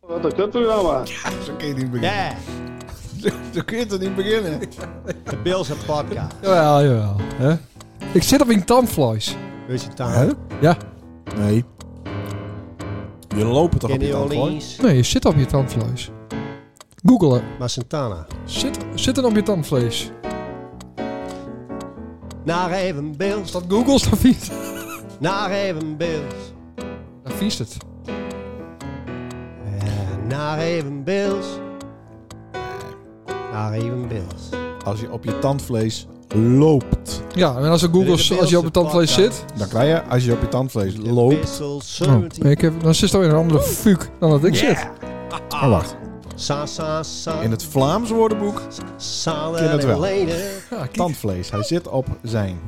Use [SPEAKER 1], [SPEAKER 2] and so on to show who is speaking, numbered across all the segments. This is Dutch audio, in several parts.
[SPEAKER 1] Wat een kutprogramma.
[SPEAKER 2] Zo kun je het niet beginnen.
[SPEAKER 3] Yeah,
[SPEAKER 2] Zo kun je het niet beginnen.
[SPEAKER 3] de Bilse podcast.
[SPEAKER 4] Jawel, jawel. Hè? Ik zit op een tandvlees.
[SPEAKER 3] Weet je het dan?
[SPEAKER 2] Hè?
[SPEAKER 4] Ja,
[SPEAKER 2] Nee. Je loopt toch op
[SPEAKER 3] Kenny
[SPEAKER 2] je tand, hoor.
[SPEAKER 3] Orleans,
[SPEAKER 4] nee, je zit op je tandvlees. Google het.
[SPEAKER 3] maar Santana.
[SPEAKER 4] Zit, zitten op je tandvlees.
[SPEAKER 3] Naar even Bills,
[SPEAKER 4] Dat Google is dan vies.
[SPEAKER 3] naar even Bills.
[SPEAKER 4] Dan vies het.
[SPEAKER 3] Eh, Naar even Bills. Naar even Bills.
[SPEAKER 2] Als je op je tandvlees loopt.
[SPEAKER 4] Ja, en als, er
[SPEAKER 3] Dit is
[SPEAKER 4] Google's,
[SPEAKER 3] de
[SPEAKER 4] als je op
[SPEAKER 3] Beelse
[SPEAKER 4] het tandvlees
[SPEAKER 3] podcast.
[SPEAKER 4] zit...
[SPEAKER 2] Dan krijg je, als je op je tandvlees loopt.
[SPEAKER 3] Wissel
[SPEAKER 4] Oh,
[SPEAKER 3] 17.
[SPEAKER 4] ik heb, dan zit er weer een andere fuuk dan dat ik zit.
[SPEAKER 2] Oh, wacht.
[SPEAKER 3] Sa, sa, sa.
[SPEAKER 2] In het Vlaams woordenboek
[SPEAKER 3] Samen
[SPEAKER 2] ken het
[SPEAKER 3] en
[SPEAKER 2] wel.
[SPEAKER 3] leden.
[SPEAKER 4] Ja, kijk.
[SPEAKER 2] tandvlees. Hij zit op zijn.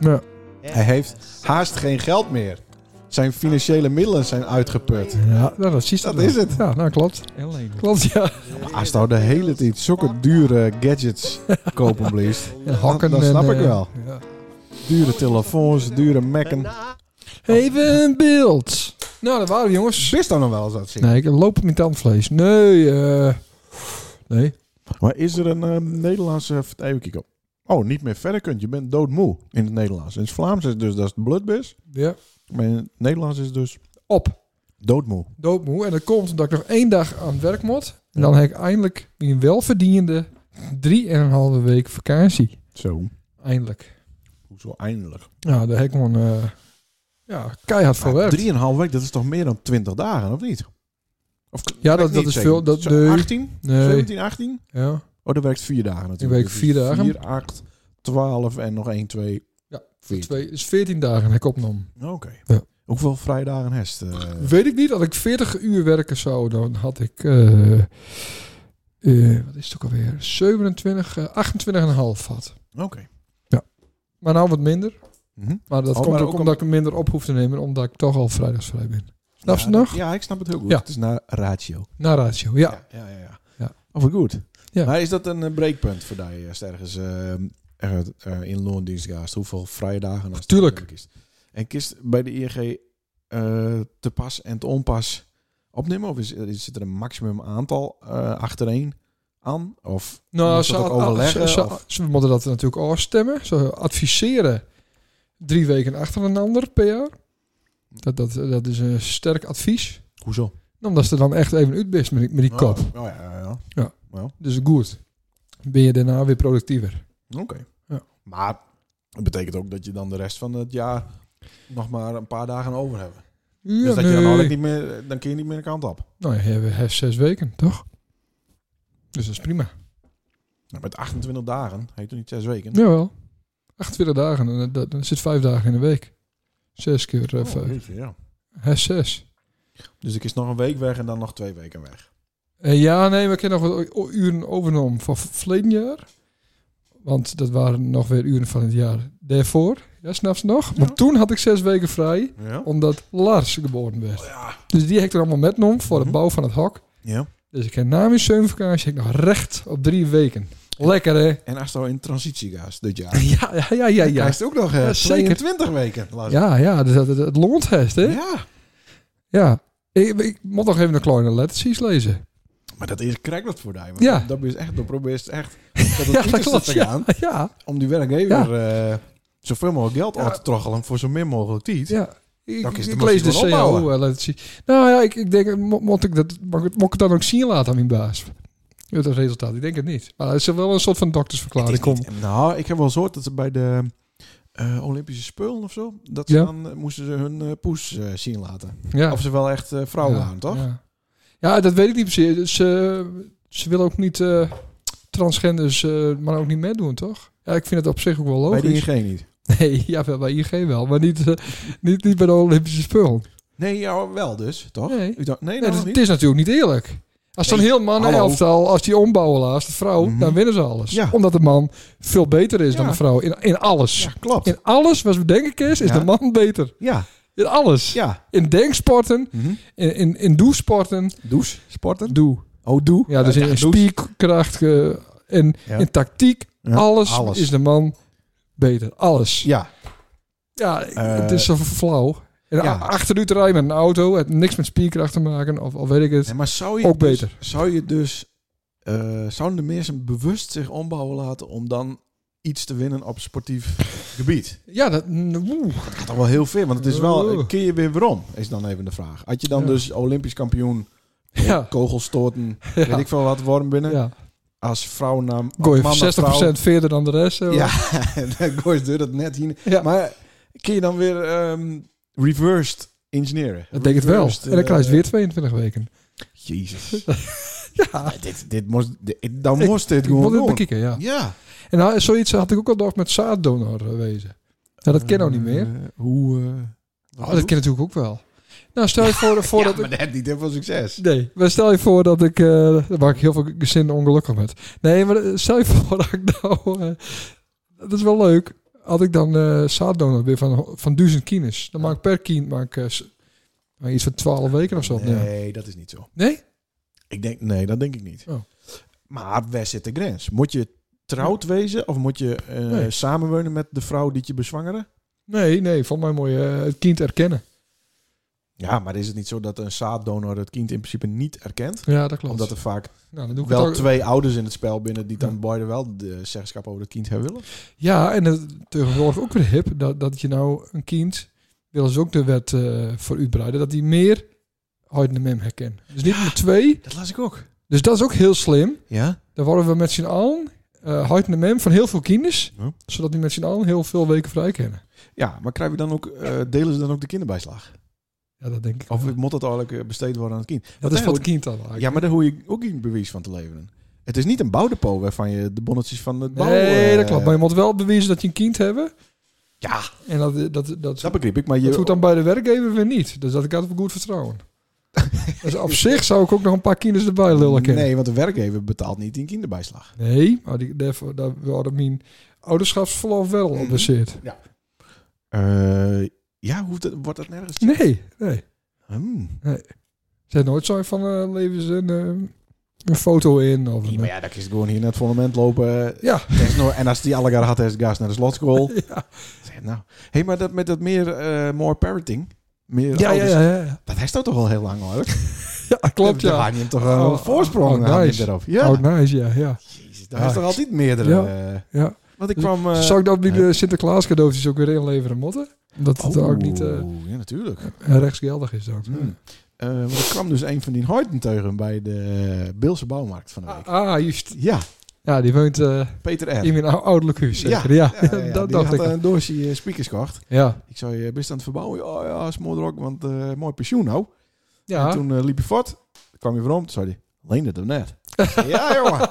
[SPEAKER 4] Ja.
[SPEAKER 2] Hij heeft haast geen geld meer. Zijn financiële middelen zijn uitgeput.
[SPEAKER 4] Ja, nou, dat is
[SPEAKER 2] Dat is het.
[SPEAKER 4] Ja, nou klopt. Klopt, ja.
[SPEAKER 2] Als nou de hele tijd zulke dure gadgets kopen blieft.
[SPEAKER 4] En hakken
[SPEAKER 2] dat snap
[SPEAKER 4] en,
[SPEAKER 2] ik
[SPEAKER 4] eh,
[SPEAKER 2] wel.
[SPEAKER 4] ja.
[SPEAKER 2] Dure telefoons, dure mekken.
[SPEAKER 3] Na-
[SPEAKER 4] Even een beeld. Nou, dat waren we, jongens.
[SPEAKER 2] Wist dan nog wel eens dat zin?
[SPEAKER 4] Nee, ik loop op mijn tandvlees. Nee, eh... Nee.
[SPEAKER 2] Maar is er een eh, Nederlandse... Even kijken. Oh, niet meer verder kunt. Je bent doodmoe in het Nederlands. In het Vlaams is het dus dat is bloedbus.
[SPEAKER 4] Ja.
[SPEAKER 2] Maar in het Nederlands is het dus
[SPEAKER 4] Op.
[SPEAKER 2] doodmoe.
[SPEAKER 4] doodmoe. En dat komt omdat ik nog één dag aan het werk moet. En dan heb ik eindelijk een welverdiende drieënhalve week vakantie.
[SPEAKER 2] Zo. Hoezo
[SPEAKER 4] Eindelijk.
[SPEAKER 2] eindelijk? Ah,
[SPEAKER 4] Nou, daar heb ik gewoon eh, ja, keihard voor werk.
[SPEAKER 2] Drieënhalf week, dat is toch meer dan 20 dagen, of niet? Of,
[SPEAKER 4] Ja,
[SPEAKER 2] weet
[SPEAKER 4] dat,
[SPEAKER 2] ik
[SPEAKER 4] dat
[SPEAKER 2] niet
[SPEAKER 4] is
[SPEAKER 2] zeker.
[SPEAKER 4] veel. Dat,
[SPEAKER 2] Zo
[SPEAKER 4] nee,
[SPEAKER 2] 18?
[SPEAKER 4] nee.
[SPEAKER 2] 17, 18?
[SPEAKER 4] Ja.
[SPEAKER 2] Oh, dat werkt vier dagen natuurlijk.
[SPEAKER 4] werkt
[SPEAKER 2] Dus
[SPEAKER 4] vier dagen.
[SPEAKER 2] 4, 8, 12 en nog 1, 2,
[SPEAKER 4] Ja,
[SPEAKER 2] 4.
[SPEAKER 4] Twee, is 14 dagen heb ik opgenomen.
[SPEAKER 2] Oké.
[SPEAKER 4] Ja.
[SPEAKER 2] Hoeveel vrijdagen heeft eh
[SPEAKER 4] Weet ik niet, als ik 40 uur werken zou, dan had ik. eh, eh, wat is het ook alweer? 27, eh, 28,5 had.
[SPEAKER 2] Oké.
[SPEAKER 4] Maar nou wat minder.
[SPEAKER 2] Mhm.
[SPEAKER 4] Maar dat
[SPEAKER 2] Oh,
[SPEAKER 4] komt
[SPEAKER 2] maar
[SPEAKER 4] ook
[SPEAKER 2] ook
[SPEAKER 4] omdat ik er minder op hoef te nemen, omdat ik toch al vrijdagsvrij ben. Snap je
[SPEAKER 2] Ja,
[SPEAKER 4] nog?
[SPEAKER 2] Ja, ik snap het heel goed.
[SPEAKER 4] Ja.
[SPEAKER 2] Het is naar ratio.
[SPEAKER 4] Na ratio, ja.
[SPEAKER 2] ja, ja. ja.
[SPEAKER 4] Ja.
[SPEAKER 2] Oh, wat goed.
[SPEAKER 4] Ja.
[SPEAKER 2] Maar is dat een eh, breekpunt voor die als ergens eh, er- eh, in loondienst gaat? Hoeveel vrije dagen? als het
[SPEAKER 4] Tuurlijk.
[SPEAKER 2] mogelijk is? En kist bij de ING eh, te pas en te onpas opnemen? Of is, is- zit er een maximum aantal eh, achtereen aan? Of
[SPEAKER 4] Nou,
[SPEAKER 2] Moet
[SPEAKER 4] ze,
[SPEAKER 2] dat ook
[SPEAKER 4] ah, ah,
[SPEAKER 2] overleggen,
[SPEAKER 4] ze- ze-
[SPEAKER 2] of?
[SPEAKER 4] ze moeten dat natuurlijk afstemmen. Ze adviseren drie weken achter een ander per jaar. Dat, dat, dat is een sterk advies.
[SPEAKER 2] hoezo?
[SPEAKER 4] Omdat ze dan echt even uit bent met die, met die kop.
[SPEAKER 2] Oh, oh, ja, ja, ja.
[SPEAKER 4] Dus goed. Ben je daarna weer productiever.
[SPEAKER 2] Oké.
[SPEAKER 4] Ja.
[SPEAKER 2] Maar dat betekent ook dat je dan de rest van het jaar nog maar een paar dagen over hebben.
[SPEAKER 4] Ja,
[SPEAKER 2] dus dat je dan
[SPEAKER 4] nee.
[SPEAKER 2] eigenlijk niet meer, dan kun je niet meer de kant op.
[SPEAKER 4] Nou, je hebt- je hebt zes weken, toch? Dus dat is prima.
[SPEAKER 2] Nou, met 28 dagen, heet het niet zes weken?
[SPEAKER 4] Jawel. 28 dagen. En dat, dan zit vijf dagen in de week. Zes keer eh,
[SPEAKER 2] Oh,
[SPEAKER 4] vijf.
[SPEAKER 2] jeetje, ja.
[SPEAKER 4] Hè, zes.
[SPEAKER 2] Dus ik is nog een week weg en dan nog twee weken weg.
[SPEAKER 4] Eh, ja, nee, we kunnen nog wat o- uren overnomen van v- verleden jaar. Want dat waren nog weer uren van het jaar daarvoor. Ja, snap je nog? Maar toen had ik zes weken vrij,
[SPEAKER 2] Ja?
[SPEAKER 4] omdat Lars geboren werd. Dus die heb ik er allemaal metgenomen voor de
[SPEAKER 2] Mhm.
[SPEAKER 4] bouw van het hok.
[SPEAKER 2] ja.
[SPEAKER 4] Dus ik heb na mijn zomervakantie heb ik nog recht op drie weken. Lekker, hè?
[SPEAKER 2] En als nou in transitie gaat dit jaar.
[SPEAKER 4] Ja, ja, ja, ja.
[SPEAKER 2] dan
[SPEAKER 4] Ja,
[SPEAKER 2] is het ook nog eh
[SPEAKER 4] Ja, zeker.
[SPEAKER 2] 22 weken. laat ik-
[SPEAKER 4] ja, ja dus dat, dat- het loont hè? Ja.
[SPEAKER 2] Ja.
[SPEAKER 4] Ik, ik moet nog even de kleine lettertjes lezen.
[SPEAKER 2] Maar dat is krijg dat voor die. want
[SPEAKER 4] Ja.
[SPEAKER 2] Dat is echt, dan probeer je echt tot
[SPEAKER 4] Ja,
[SPEAKER 2] het
[SPEAKER 4] dat
[SPEAKER 2] uiterste
[SPEAKER 4] klopt.
[SPEAKER 2] te
[SPEAKER 4] Ja,
[SPEAKER 2] gaan.
[SPEAKER 4] ja.
[SPEAKER 2] Om die werkgever eh, zoveel mogelijk geld
[SPEAKER 4] Ja.
[SPEAKER 2] uit te troggelen voor zo min mogelijk tijd.
[SPEAKER 4] Ja. Ik,
[SPEAKER 2] Dan is de
[SPEAKER 4] ik
[SPEAKER 2] machine
[SPEAKER 4] lees de
[SPEAKER 2] gewoon
[SPEAKER 4] CAO
[SPEAKER 2] opbouwen.
[SPEAKER 4] wel laten zien. Nou ja, ik, ik denk, mo- moet ik, dat, mag ik- moet ik het dan ook zien laten aan mijn baas? Het resultaat, ik denk het niet. Maar het is wel een soort van doktersverklaring.
[SPEAKER 2] Het is
[SPEAKER 4] Kom.
[SPEAKER 2] niet- nou, ik heb wel eens gehoord dat ze bij de eh, Olympische Spelen of zo, dat ze
[SPEAKER 4] Ja.
[SPEAKER 2] dan eh, moesten ze hun eh, poes eh, zien laten.
[SPEAKER 4] Ja.
[SPEAKER 2] Of ze wel echt eh, vrouw
[SPEAKER 4] Ja,
[SPEAKER 2] waren, toch?
[SPEAKER 4] Ja. Ja, dat weet ik niet precies. Dus, eh, ze willen ook niet eh, transgenders, eh, maar ook niet meedoen, toch? Ja, ik vind het op zich ook wel
[SPEAKER 2] Bij de
[SPEAKER 4] logisch.
[SPEAKER 2] ING niet.
[SPEAKER 4] nee, ja, wel bij IG wel, maar niet, eh, niet, niet bij de Olympische spullen.
[SPEAKER 2] Nee, ja, wel dus, toch?
[SPEAKER 4] Nee.
[SPEAKER 2] U dacht- nee,
[SPEAKER 4] Nee,
[SPEAKER 2] dat
[SPEAKER 4] dat,
[SPEAKER 2] niet.
[SPEAKER 4] het is natuurlijk niet eerlijk. Als zo'n
[SPEAKER 2] Nee,
[SPEAKER 4] heel man
[SPEAKER 2] hallo.
[SPEAKER 4] elftal, als die ombouwen laatst, de vrouw,
[SPEAKER 2] Mhm.
[SPEAKER 4] dan winnen ze alles.
[SPEAKER 2] Ja.
[SPEAKER 4] Omdat de man veel beter is dan
[SPEAKER 2] Ja.
[SPEAKER 4] de vrouw. In, in alles.
[SPEAKER 2] Ja, klopt.
[SPEAKER 4] In alles wat we denken is, is
[SPEAKER 2] Ja.
[SPEAKER 4] de man beter.
[SPEAKER 2] Ja,
[SPEAKER 4] In alles.
[SPEAKER 2] ja.
[SPEAKER 4] In denksporten, in, in, in doesporten.
[SPEAKER 2] Douche, sporten.
[SPEAKER 4] Doe.
[SPEAKER 2] Oh, doe.
[SPEAKER 4] Ja, dus in, in
[SPEAKER 2] douche.
[SPEAKER 4] spierkracht eh, en
[SPEAKER 2] Ja.
[SPEAKER 4] in tactiek.
[SPEAKER 2] Ja,
[SPEAKER 4] Alles,
[SPEAKER 2] alles.
[SPEAKER 4] is de man beter. Alles. Ja,
[SPEAKER 2] Ja,
[SPEAKER 4] het is zo flauw. En
[SPEAKER 2] Eh. Ja.
[SPEAKER 4] a- achteruit rijden met een auto. Het niks met spierkracht te maken. Of, of weet ik het.
[SPEAKER 2] Nee, maar zou je
[SPEAKER 4] Ook
[SPEAKER 2] dus-
[SPEAKER 4] beter.
[SPEAKER 2] Zou je dus, eh, zouden de mensen bewust zich ombouwen laten om dan iets te winnen op sportief gebied?
[SPEAKER 4] Ja, dat... Oeh.
[SPEAKER 2] Dat gaat toch wel heel veel, want het is wel,
[SPEAKER 4] Oeh.
[SPEAKER 2] keer je weer waarom, is dan even de vraag. Had je dan
[SPEAKER 4] Ja.
[SPEAKER 2] dus Olympisch kampioen,
[SPEAKER 4] Ja.
[SPEAKER 2] kogelstoten, weet ik veel wat, worden binnen?
[SPEAKER 4] Ja.
[SPEAKER 2] Als vrouw naar
[SPEAKER 4] Gooi
[SPEAKER 2] man
[SPEAKER 4] even
[SPEAKER 2] naar
[SPEAKER 4] 60%
[SPEAKER 2] vrouw.
[SPEAKER 4] verder dan de rest. eh,
[SPEAKER 2] Ja, dan gooi je dat net hier.
[SPEAKER 4] Ja.
[SPEAKER 2] Maar kun je dan weer ehm, reversed engineeren?
[SPEAKER 4] dat denk ik wel.
[SPEAKER 2] Reversed,
[SPEAKER 4] En dan krijg je
[SPEAKER 2] eh,
[SPEAKER 4] weer 22 weken.
[SPEAKER 2] Jezus. Nee, dit, dit moest, dit- dan moest dit
[SPEAKER 4] Ik moet
[SPEAKER 2] gewoon
[SPEAKER 4] het
[SPEAKER 2] doen.
[SPEAKER 4] bekijken, ja.
[SPEAKER 2] Ja.
[SPEAKER 4] En nou, zoiets had ik ook al dacht met zaaddonor eh, wezen. Nou, dat ken ook niet meer.
[SPEAKER 2] Eh, hoe... eh,
[SPEAKER 4] Oh, dat ken natuurlijk ook wel. Nou, stel je voor, voor
[SPEAKER 2] ja,
[SPEAKER 4] dat
[SPEAKER 2] maar dat heeft niet heel veel succes.
[SPEAKER 4] Nee, maar stel je voor dat ik... eh daar maak ik heel veel gezinnen ongelukkig met. Nee, maar eh, stel je voor dat ik nou... eh, dat is wel leuk. Had ik dan eh zaaddonor weer van, van duizend kines. Dan maak ik per kien maak, ik, eh, s- maar iets van twaalf weken of zo. Nee?
[SPEAKER 2] Nee, dat is niet zo.
[SPEAKER 4] nee?
[SPEAKER 2] Ik denk, nee, dat denk ik niet.
[SPEAKER 4] Oh.
[SPEAKER 2] Maar waar zit de grens? Moet je trouwd wezen of moet je eh,
[SPEAKER 4] Nee.
[SPEAKER 2] samenwonen met de vrouw die je bezwangeren?
[SPEAKER 4] Nee, nee. Volgens mij moet je eh, het kind erkennen.
[SPEAKER 2] Ja, maar is het niet zo dat een zaaddonor het kind in principe niet erkent?
[SPEAKER 4] Ja, dat klopt.
[SPEAKER 2] Omdat er vaak
[SPEAKER 4] nou, dan doe ik
[SPEAKER 2] wel
[SPEAKER 4] het ook-
[SPEAKER 2] twee ouders in het spel binnen die dan
[SPEAKER 4] Ja.
[SPEAKER 2] beide wel de zeggenschap over het kind hebben willen.
[SPEAKER 4] Ja, en het, tegenwoordig ook weer hip dat, dat je nou een kind, willen ze ook de wet eh, voor uitbreiden, dat die meer uit de mem herkennen. Dus niet met twee.
[SPEAKER 2] Dat las ik ook.
[SPEAKER 4] Dus dat is ook heel slim.
[SPEAKER 2] Ja?
[SPEAKER 4] Dan worden we met z'n allen eh uit de mem van heel veel kinders,
[SPEAKER 2] Ja.
[SPEAKER 4] zodat die met z'n allen heel veel weken vrij kennen.
[SPEAKER 2] Ja, maar krijgen we dan ook, eh, delen ze dan ook de kinderbijslag?
[SPEAKER 4] Ja, dat denk ik.
[SPEAKER 2] Of
[SPEAKER 4] wel.
[SPEAKER 2] moet dat eigenlijk eh, besteed worden aan het kind?
[SPEAKER 4] dat
[SPEAKER 2] Want
[SPEAKER 4] is
[SPEAKER 2] hij
[SPEAKER 4] wat kind dan eigenlijk.
[SPEAKER 2] Ja, maar daar hoor je ook geen bewijs van te leveren. Het is niet een bouwdepot waarvan je de bonnetjes van het bouw...
[SPEAKER 4] nee, dat
[SPEAKER 2] eh,
[SPEAKER 4] klopt. Maar je moet wel bewijzen dat je een kind hebt.
[SPEAKER 2] Ja,
[SPEAKER 4] En dat, dat, dat, dat,
[SPEAKER 2] dat begreep ik. Maar je,
[SPEAKER 4] hoeft dan bij de werkgever weer niet. Dus dat ik altijd op goed vertrouwen. dus op zich zou ik ook nog een paar kinders erbij lullen kennen.
[SPEAKER 2] Nee, want de werkgever betaalt niet in kinderbijslag.
[SPEAKER 4] Nee, maar die, daarvoor, daar worden mijn ouderschapsverlof wel op
[SPEAKER 2] Mhm.
[SPEAKER 4] baseerd.
[SPEAKER 2] Eh, ja, hoeft het, wordt dat nergens?
[SPEAKER 4] Nee, nee.
[SPEAKER 2] Hmm.
[SPEAKER 4] Ze heeft nooit zo van eh leven ze een, eh, een foto in. Of
[SPEAKER 2] Nee,
[SPEAKER 4] een,
[SPEAKER 2] maar ja, dan is het gewoon hier naar het fundament lopen.
[SPEAKER 4] ja.
[SPEAKER 2] Des no- en als die alle gaat had, is het gas naar de slotschool.
[SPEAKER 4] Ja.
[SPEAKER 2] Zeg, nou, hey, maar dat met dat meer eh more parenting, meer
[SPEAKER 4] Ja, ja,
[SPEAKER 2] ouders,
[SPEAKER 4] ja, ja.
[SPEAKER 2] dat heeft dat toch al heel lang hoor.
[SPEAKER 4] Ja, klopt,
[SPEAKER 2] Daar
[SPEAKER 4] ja.
[SPEAKER 2] had je hem toch wel
[SPEAKER 4] Oh,
[SPEAKER 2] voorsprong
[SPEAKER 4] oh,
[SPEAKER 2] had je
[SPEAKER 4] nice.
[SPEAKER 2] erop. Ja,
[SPEAKER 4] Oh, nice, ja, ja.
[SPEAKER 2] Jezus, daar is toch altijd meerdere. eh,
[SPEAKER 4] ja.
[SPEAKER 2] want ik kwam. eh,
[SPEAKER 4] Zou ik dan die
[SPEAKER 2] eh.
[SPEAKER 4] de Sinterklaas cadeautjes ook weer inleveren motten? Dat het
[SPEAKER 2] oh,
[SPEAKER 4] ook niet eh,
[SPEAKER 2] ja, natuurlijk.
[SPEAKER 4] rechtsgeldig is dan.
[SPEAKER 2] Hmm. Eh, want er kwam dus een van die hoitenteugen bij de Beelse bouwmarkt van de week.
[SPEAKER 4] Ah, ah, juist.
[SPEAKER 2] Ja,
[SPEAKER 4] Ja, die woont eh,
[SPEAKER 2] Peter R.
[SPEAKER 4] in mijn ou- ouderlijk huis,
[SPEAKER 2] Ja,
[SPEAKER 4] zeker. Ja,
[SPEAKER 2] Ja, ja, ja.
[SPEAKER 4] dat
[SPEAKER 2] die
[SPEAKER 4] dacht
[SPEAKER 2] had
[SPEAKER 4] ik.
[SPEAKER 2] een doosje eh, speakers gekocht.
[SPEAKER 4] ja.
[SPEAKER 2] Ik zei, eh, best aan het verbouwen? Oh ja, smoor er ook, want eh, mooi pensioen nou. En
[SPEAKER 4] Ja.
[SPEAKER 2] toen eh, liep je voort. kwam je weer om. Toen zei hij, leende het hem net. ja, jongen.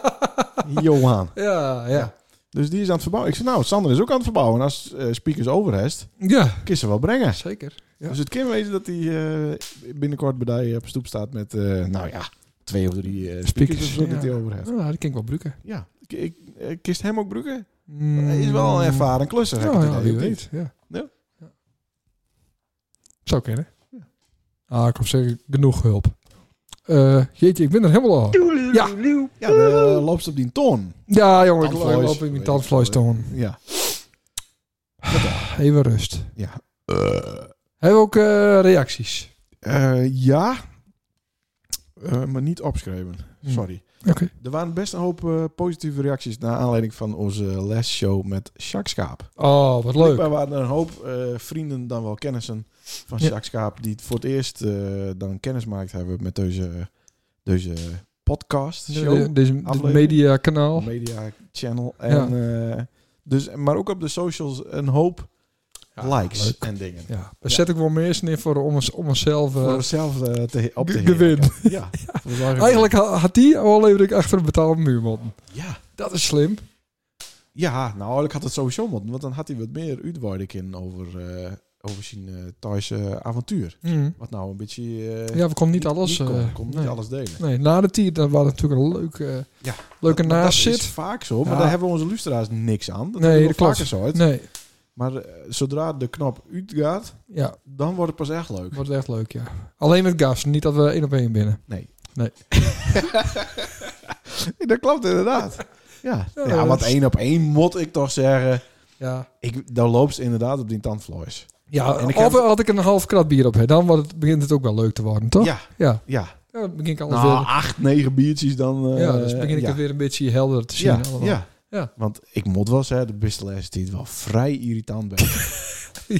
[SPEAKER 2] Johan.
[SPEAKER 4] Ja, ja.
[SPEAKER 2] Dus die is aan het verbouwen. Ik zei, nou, Sander is ook aan het verbouwen. En als eh, speakers overrest,
[SPEAKER 4] Ja,
[SPEAKER 2] kun je ze wel brengen.
[SPEAKER 4] zeker. Ja.
[SPEAKER 2] Dus het kan wezen dat hij eh, binnenkort bij die op stoep staat met, eh, nou ja, twee of drie eh, speakers,
[SPEAKER 4] Speakers,
[SPEAKER 2] of zo, dat
[SPEAKER 4] ja.
[SPEAKER 2] hij overheeft.
[SPEAKER 4] Ah, die kan ik wel brukken.
[SPEAKER 2] Ja, ik, ik, eh, kist hem ook Brugge.
[SPEAKER 4] Mm.
[SPEAKER 2] Hij is wel een ervaren klusser. heb ik
[SPEAKER 4] Ja,
[SPEAKER 2] het
[SPEAKER 4] ja,
[SPEAKER 2] idee,
[SPEAKER 4] wie
[SPEAKER 2] of niet?
[SPEAKER 4] weet. Ja.
[SPEAKER 2] Ja.
[SPEAKER 4] Ja. Zou kennen.
[SPEAKER 2] Ja.
[SPEAKER 4] Ah, ik heb zeker genoeg hulp. Eh, jeetje, ik ben er helemaal al. Ja,
[SPEAKER 2] Ja, de loopst op die toon.
[SPEAKER 4] ja jongen, ik
[SPEAKER 2] Tandvlees.
[SPEAKER 4] loop
[SPEAKER 2] Weet
[SPEAKER 4] in mijn
[SPEAKER 2] ik
[SPEAKER 4] tandvlees
[SPEAKER 2] veel,
[SPEAKER 4] toon. Ah,
[SPEAKER 2] Ja.
[SPEAKER 4] Even rust.
[SPEAKER 2] Ja.
[SPEAKER 4] Hebben we ook eh, reacties?
[SPEAKER 2] Eh, ja. Eh, maar niet opschrijven.
[SPEAKER 4] Hm.
[SPEAKER 2] Sorry.
[SPEAKER 4] Oké.
[SPEAKER 2] Er waren best een hoop eh, positieve reacties naar aanleiding van onze lesshow met Jacques Schaap.
[SPEAKER 4] Oh, wat leuk.
[SPEAKER 2] Blijkbaar waren er een hoop eh, vrienden, dan wel kennissen van
[SPEAKER 4] Ja.
[SPEAKER 2] Jacques Schaap, die het voor het eerst eh, dan kennis maakt hebben met deze, deze podcast,
[SPEAKER 4] De-
[SPEAKER 2] show,
[SPEAKER 4] de- Deze dit
[SPEAKER 2] aflevering.
[SPEAKER 4] mediakanaal.
[SPEAKER 2] media channel. En, eh, dus, maar ook op de socials een hoop
[SPEAKER 4] Ja,
[SPEAKER 2] likes
[SPEAKER 4] leuk.
[SPEAKER 2] en dingen.
[SPEAKER 4] Ja, daar
[SPEAKER 2] Ja.
[SPEAKER 4] zet ik wel meer in voor om, ons, om onszelf eh,
[SPEAKER 2] Voor onszelf eh, te, op te
[SPEAKER 4] de- de win.
[SPEAKER 2] heerlijken. Ja. voor ons eigen-
[SPEAKER 4] Eigenlijk ha- had die al even achter een betaalde muur moeten.
[SPEAKER 2] Ja.
[SPEAKER 4] Dat is slim.
[SPEAKER 2] Ja, nou, ik had het sowieso moeten, want dan had hij wat meer uitweiding in over, eh, over zijn eh Thaise avontuur.
[SPEAKER 4] Mm.
[SPEAKER 2] Wat nou een beetje... eh,
[SPEAKER 4] Ja, we konden niet alles...
[SPEAKER 2] kon-
[SPEAKER 4] eh,
[SPEAKER 2] kon niet
[SPEAKER 4] nee.
[SPEAKER 2] alles delen.
[SPEAKER 4] Nee, na de tier, dat was natuurlijk een leuke,
[SPEAKER 2] Ja,
[SPEAKER 4] leuke
[SPEAKER 2] Dat- dat
[SPEAKER 4] naast
[SPEAKER 2] is vaak zo, maar
[SPEAKER 4] Ja.
[SPEAKER 2] daar hebben onze luisteraars niks aan. Dat
[SPEAKER 4] Nee,
[SPEAKER 2] nee,
[SPEAKER 4] dat
[SPEAKER 2] dat
[SPEAKER 4] klopt.
[SPEAKER 2] vaker zo uit.
[SPEAKER 4] Nee,
[SPEAKER 2] Maar eh, zodra de knop uitgaat,
[SPEAKER 4] ja,
[SPEAKER 2] dan wordt het pas echt leuk.
[SPEAKER 4] wordt echt leuk, ja. Alleen met gas, niet dat we één op één binnen.
[SPEAKER 2] Nee.
[SPEAKER 4] Nee.
[SPEAKER 2] Nee, dat klopt inderdaad. Ja,
[SPEAKER 4] Ja,
[SPEAKER 2] ja,
[SPEAKER 4] dat
[SPEAKER 2] want
[SPEAKER 4] is-
[SPEAKER 2] één op één moet ik toch zeggen.
[SPEAKER 4] Ja,
[SPEAKER 2] Ik, daar loopt ze inderdaad op die tandvloers.
[SPEAKER 4] Ja,
[SPEAKER 2] En ik
[SPEAKER 4] of
[SPEAKER 2] heb-
[SPEAKER 4] had ik een half krat bier op. Hè. Dan wordt het, begint het ook wel leuk te worden, toch?
[SPEAKER 2] Ja,
[SPEAKER 4] Ja,
[SPEAKER 2] ja.
[SPEAKER 4] Ja, dan begin ik alles
[SPEAKER 2] Nou,
[SPEAKER 4] weer...
[SPEAKER 2] acht, negen biertjes dan... eh,
[SPEAKER 4] Ja, dus begin ik
[SPEAKER 2] ja.
[SPEAKER 4] het weer een beetje helder te zien.
[SPEAKER 2] Ja,
[SPEAKER 4] allemaal.
[SPEAKER 2] ja.
[SPEAKER 4] Ja.
[SPEAKER 2] Want ik moet wel zeggen, de beste les die het wel vrij irritant bij.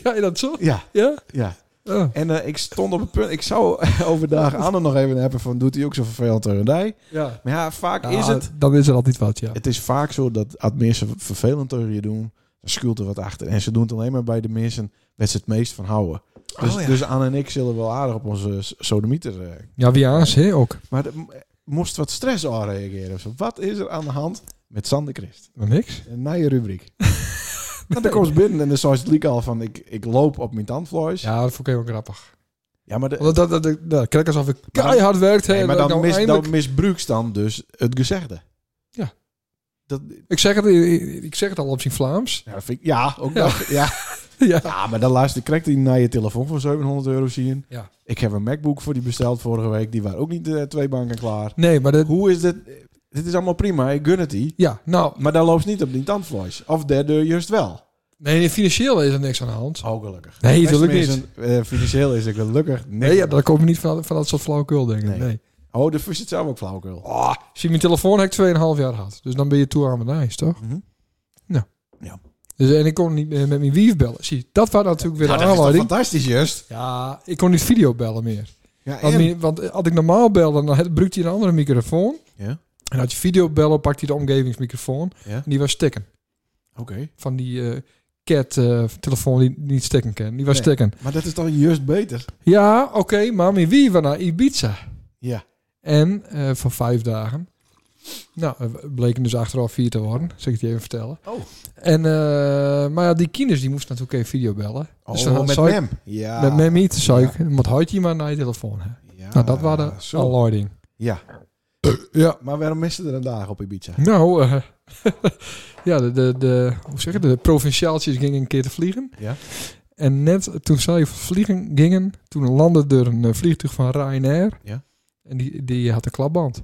[SPEAKER 4] Ja, dat zo?
[SPEAKER 2] ja,
[SPEAKER 4] Ja?
[SPEAKER 2] ja.
[SPEAKER 4] Oh,
[SPEAKER 2] En eh, ik stond op het punt, ik zou overdag Anne nog even hebben van, doet hij ook zo vervelend teurendij?
[SPEAKER 4] ja.
[SPEAKER 2] Maar ja, vaak
[SPEAKER 4] Ja,
[SPEAKER 2] is het...
[SPEAKER 4] Dan is er altijd wat, Nou, ja.
[SPEAKER 2] Het is vaak zo dat als mensen vervelend tegen je doen, dan schuilt er wat achter. En ze doen het alleen maar bij de mensen waar ze het meest van houden. Dus,
[SPEAKER 4] Oh, ja.
[SPEAKER 2] dus Anne en ik zullen wel aardig op onze s- sodemieter. eh.
[SPEAKER 4] Ja, wie aans, hè, ook.
[SPEAKER 2] Maar er m- moest wat stress aan reageren. of zo. Wat is er aan de hand met Sander Christ?
[SPEAKER 4] Maar niks.
[SPEAKER 2] Een nieuwe rubriek. Nou, dan komt ze binnen en dan zei ze het liek al van ik, ik loop op mijn tandvlees. Ja,
[SPEAKER 4] Ja, dat vond ik heel grappig.
[SPEAKER 2] maar, de,
[SPEAKER 4] Want dat, dat, dat, dat krijg ik alsof ik keihard werkt. hè,
[SPEAKER 2] nee, maar
[SPEAKER 4] dat ik
[SPEAKER 2] dan,
[SPEAKER 4] nou
[SPEAKER 2] mis,
[SPEAKER 4] eindelijk-
[SPEAKER 2] dan misbruikt dan dus het gezegde.
[SPEAKER 4] Ja.
[SPEAKER 2] Dat,
[SPEAKER 4] Ik zeg het, ik ik zeg het al op zijn Vlaams.
[SPEAKER 2] ja, dat vind ik, ja ook
[SPEAKER 4] Ja.
[SPEAKER 2] dat. Ja.
[SPEAKER 4] Ja.
[SPEAKER 2] Ja, maar dan laatste krijgt hij naar je telefoon voor 700 euro zien.
[SPEAKER 4] Ja.
[SPEAKER 2] Ik heb een MacBook voor die besteld vorige week. Die waren ook niet eh, twee banken klaar.
[SPEAKER 4] Nee, maar dat...
[SPEAKER 2] Hoe is dit? Dit is allemaal prima, ik gun het die.
[SPEAKER 4] Ja, nou,
[SPEAKER 2] Maar daar loopt ze niet op die tandvlees. Of derde juist wel.
[SPEAKER 4] nee, nee, financieel is er niks aan de hand.
[SPEAKER 2] Oh, gelukkig.
[SPEAKER 4] Nee,
[SPEAKER 2] Beste
[SPEAKER 4] natuurlijk niet.
[SPEAKER 2] mensen, eh, financieel is het gelukkig. Nee.
[SPEAKER 4] Nee, ja, daar kom je niet van, van dat soort flauwekul dingen.
[SPEAKER 2] Nee.
[SPEAKER 4] Nee.
[SPEAKER 2] Oh, de vis zit zelf ook flauwkul.
[SPEAKER 4] Oh, zie, mijn telefoon heb ik 2,5 jaar gehad. Dus dan ben je toe aan mijn ijs, toch? Nou.
[SPEAKER 2] Mhm.
[SPEAKER 4] Dus, en ik kon niet meer met mijn wief bellen. Zie, dat was natuurlijk weer
[SPEAKER 2] Nou,
[SPEAKER 4] een
[SPEAKER 2] dat is toch
[SPEAKER 4] aanleiding.
[SPEAKER 2] fantastisch juist?
[SPEAKER 4] Ja, ik kon niet video bellen meer.
[SPEAKER 2] Ja,
[SPEAKER 4] Want,
[SPEAKER 2] en?
[SPEAKER 4] mijn- want had ik normaal belde, dan had- gebruikte hij een andere microfoon.
[SPEAKER 2] Ja,
[SPEAKER 4] En had je video bellen, pakte hij de omgevingsmicrofoon.
[SPEAKER 2] Ja.
[SPEAKER 4] En die was stikken.
[SPEAKER 2] oké.
[SPEAKER 4] Van die eh cat eh, telefoon die niet stikken kan. Die was
[SPEAKER 2] Nee.
[SPEAKER 4] stikken.
[SPEAKER 2] Maar dat is dan juist beter?
[SPEAKER 4] Ja, oké, maar mijn wief was naar Ibiza.
[SPEAKER 2] Ja.
[SPEAKER 4] En eh, voor vijf dagen. Nou, eh, bleken dus achteraf vier te worden. Zal ik het je even vertellen.
[SPEAKER 2] Oh.
[SPEAKER 4] En, eh, maar ja, die kinders die moesten natuurlijk even video bellen.
[SPEAKER 2] Oh,
[SPEAKER 4] Dus dan
[SPEAKER 2] met
[SPEAKER 4] zou ik-
[SPEAKER 2] hem. Ja.
[SPEAKER 4] Met mij niet. Zou ik, moet houd je maar naar je telefoon. Hè.
[SPEAKER 2] Ja,
[SPEAKER 4] nou, dat waren de
[SPEAKER 2] Ah, zo.
[SPEAKER 4] aanleiding.
[SPEAKER 2] Ja.
[SPEAKER 4] Ja.
[SPEAKER 2] Maar waarom misten er een dag op Ibiza?
[SPEAKER 4] Nou, eh, ja, de, de, de, hoe zeg je, het? de provinciaaltjes gingen een keer te vliegen.
[SPEAKER 2] Ja.
[SPEAKER 4] En net toen zij vliegen gingen, toen landde er een eh, vliegtuig van Ryanair.
[SPEAKER 2] Ja.
[SPEAKER 4] En die, die had een klapband.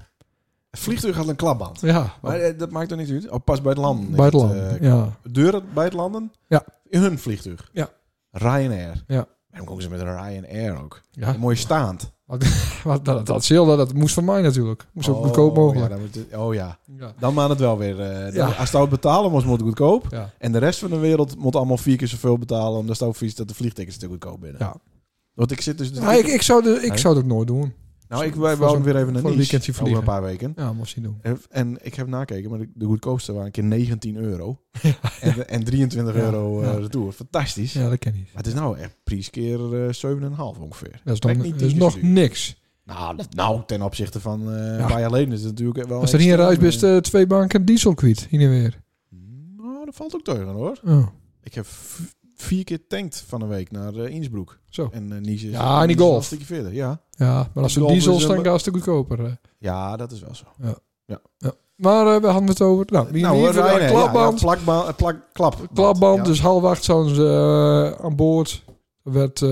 [SPEAKER 2] Het vliegtuig had een klapband.
[SPEAKER 4] Ja,
[SPEAKER 2] Maar eh, dat maakt toch niet uit? Oh, pas bij het landen.
[SPEAKER 4] bij het
[SPEAKER 2] is
[SPEAKER 4] land.
[SPEAKER 2] eh,
[SPEAKER 4] ja.
[SPEAKER 2] Deuren bij het landen?
[SPEAKER 4] Ja.
[SPEAKER 2] In hun vliegtuig?
[SPEAKER 4] Ja.
[SPEAKER 2] Ryanair?
[SPEAKER 4] Ja.
[SPEAKER 2] En dan komen ze met een Ryanair ook.
[SPEAKER 4] ja.
[SPEAKER 2] Mooi staand.
[SPEAKER 4] Maar dat, dat Zilda, dat moest van mij natuurlijk. Moest ook
[SPEAKER 2] Oh,
[SPEAKER 4] goedkoop mogelijk.
[SPEAKER 2] Ja, dan moet het- oh ja.
[SPEAKER 4] Ja.
[SPEAKER 2] Dan maakt het wel weer... eh, dan-
[SPEAKER 4] Ja.
[SPEAKER 2] Als het het betalen moest, moet het goedkoop.
[SPEAKER 4] Ja.
[SPEAKER 2] En de rest van de wereld moet allemaal vier keer zoveel betalen... omdat het ook vies dat de vliegtickets te goedkoop binnen.
[SPEAKER 4] Ja.
[SPEAKER 2] Want ik zit dus...
[SPEAKER 4] Nou, ik, ik, zou de, ik
[SPEAKER 2] Nee?
[SPEAKER 4] zou het ook nooit doen.
[SPEAKER 2] nou, ik
[SPEAKER 4] voor
[SPEAKER 2] wou
[SPEAKER 4] zo'n-
[SPEAKER 2] weer even naar
[SPEAKER 4] voor een
[SPEAKER 2] Nice.
[SPEAKER 4] weekendje
[SPEAKER 2] over
[SPEAKER 4] vliegen.
[SPEAKER 2] een paar weken.
[SPEAKER 4] Ja, moest niet doen.
[SPEAKER 2] En- En ik heb nakeken, maar de, de goedkoopste waren een keer 19 euro. En, en 23
[SPEAKER 4] Ja,
[SPEAKER 2] euro eh
[SPEAKER 4] ja.
[SPEAKER 2] retour. Fantastisch.
[SPEAKER 4] Ja, dat ken ik niet.
[SPEAKER 2] Maar het is nou echt prijs keer eh 7,5 ongeveer.
[SPEAKER 4] Dat is, dan,
[SPEAKER 2] Trek niet
[SPEAKER 4] dat is
[SPEAKER 2] tien
[SPEAKER 4] nog
[SPEAKER 2] keer duur.
[SPEAKER 4] niks.
[SPEAKER 2] Nou, dat- nou, ten opzichte van eh, een
[SPEAKER 4] Ja.
[SPEAKER 2] paar jaar geleden is het natuurlijk wel...
[SPEAKER 4] Als er hier in
[SPEAKER 2] extreem,
[SPEAKER 4] huis best eh, twee banken diesel kwijt, hier en weer.
[SPEAKER 2] eh, Nou, dat valt ook tegen hoor.
[SPEAKER 4] Oh,
[SPEAKER 2] Ik heb v- vier keer tankt van een week naar eh, Innsbruck.
[SPEAKER 4] zo.
[SPEAKER 2] En eh Nice is,
[SPEAKER 4] Ja, en die
[SPEAKER 2] Nice is
[SPEAKER 4] golf.
[SPEAKER 2] een stukje verder. Ja.
[SPEAKER 4] Ja, maar als er
[SPEAKER 2] Ik bedoel,
[SPEAKER 4] diesel
[SPEAKER 2] dus, eh,
[SPEAKER 4] staan, gaat het goedkoper. eh.
[SPEAKER 2] ja, dat is wel zo.
[SPEAKER 4] Maar eh, we hadden het over... Nou, wie
[SPEAKER 2] hoor,
[SPEAKER 4] nou,
[SPEAKER 2] Ryanair, ja,
[SPEAKER 4] klapband.
[SPEAKER 2] Ja, plakba- eh, plak, klap.
[SPEAKER 4] klapband,
[SPEAKER 2] Ja.
[SPEAKER 4] dus half acht zouden ze eh, aan boord. Werd, eh,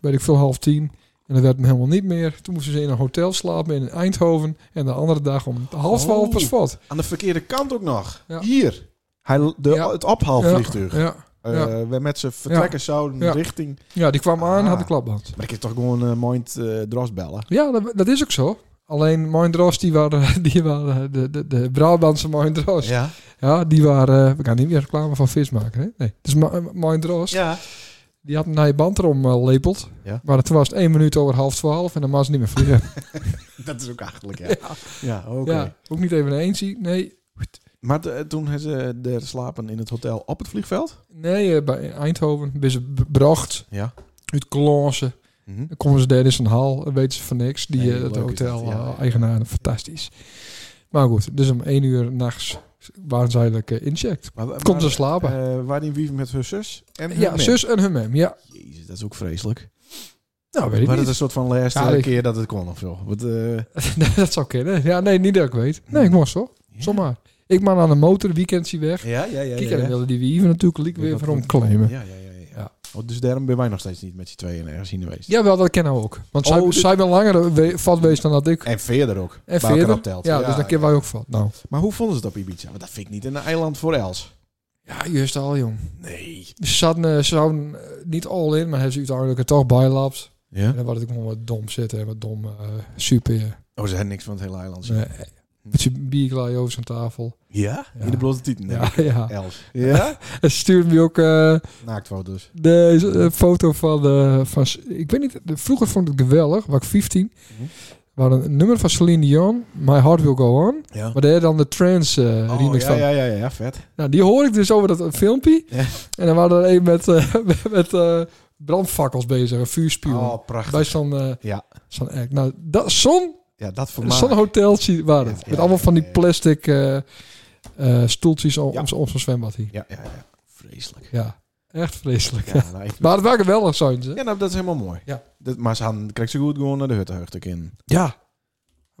[SPEAKER 4] weet ik veel, half tien. En dat werd me helemaal niet meer. Toen moesten ze in een hotel slapen in Eindhoven. En de andere dag om half
[SPEAKER 2] Oh.
[SPEAKER 4] twaalf pas vat.
[SPEAKER 2] Aan de verkeerde kant ook nog.
[SPEAKER 4] Ja.
[SPEAKER 2] Hier. Hij, de,
[SPEAKER 4] Ja.
[SPEAKER 2] Het ophaalvliegtuig.
[SPEAKER 4] Ja,
[SPEAKER 2] Eh,
[SPEAKER 4] Ja.
[SPEAKER 2] We met z'n vertrekken zouden
[SPEAKER 4] Ja.
[SPEAKER 2] richting...
[SPEAKER 4] ja die kwam aan en had
[SPEAKER 2] Ah.
[SPEAKER 4] een klapband.
[SPEAKER 2] Maar ik heb toch gewoon eh mind eh dras bellen.
[SPEAKER 4] Ja, dat, dat is ook zo. Alleen Mindros, die waren, die waren de, de, de Brabantse Mindros. Ja.
[SPEAKER 2] Ja.
[SPEAKER 4] die waren... eh, we gaan niet meer reclame van vis maken, hè? Nee, dus Ma- Mindros.
[SPEAKER 2] Ja.
[SPEAKER 4] Die had een je band erom eh, lepeld.
[SPEAKER 2] Ja.
[SPEAKER 4] Maar toen was het één minuut over half twaalf en dan was ze niet meer vliegen.
[SPEAKER 2] Dat is ook achterlijk, ja. Ja, oké.
[SPEAKER 4] Ja, ook niet even eens zie. Nee,
[SPEAKER 2] Maar de- toen hebben ze daar slapen in het hotel op het vliegveld?
[SPEAKER 4] nee eh, bij Eindhoven ben ze bracht
[SPEAKER 2] Ja.
[SPEAKER 4] uit Klonsen. Dan komen ze daar in zijn hal, dan weten ze van niks. Die,
[SPEAKER 2] Nee,
[SPEAKER 4] eh, dat
[SPEAKER 2] leuk is
[SPEAKER 4] hotel
[SPEAKER 2] dat, ja.
[SPEAKER 4] eh, eigenaar, fantastisch. Maar goed, dus om één uur nachts waren ze eigenlijk eh, incheckt.
[SPEAKER 2] Maar, maar,
[SPEAKER 4] Komt ze slapen.
[SPEAKER 2] eh, waarin wieven met hun zus? En hun
[SPEAKER 4] ja,
[SPEAKER 2] man.
[SPEAKER 4] zus en hun mem, ja.
[SPEAKER 2] Jezus, dat is ook vreselijk.
[SPEAKER 4] Nou, weet ik
[SPEAKER 2] Maar dat
[SPEAKER 4] niet.
[SPEAKER 2] is een soort van laatste
[SPEAKER 4] Ja, ik-
[SPEAKER 2] keer dat het kon of zo. Want, eh,
[SPEAKER 4] Nee, dat zou kunnen. Ja, nee, niet dat ik weet. Nee, ik moest zo.
[SPEAKER 2] Hmm. Ja.
[SPEAKER 4] Zomaar. Ik man aan de motor, weekend zie weg.
[SPEAKER 2] ja, ja, ja.
[SPEAKER 4] Kijk,
[SPEAKER 2] ja,
[SPEAKER 4] en dan
[SPEAKER 2] ja.
[SPEAKER 4] wilden die wieven natuurlijk liek weer
[SPEAKER 2] Wat-
[SPEAKER 4] van
[SPEAKER 2] wat-
[SPEAKER 4] claimen.
[SPEAKER 2] Ja, ja, ja. ja.
[SPEAKER 4] Ja.
[SPEAKER 2] Oh, dus daarom ben wij nog steeds niet met z'n tweeën ergens in geweest.
[SPEAKER 4] Jawel, dat kennen we ook. Want
[SPEAKER 2] Oh,
[SPEAKER 4] zij,
[SPEAKER 2] dit-
[SPEAKER 4] zij ben langer we- vat geweest dan dat ik. dus En,
[SPEAKER 2] En verder ook. waar elkaar
[SPEAKER 4] verder.
[SPEAKER 2] optelt.
[SPEAKER 4] Ja, dus dan kennen wij ook vat. Nou.
[SPEAKER 2] Maar hoe vonden ze het op Ibiza? Want dat vind ik niet een eiland voor Els.
[SPEAKER 4] Ja, juist al, jong.
[SPEAKER 2] Nee.
[SPEAKER 4] Ze zouden, eh, ze zouden eh, niet all in, maar hebben ze uiteindelijk er toch bijlapt.
[SPEAKER 2] Ja?
[SPEAKER 4] En dan was het gewoon wat dom zitten en wat dom eh, super. ja.
[SPEAKER 2] Oh, ze hadden niks van het hele eiland.
[SPEAKER 4] Nee, Met zijn bierglaai over zijn tafel.
[SPEAKER 2] Ja?
[SPEAKER 4] Ja.
[SPEAKER 2] In de blote tieten.
[SPEAKER 4] Ja, ja.
[SPEAKER 2] Els. dus. Ja?
[SPEAKER 4] En ze stuurde me ook eh,
[SPEAKER 2] Naaktfoto's.
[SPEAKER 4] de een foto van, eh, van... Ik weet niet, de- vroeger vond ik het geweldig, was ik 15.
[SPEAKER 2] Mhm.
[SPEAKER 4] Waar een nummer van Celine Dion, My Heart Will Go On.
[SPEAKER 2] Ja.
[SPEAKER 4] Maar daar had dan de trance eh,
[SPEAKER 2] Oh,
[SPEAKER 4] remix
[SPEAKER 2] ja,
[SPEAKER 4] van.
[SPEAKER 2] ja, ja, ja, vet.
[SPEAKER 4] Nou, die hoor ik dus over dat filmpje.
[SPEAKER 2] Ja.
[SPEAKER 4] En dan waren er een met, eh, met, met, eh, brandfakkels bezig, een vuurspion.
[SPEAKER 2] Oh, prachtig.
[SPEAKER 4] Bij zo'n eh,
[SPEAKER 2] Ja.
[SPEAKER 4] zo'n act. Nou, dat, zo'n
[SPEAKER 2] Ja, dat voor
[SPEAKER 4] zo'n
[SPEAKER 2] mij.
[SPEAKER 4] hoteltje waren het.
[SPEAKER 2] Ja,
[SPEAKER 4] Met
[SPEAKER 2] ja,
[SPEAKER 4] allemaal van die
[SPEAKER 2] ja, ja.
[SPEAKER 4] plastic eh, eh, stoeltjes om,
[SPEAKER 2] Ja.
[SPEAKER 4] om, om zo'n zwembad hier.
[SPEAKER 2] Ja, ja, ja. Vreselijk.
[SPEAKER 4] Ja, echt vreselijk.
[SPEAKER 2] Ja, nou, ik-
[SPEAKER 4] Maar het waren wel zijn ze.
[SPEAKER 2] ja nou, dat is helemaal mooi.
[SPEAKER 4] Ja.
[SPEAKER 2] Dat, maar ze hadden, krijgt ze goed gewoon naar de huttenheugde in.
[SPEAKER 4] Ja.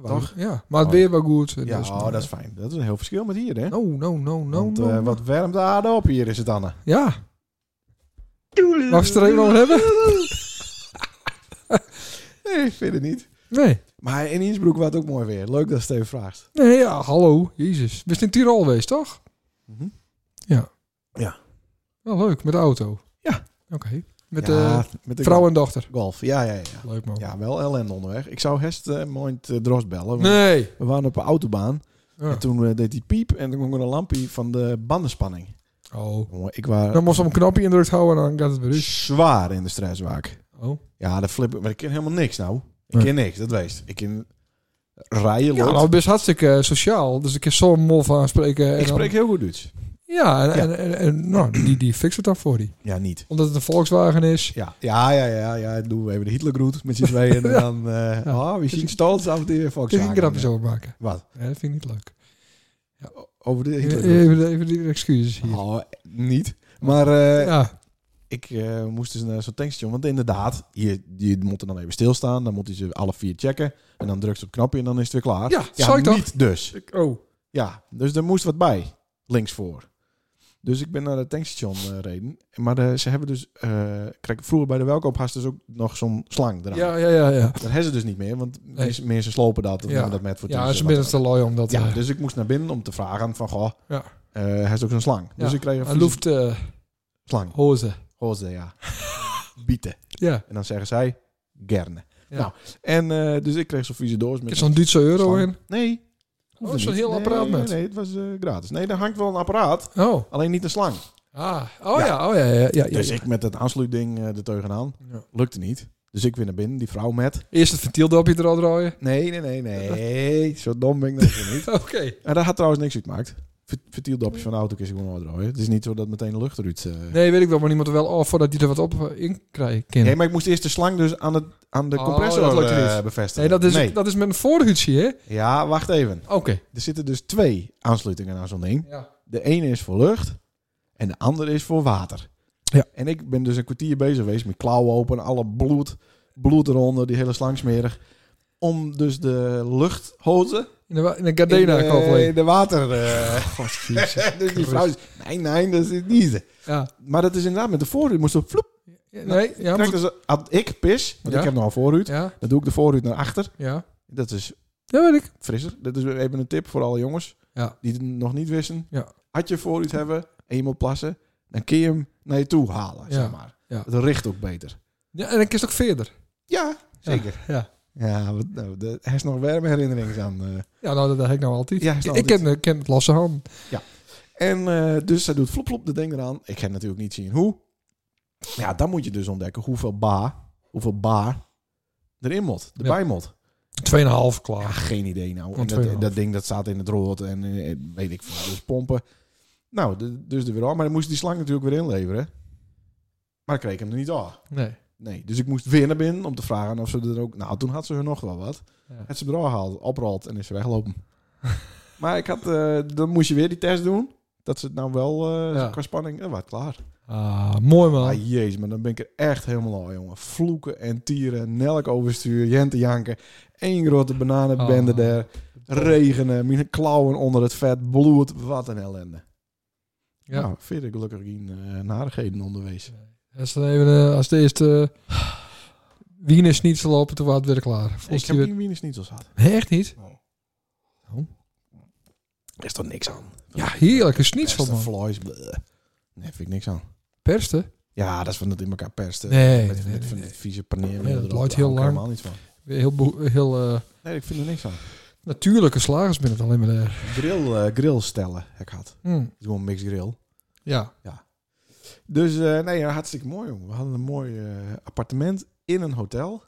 [SPEAKER 2] Toch?
[SPEAKER 4] Ja, maar het weer was goed. Dus-
[SPEAKER 2] Ja, oh, dat is fijn. Dat is een heel verschil met hier, hè?
[SPEAKER 4] No, no, no, no,
[SPEAKER 2] Want,
[SPEAKER 4] no,
[SPEAKER 2] eh,
[SPEAKER 4] no.
[SPEAKER 2] wat warmt de aarde op hier is het, Anne.
[SPEAKER 4] Ja. Mag ze er een nog hebben?
[SPEAKER 2] Nee, ik vind het niet.
[SPEAKER 4] Nee.
[SPEAKER 2] Maar in Innsbruck was het ook mooi weer. Leuk dat Steve vraagt.
[SPEAKER 4] Nee, ja, hallo. Jezus. We zijn in Tirol geweest, toch? Mhm. Wel leuk, met de auto.
[SPEAKER 2] Ja.
[SPEAKER 4] Oké. Met
[SPEAKER 2] Ja,
[SPEAKER 4] eh, Oh.
[SPEAKER 2] met de
[SPEAKER 4] vrouw en dochter.
[SPEAKER 2] golf. Ja, ja, ja.
[SPEAKER 4] Leuk, man.
[SPEAKER 2] Ja, wel ellende onderweg. Ik zou Hest eh mooi het Dros bellen. want
[SPEAKER 4] Nee.
[SPEAKER 2] We waren op een autobaan.
[SPEAKER 4] Ja.
[SPEAKER 2] En toen eh, deed hij piep en toen kwam er een lampje van de bandenspanning.
[SPEAKER 4] Oh.
[SPEAKER 2] Jongen, ik was
[SPEAKER 4] Dan moest ze op een knopje indrukt houden en dan gaat het weer dus.
[SPEAKER 2] zwaar in de stresswaak.
[SPEAKER 4] Oh.
[SPEAKER 2] Ja, dat flip ik. Maar ik ken helemaal niks nou. Ik
[SPEAKER 4] Nee.
[SPEAKER 2] ken niks, dat wees. Ik ken rijden,
[SPEAKER 4] Ja,
[SPEAKER 2] lot.
[SPEAKER 4] nou, best hartstikke eh, sociaal. Dus ik kan zo'n mof aanspreken. En
[SPEAKER 2] Ik
[SPEAKER 4] dan-
[SPEAKER 2] spreek heel goed Duits.
[SPEAKER 4] Ja, en,
[SPEAKER 2] Ja.
[SPEAKER 4] en, en, en, nou, die, die fixt het dan voor die.
[SPEAKER 2] Ja, niet.
[SPEAKER 4] Omdat het een Volkswagen is.
[SPEAKER 2] Ja, ja, ja, ja. ja. Doen we even de Hitlergroet met z'n tweeën. En dan, eh
[SPEAKER 4] Ja.
[SPEAKER 2] ah, we zien stolz af de
[SPEAKER 4] Ik
[SPEAKER 2] Volkswagen.
[SPEAKER 4] geen grapjes over maken.
[SPEAKER 2] Wat?
[SPEAKER 4] Nee, dat vind ik niet leuk.
[SPEAKER 2] Over de Hitlergroet?
[SPEAKER 4] Even, even die excuses Eh, hier.
[SPEAKER 2] Oh, niet. Maar eh,
[SPEAKER 4] Ja,
[SPEAKER 2] ik eh, moest dus naar zo'n tankstation. Want inderdaad, je, je moet er dan even stilstaan. Dan moet je ze alle vier checken. En dan drukt ze op het knopje en dan is het weer klaar.
[SPEAKER 4] Ja, zou ik toch?
[SPEAKER 2] niet dus.
[SPEAKER 4] Ik- oh.
[SPEAKER 2] Ja, dus er moest wat bij. Links voor. Dus ik ben naar het tankstation gereden. reden. Maar eh, ze hebben dus... eh, kijk, vroeger bij de welkoop had ze dus ook nog zo'n slang eraan.
[SPEAKER 4] Ja, ja, ja. Ja,
[SPEAKER 2] Dat hebben ze dus niet meer. Want
[SPEAKER 4] Nee.
[SPEAKER 2] mensen, mensen slopen dat. Of
[SPEAKER 4] Ja.
[SPEAKER 2] nemen dat met voor
[SPEAKER 4] ja
[SPEAKER 2] thuis,
[SPEAKER 4] ze
[SPEAKER 2] wat
[SPEAKER 4] zijn
[SPEAKER 2] dan
[SPEAKER 4] te looi om dat...
[SPEAKER 2] ook. Ja,
[SPEAKER 4] eh,
[SPEAKER 2] dus ik moest naar binnen om te vragen van... Goh,
[SPEAKER 4] Ja.
[SPEAKER 2] eh, hij is ook zo'n slang. Dus
[SPEAKER 4] Ja.
[SPEAKER 2] ik kreeg een
[SPEAKER 4] Hij
[SPEAKER 2] vieze
[SPEAKER 4] loeft eh,
[SPEAKER 2] slang.
[SPEAKER 4] hozen.
[SPEAKER 2] Hoze, ja. Bieten.
[SPEAKER 4] Ja.
[SPEAKER 2] En dan zeggen zij... Gerne.
[SPEAKER 4] Ja.
[SPEAKER 2] Nou, en eh, dus ik kreeg zo'n vieze doos
[SPEAKER 4] Er
[SPEAKER 2] met...
[SPEAKER 4] is zo'n Duitse euro
[SPEAKER 2] Slang.
[SPEAKER 4] in.
[SPEAKER 2] Nee.
[SPEAKER 4] Oh,
[SPEAKER 2] hoefde
[SPEAKER 4] zo'n
[SPEAKER 2] niet.
[SPEAKER 4] heel
[SPEAKER 2] Nee,
[SPEAKER 4] apparaat met.
[SPEAKER 2] Nee, het was eh, gratis. Nee, daar hangt wel een apparaat.
[SPEAKER 4] Oh.
[SPEAKER 2] Alleen niet een slang.
[SPEAKER 4] Ah. Oh ja, oh ja, ja. ja, ja,
[SPEAKER 2] Dus
[SPEAKER 4] ja.
[SPEAKER 2] ik met het aansluitding eh er tegenaan.
[SPEAKER 4] Ja.
[SPEAKER 2] Lukte niet. Dus ik weer naar binnen, die vrouw met.
[SPEAKER 4] Eerst het ventieldopje er al draaien.
[SPEAKER 2] Nee, nee, nee, nee. Zo dom ben ik dat weer niet.
[SPEAKER 4] Oké.
[SPEAKER 2] En daar had trouwens niks uitgemaakt. Ver- Vertieldopjes van de auto kun je gewoon uitdraaien. Het is niet zo dat meteen de lucht eruit... eh. Nee.
[SPEAKER 4] Nee, weet ik wel, maar niemand er wel af voordat hij er wat op eh, in krijgt. Nee,
[SPEAKER 2] maar ik moest eerst de slang dus aan, het, aan de
[SPEAKER 4] Oh,
[SPEAKER 2] compressor
[SPEAKER 4] dat lukte
[SPEAKER 2] eh,
[SPEAKER 4] niet.
[SPEAKER 2] bevestigen.
[SPEAKER 4] nee, dat, is, dat is met een voorhuidje, hè?
[SPEAKER 2] Ja, wacht even.
[SPEAKER 4] Oké.
[SPEAKER 2] Er zitten dus twee aansluitingen aan zo'n ding.
[SPEAKER 4] Ja.
[SPEAKER 2] De ene is voor lucht en de andere is voor water.
[SPEAKER 4] Ja.
[SPEAKER 2] En ik ben dus een kwartier bezig geweest met klauwen open, alle bloed, bloed eronder, die hele slang smerig. Om dus de luchthozen
[SPEAKER 4] In de, wa- in de
[SPEAKER 2] in
[SPEAKER 4] Gardena
[SPEAKER 2] de,
[SPEAKER 4] koffie.
[SPEAKER 2] in de water... eh. dus die
[SPEAKER 4] Oh, Christus.
[SPEAKER 2] vrouw zegt, nee, nee, dat is niet.
[SPEAKER 4] Ja.
[SPEAKER 2] Maar dat is inderdaad met de voorruit. Moest op vloep.
[SPEAKER 4] Nee, ja.
[SPEAKER 2] Krijg
[SPEAKER 4] maar-
[SPEAKER 2] dus, had ik pis, want
[SPEAKER 4] Ja.
[SPEAKER 2] ik heb nog een voorruit.
[SPEAKER 4] Ja,
[SPEAKER 2] Dan doe ik de voorruit naar achter.
[SPEAKER 4] ja.
[SPEAKER 2] Dat is
[SPEAKER 4] Ja, weet ik.
[SPEAKER 2] frisser. Dat is even een tip voor alle jongens
[SPEAKER 4] Ja.
[SPEAKER 2] die het nog niet wisten.
[SPEAKER 4] Ja.
[SPEAKER 2] Had je vooruit hebben en je moet plassen, dan kun je hem naar je toe halen,
[SPEAKER 4] Ja.
[SPEAKER 2] zeg maar.
[SPEAKER 4] Ja.
[SPEAKER 2] Het richt ook beter.
[SPEAKER 4] Ja, en dan is het ook verder.
[SPEAKER 2] Ja, zeker.
[SPEAKER 4] Ja.
[SPEAKER 2] Ja, wat, nou, de, hij is nog warme herinneringen aan. eh.
[SPEAKER 4] Ja, nou, dat heb ik nou altijd.
[SPEAKER 2] Ja, is
[SPEAKER 4] ik
[SPEAKER 2] nou
[SPEAKER 4] ik ken, eh, ken het losse hand.
[SPEAKER 2] En eh, dus zij doet flop flop de ding eraan. Ik heb natuurlijk niet zien hoe. Ja, dan moet je dus ontdekken hoeveel ba, hoeveel ba erin moet,
[SPEAKER 4] Ja.
[SPEAKER 2] erbij moet.
[SPEAKER 4] Tweeënhalf
[SPEAKER 2] Ja,
[SPEAKER 4] klaar.
[SPEAKER 2] geen idee nou.
[SPEAKER 4] Om
[SPEAKER 2] En dat,
[SPEAKER 4] 2,5.
[SPEAKER 2] dat ding dat staat in het rood en eh, weet ik veel. Dus pompen. Nou, de- dus er weer af. Maar dan moest ik die slang natuurlijk weer inleveren. Maar ik kreeg hem er niet af.
[SPEAKER 4] Nee.
[SPEAKER 2] Nee, dus ik moest weer naar binnen om te vragen of ze er ook... Nou, toen had ze er nog wel wat.
[SPEAKER 4] Ja.
[SPEAKER 2] Het ze er al gehaald, oprolt en is ze weglopen. maar ik had... eh, dan moest je weer die test doen. Dat ze het nou wel eh,
[SPEAKER 4] Ja.
[SPEAKER 2] qua spanning... Dat was klaar.
[SPEAKER 4] Ah, mooi man.
[SPEAKER 2] Ah, jezus, maar dan ben ik er echt helemaal al, jongen. Vloeken en tieren, Nelk overstuur, Jente janken. één grote bananenbende
[SPEAKER 4] Ah.
[SPEAKER 2] daar. Regenen, mijn klauwen onder het vet, bloed. Wat een ellende.
[SPEAKER 4] Ja.
[SPEAKER 2] Nou, verder gelukkig geen eh, narigheden onderwees.
[SPEAKER 4] Als, dan even, eh, als de eerste eh, wien is niet te lopen, toen was het weer klaar.
[SPEAKER 2] Ik
[SPEAKER 4] Volgens
[SPEAKER 2] heb
[SPEAKER 4] die weer...
[SPEAKER 2] geen wieners niet als had.
[SPEAKER 4] Nee, echt niet?
[SPEAKER 2] Er is toch niks aan?
[SPEAKER 4] Ja, heerlijk. Een snitsel,
[SPEAKER 2] Beste
[SPEAKER 4] man.
[SPEAKER 2] vlees, bleh. Nee, vind ik niks aan.
[SPEAKER 4] Perste?
[SPEAKER 2] Ja, dat is van dat in elkaar persten.
[SPEAKER 4] Nee,
[SPEAKER 2] met,
[SPEAKER 4] nee,
[SPEAKER 2] met
[SPEAKER 4] nee,
[SPEAKER 2] van
[SPEAKER 4] nee.
[SPEAKER 2] die vieze paneer.
[SPEAKER 4] Ja, dat luidt heel lang.
[SPEAKER 2] helemaal niet van.
[SPEAKER 4] Heel, beho- heel eh,
[SPEAKER 2] Nee, ik vind er niks aan.
[SPEAKER 4] natuurlijke slagers ben het alleen maar daar.
[SPEAKER 2] Grill, eh, grillstellen heb ik had.
[SPEAKER 4] Hm,
[SPEAKER 2] Gewoon mix grill.
[SPEAKER 4] Ja.
[SPEAKER 2] Dus eh, nee, ja, hartstikke mooi, jongen. We hadden een mooi eh, appartement in een hotel.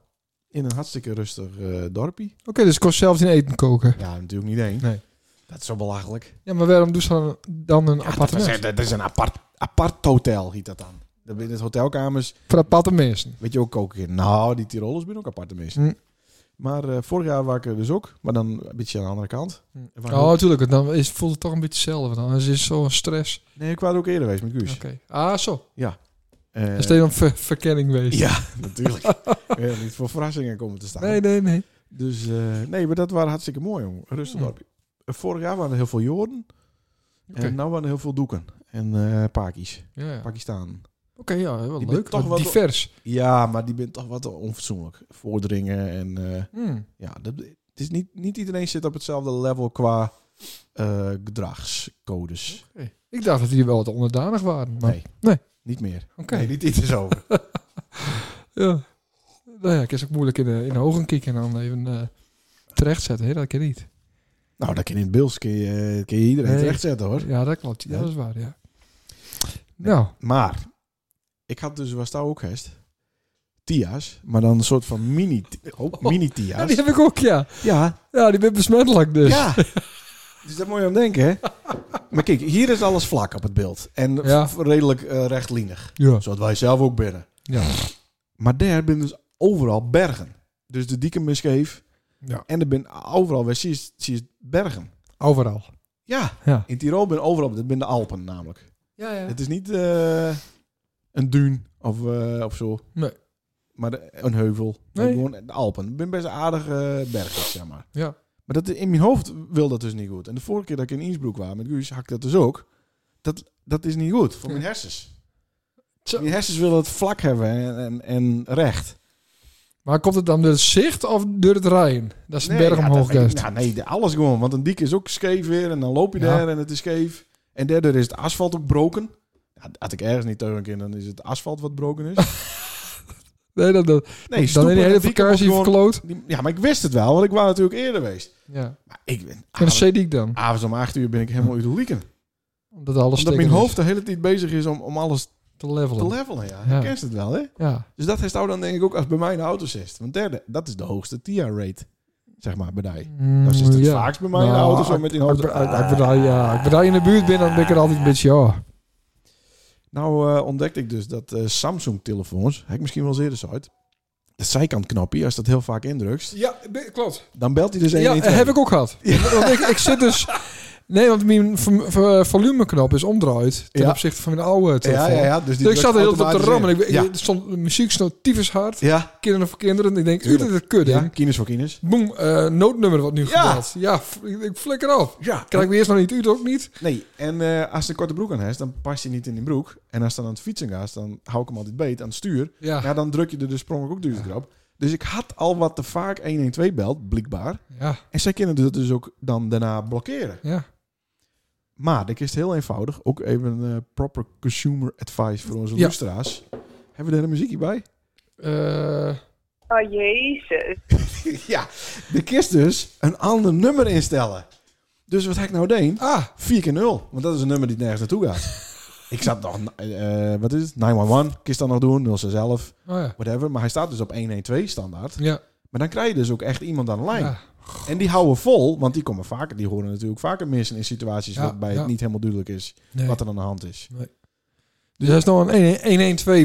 [SPEAKER 2] In een hartstikke rustig eh, dorpje.
[SPEAKER 4] Oké, dus ik kon zelf in eten koken.
[SPEAKER 2] Ja, natuurlijk niet één.
[SPEAKER 4] Nee.
[SPEAKER 2] Dat is zo belachelijk.
[SPEAKER 4] Ja, maar waarom doen ze dan, dan een
[SPEAKER 2] dat, is,
[SPEAKER 4] appartement?
[SPEAKER 2] dat is een apart, apart hotel, heet dat dan. Dan ben je In het hotelkamers
[SPEAKER 4] Voor aparte mensen.
[SPEAKER 2] weet je ook koken. in. Nou, die Tirollers zijn ook apart tenminste.
[SPEAKER 4] Hm.
[SPEAKER 2] Maar eh, vorig jaar waren we er dus ook. Maar dan een beetje aan de andere kant. Er waren
[SPEAKER 4] Oh,
[SPEAKER 2] ook-
[SPEAKER 4] natuurlijk. want Dan is, voelt het toch een beetje hetzelfde. want Anders is het zo'n stress.
[SPEAKER 2] Nee, ik was er ook eerder geweest met Guus.
[SPEAKER 4] Oké. Ah, zo.
[SPEAKER 2] Eh,
[SPEAKER 4] Is dit dan ver- verkenning geweest?
[SPEAKER 2] ja, natuurlijk. Ja, niet voor verrassingen komen te staan.
[SPEAKER 4] Nee, nee, nee.
[SPEAKER 2] Dus eh, nee, maar dat waren hartstikke mooi, jongen. Rustig
[SPEAKER 4] Hm.
[SPEAKER 2] dorpje. Eh, Vorig jaar waren er heel veel Jorden.
[SPEAKER 4] Oké.
[SPEAKER 2] En nu waren er heel veel Doeken. En eh Pakis.
[SPEAKER 4] Ja, ja. Oké,
[SPEAKER 2] Pakistan.
[SPEAKER 4] ja, wel
[SPEAKER 2] Je bent
[SPEAKER 4] leuk.
[SPEAKER 2] toch
[SPEAKER 4] Wat
[SPEAKER 2] wel-
[SPEAKER 4] divers.
[SPEAKER 2] Ja, maar die bent toch wat onfatsoenlijk. Voordringen en... eh,
[SPEAKER 4] Hm.
[SPEAKER 2] ja, dat, het is niet, niet iedereen zit op hetzelfde level qua eh, gedragscodes.
[SPEAKER 4] Oké. Ik dacht dat die wel wat onderdanig waren. Maar...
[SPEAKER 2] Nee.
[SPEAKER 4] Nee.
[SPEAKER 2] Niet meer.
[SPEAKER 4] Oké.
[SPEAKER 2] Nee, niet iets is over.
[SPEAKER 4] Ja. Nou ja, ik is ook moeilijk in de, in de ogen kijken en dan even eh terecht zetten. hè? dat kan niet.
[SPEAKER 2] nou, dat kan in het Bills kun je, eh, kun je iedereen
[SPEAKER 4] Nee.
[SPEAKER 2] terechtzetten hoor.
[SPEAKER 4] Ja, dat klopt. Ja,
[SPEAKER 2] Ja.
[SPEAKER 4] dat is waar, ja. Nou,
[SPEAKER 2] Maar, ik had dus, was daar ook gest, Tia's, maar dan een soort van mini, oh, mini
[SPEAKER 4] ja, die
[SPEAKER 2] Tia's.
[SPEAKER 4] heb ik ook, ja.
[SPEAKER 2] Ja,
[SPEAKER 4] Ja, die ben besmettelijk dus.
[SPEAKER 2] ja. Dus daar moet je aan denken, hè? Maar kijk, hier is alles vlak op het beeld. En
[SPEAKER 4] Ja.
[SPEAKER 2] v- redelijk eh, rechtlijnig.
[SPEAKER 4] Ja.
[SPEAKER 2] Zoals wij zelf ook binnen.
[SPEAKER 4] Ja.
[SPEAKER 2] Maar daar ben dus overal bergen. Dus de dieke misgeef.
[SPEAKER 4] Ja.
[SPEAKER 2] En er ben overal, waar zie je, zie je bergen.
[SPEAKER 4] Overal.
[SPEAKER 2] Ja.
[SPEAKER 4] Ja.
[SPEAKER 2] In Tirol ben overal, dat ben de Alpen namelijk.
[SPEAKER 4] Ja, ja.
[SPEAKER 2] Het is niet eh, een duin of, eh, of zo.
[SPEAKER 4] Nee.
[SPEAKER 2] Maar de- een heuvel. Maar
[SPEAKER 4] Nee.
[SPEAKER 2] Gewoon de Alpen. Het ben best aardige bergen, zeg maar.
[SPEAKER 4] Ja.
[SPEAKER 2] Maar dat, in mijn hoofd wil dat dus niet goed. En de vorige keer dat ik in Innsbruck was met Guus, had ik dat dus ook. Dat, dat is niet goed voor mijn hersens.
[SPEAKER 4] Zo.
[SPEAKER 2] Mijn hersens willen het vlak hebben en, en, en recht.
[SPEAKER 4] Maar komt het dan door het zicht of door het rijden? Dat is een berg
[SPEAKER 2] ja,
[SPEAKER 4] omhoog,
[SPEAKER 2] dat weet ik.
[SPEAKER 4] juist.
[SPEAKER 2] Nou, nee, de- alles gewoon. Want een diek is ook scheef weer. En dan loop je
[SPEAKER 4] Ja.
[SPEAKER 2] daar en het is scheef. En daardoor is het asfalt ook broken. Ja, had ik ergens niet teuren in, dan is het asfalt wat broken is.
[SPEAKER 4] Nee, dat, dat,
[SPEAKER 2] Nee,
[SPEAKER 4] dan
[SPEAKER 2] stoepen
[SPEAKER 4] in de
[SPEAKER 2] en
[SPEAKER 4] hele
[SPEAKER 2] dieken wordt
[SPEAKER 4] vakantie
[SPEAKER 2] gewoon-
[SPEAKER 4] verkloot.
[SPEAKER 2] die- Ja, maar ik wist het wel, want ik was natuurlijk eerder geweest.
[SPEAKER 4] Ja.
[SPEAKER 2] Maar ik ben
[SPEAKER 4] En dat
[SPEAKER 2] avonds,
[SPEAKER 4] zie ik dan.
[SPEAKER 2] avonds om acht uur ben ik helemaal uit de lieken.
[SPEAKER 4] Omdat alles
[SPEAKER 2] Omdat mijn
[SPEAKER 4] stikken is.
[SPEAKER 2] hoofd de hele tijd bezig is om, om alles
[SPEAKER 4] te levelen.
[SPEAKER 2] te levelen. Ja.
[SPEAKER 4] Ja.
[SPEAKER 2] Je kent het wel, hè?
[SPEAKER 4] ja.
[SPEAKER 2] Dus dat is nou dan denk ik ook als bij mij in de auto zit. Want derde, dat is de hoogste TIA-rate, zeg maar, bij mij. Dat is het
[SPEAKER 4] Mm, ja.
[SPEAKER 2] vaakst bij mij in de
[SPEAKER 4] Nou,
[SPEAKER 2] auto, zo
[SPEAKER 4] ik-
[SPEAKER 2] met die
[SPEAKER 4] Ik
[SPEAKER 2] hoofd.
[SPEAKER 4] ben- ik- ik ben daar- ja, ik ben daar in de buurt binnen, dan ben ik er altijd een beetje, ja.
[SPEAKER 2] Nou eh, ontdekte ik dus dat eh, Samsung-telefoons, heb ik misschien wel eens eerder zo uit, dat zijkantknopje, als dat heel vaak indrukt,
[SPEAKER 4] Ja, klopt.
[SPEAKER 2] dan belt hij dus
[SPEAKER 4] Ja,
[SPEAKER 2] 112.
[SPEAKER 4] Eh, heb ik ook gehad. Want ik, ik zit dus... Nee, want mijn v- v- volumeknop is omdraaid ten
[SPEAKER 2] Ja.
[SPEAKER 4] opzichte van mijn oude telefoon.
[SPEAKER 2] Ja, ja, ja. Dus die
[SPEAKER 4] Dus ik zat er heel veel
[SPEAKER 2] drukt
[SPEAKER 4] te rammen. Ik,
[SPEAKER 2] automatisch
[SPEAKER 4] ik-
[SPEAKER 2] in.
[SPEAKER 4] er stond, de muziek stond tyfus hard.
[SPEAKER 2] Ja,
[SPEAKER 4] Kinderen voor kinderen. En ik denk, u
[SPEAKER 2] Tuurlijk.
[SPEAKER 4] dat het kut,
[SPEAKER 2] ja.
[SPEAKER 4] hè?
[SPEAKER 2] ja. Kines voor kines.
[SPEAKER 4] Boem, eh, noodnummer wordt nu
[SPEAKER 2] Ja.
[SPEAKER 4] gebeld. Ja, f- ik, ik flikker af.
[SPEAKER 2] Ja.
[SPEAKER 4] Krijg ik me eerst nog niet uit, ook niet.
[SPEAKER 2] Nee, en eh, als je een korte broek aan hebt, dan past je niet in die broek. En als je dan aan het fietsen gaat, dan hou ik hem altijd beet aan het stuur.
[SPEAKER 4] Ja, ja.
[SPEAKER 2] Ja, dan druk je er dus sprong ook duurder op. Dus ik had al wat te vaak 112 belt, blijkbaar.
[SPEAKER 4] ja.
[SPEAKER 2] En zij kunnen dat dus ook dan daarna blokkeren. Maar dit is heel eenvoudig. Ook even eh, proper consumer advice voor onze
[SPEAKER 4] Ja.
[SPEAKER 2] luisteraars. Hebben we daar een muziekje bij?
[SPEAKER 4] Eh,
[SPEAKER 1] Oh jezus.
[SPEAKER 2] ja, de kist dus een ander nummer instellen. Dus wat heb ik nou deed?
[SPEAKER 4] ah,
[SPEAKER 2] 4 keer 0. Want dat is een nummer die nergens naartoe gaat. ik zat nog, eh, eh, wat is het? 911. Kist dan nog doen, 061,
[SPEAKER 4] oh ja.
[SPEAKER 2] whatever. Maar hij staat dus op 112 standaard.
[SPEAKER 4] Ja,
[SPEAKER 2] Maar dan krijg je dus ook echt iemand aan de lijn.
[SPEAKER 4] ja.
[SPEAKER 2] En die houden vol, want die komen vaker, die horen natuurlijk vaker missen in situaties
[SPEAKER 4] Ja,
[SPEAKER 2] waarbij
[SPEAKER 4] ja.
[SPEAKER 2] het niet helemaal duidelijk is
[SPEAKER 4] Nee.
[SPEAKER 2] wat er aan de hand is.
[SPEAKER 4] Dus dat is nog een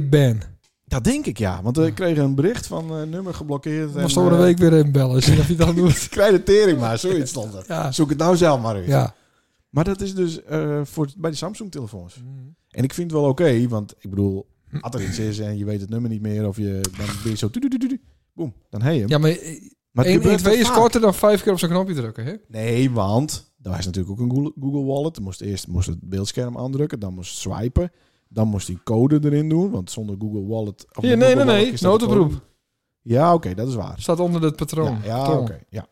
[SPEAKER 4] 112-ban.
[SPEAKER 2] Dat denk ik ja, want we kregen een bericht van eh, nummer geblokkeerd.
[SPEAKER 4] Moest
[SPEAKER 2] en,
[SPEAKER 4] over een
[SPEAKER 2] eh,
[SPEAKER 4] week weer even bellen. Zien of je dat doet.
[SPEAKER 2] Krijg de tering maar, zoiets stond er.
[SPEAKER 4] Ja.
[SPEAKER 2] Zoek het nou zelf maar uit.
[SPEAKER 4] Ja.
[SPEAKER 2] Maar dat is dus eh, voor, bij de Samsung-telefoons. En ik vind het wel oké, want ik bedoel, als er iets is en je weet het nummer niet meer of je dan ben je zo... tu- tu- tu- tu- tu- Boem, dan heen je hem.
[SPEAKER 4] Ja, maar
[SPEAKER 2] maar het
[SPEAKER 4] 1,
[SPEAKER 2] gebeurt
[SPEAKER 4] 2
[SPEAKER 2] wel
[SPEAKER 4] is
[SPEAKER 2] vaak.
[SPEAKER 4] korter dan vijf keer op zo'n knopje drukken, hè?
[SPEAKER 2] Nee, want daar is natuurlijk ook een Google- Google Wallet. Dan Moest eerst moest het beeldscherm aandrukken, dan moest swipen, dan moest hij code erin doen, want zonder Google Wallet. Of
[SPEAKER 4] Hier,
[SPEAKER 2] met
[SPEAKER 4] nee, nee,
[SPEAKER 2] Google Wallet
[SPEAKER 4] nee.
[SPEAKER 2] is dat een code.
[SPEAKER 4] Noodoproep.
[SPEAKER 2] Ja, oké, dat is waar.
[SPEAKER 4] Staat onder het patroon.
[SPEAKER 2] Ja, ja oké,
[SPEAKER 4] Patroon.
[SPEAKER 2] ja.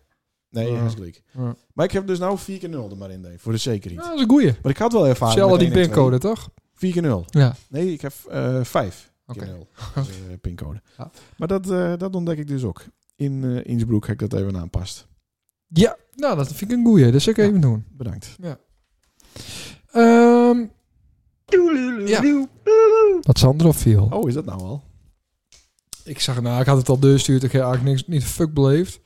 [SPEAKER 2] Nee,
[SPEAKER 4] Ja.
[SPEAKER 2] hartstikke gelijk.
[SPEAKER 4] Ja.
[SPEAKER 2] Maar ik heb dus nou 4 keer 0 er maar in, deed, voor de zekerheid.
[SPEAKER 4] Ja, dat is een goeie.
[SPEAKER 2] Maar ik had wel ervaring.
[SPEAKER 4] Zelfde
[SPEAKER 2] met
[SPEAKER 4] die
[SPEAKER 2] 112.
[SPEAKER 4] pincode, toch?
[SPEAKER 2] Vier keer nul.
[SPEAKER 4] Ja.
[SPEAKER 2] Nee, ik heb eh vijf
[SPEAKER 4] Oké.
[SPEAKER 2] keer nul. Dat is, eh, pincode.
[SPEAKER 4] Ja.
[SPEAKER 2] Maar dat, eh, dat ontdek ik dus ook. In eh, Innsbruck heb ik dat even aanpast.
[SPEAKER 4] Ja, nou, dat vind ik een goeie. Dus ik
[SPEAKER 2] Ja.
[SPEAKER 4] even doen.
[SPEAKER 2] Bedankt.
[SPEAKER 4] Ehm, Ja. wat Sander opviel.
[SPEAKER 2] Oh, is dat nou al?
[SPEAKER 4] Ik zag, nou, ik had het al doorgestuurd. Ik heb eigenlijk niks, niet fuck beleefd.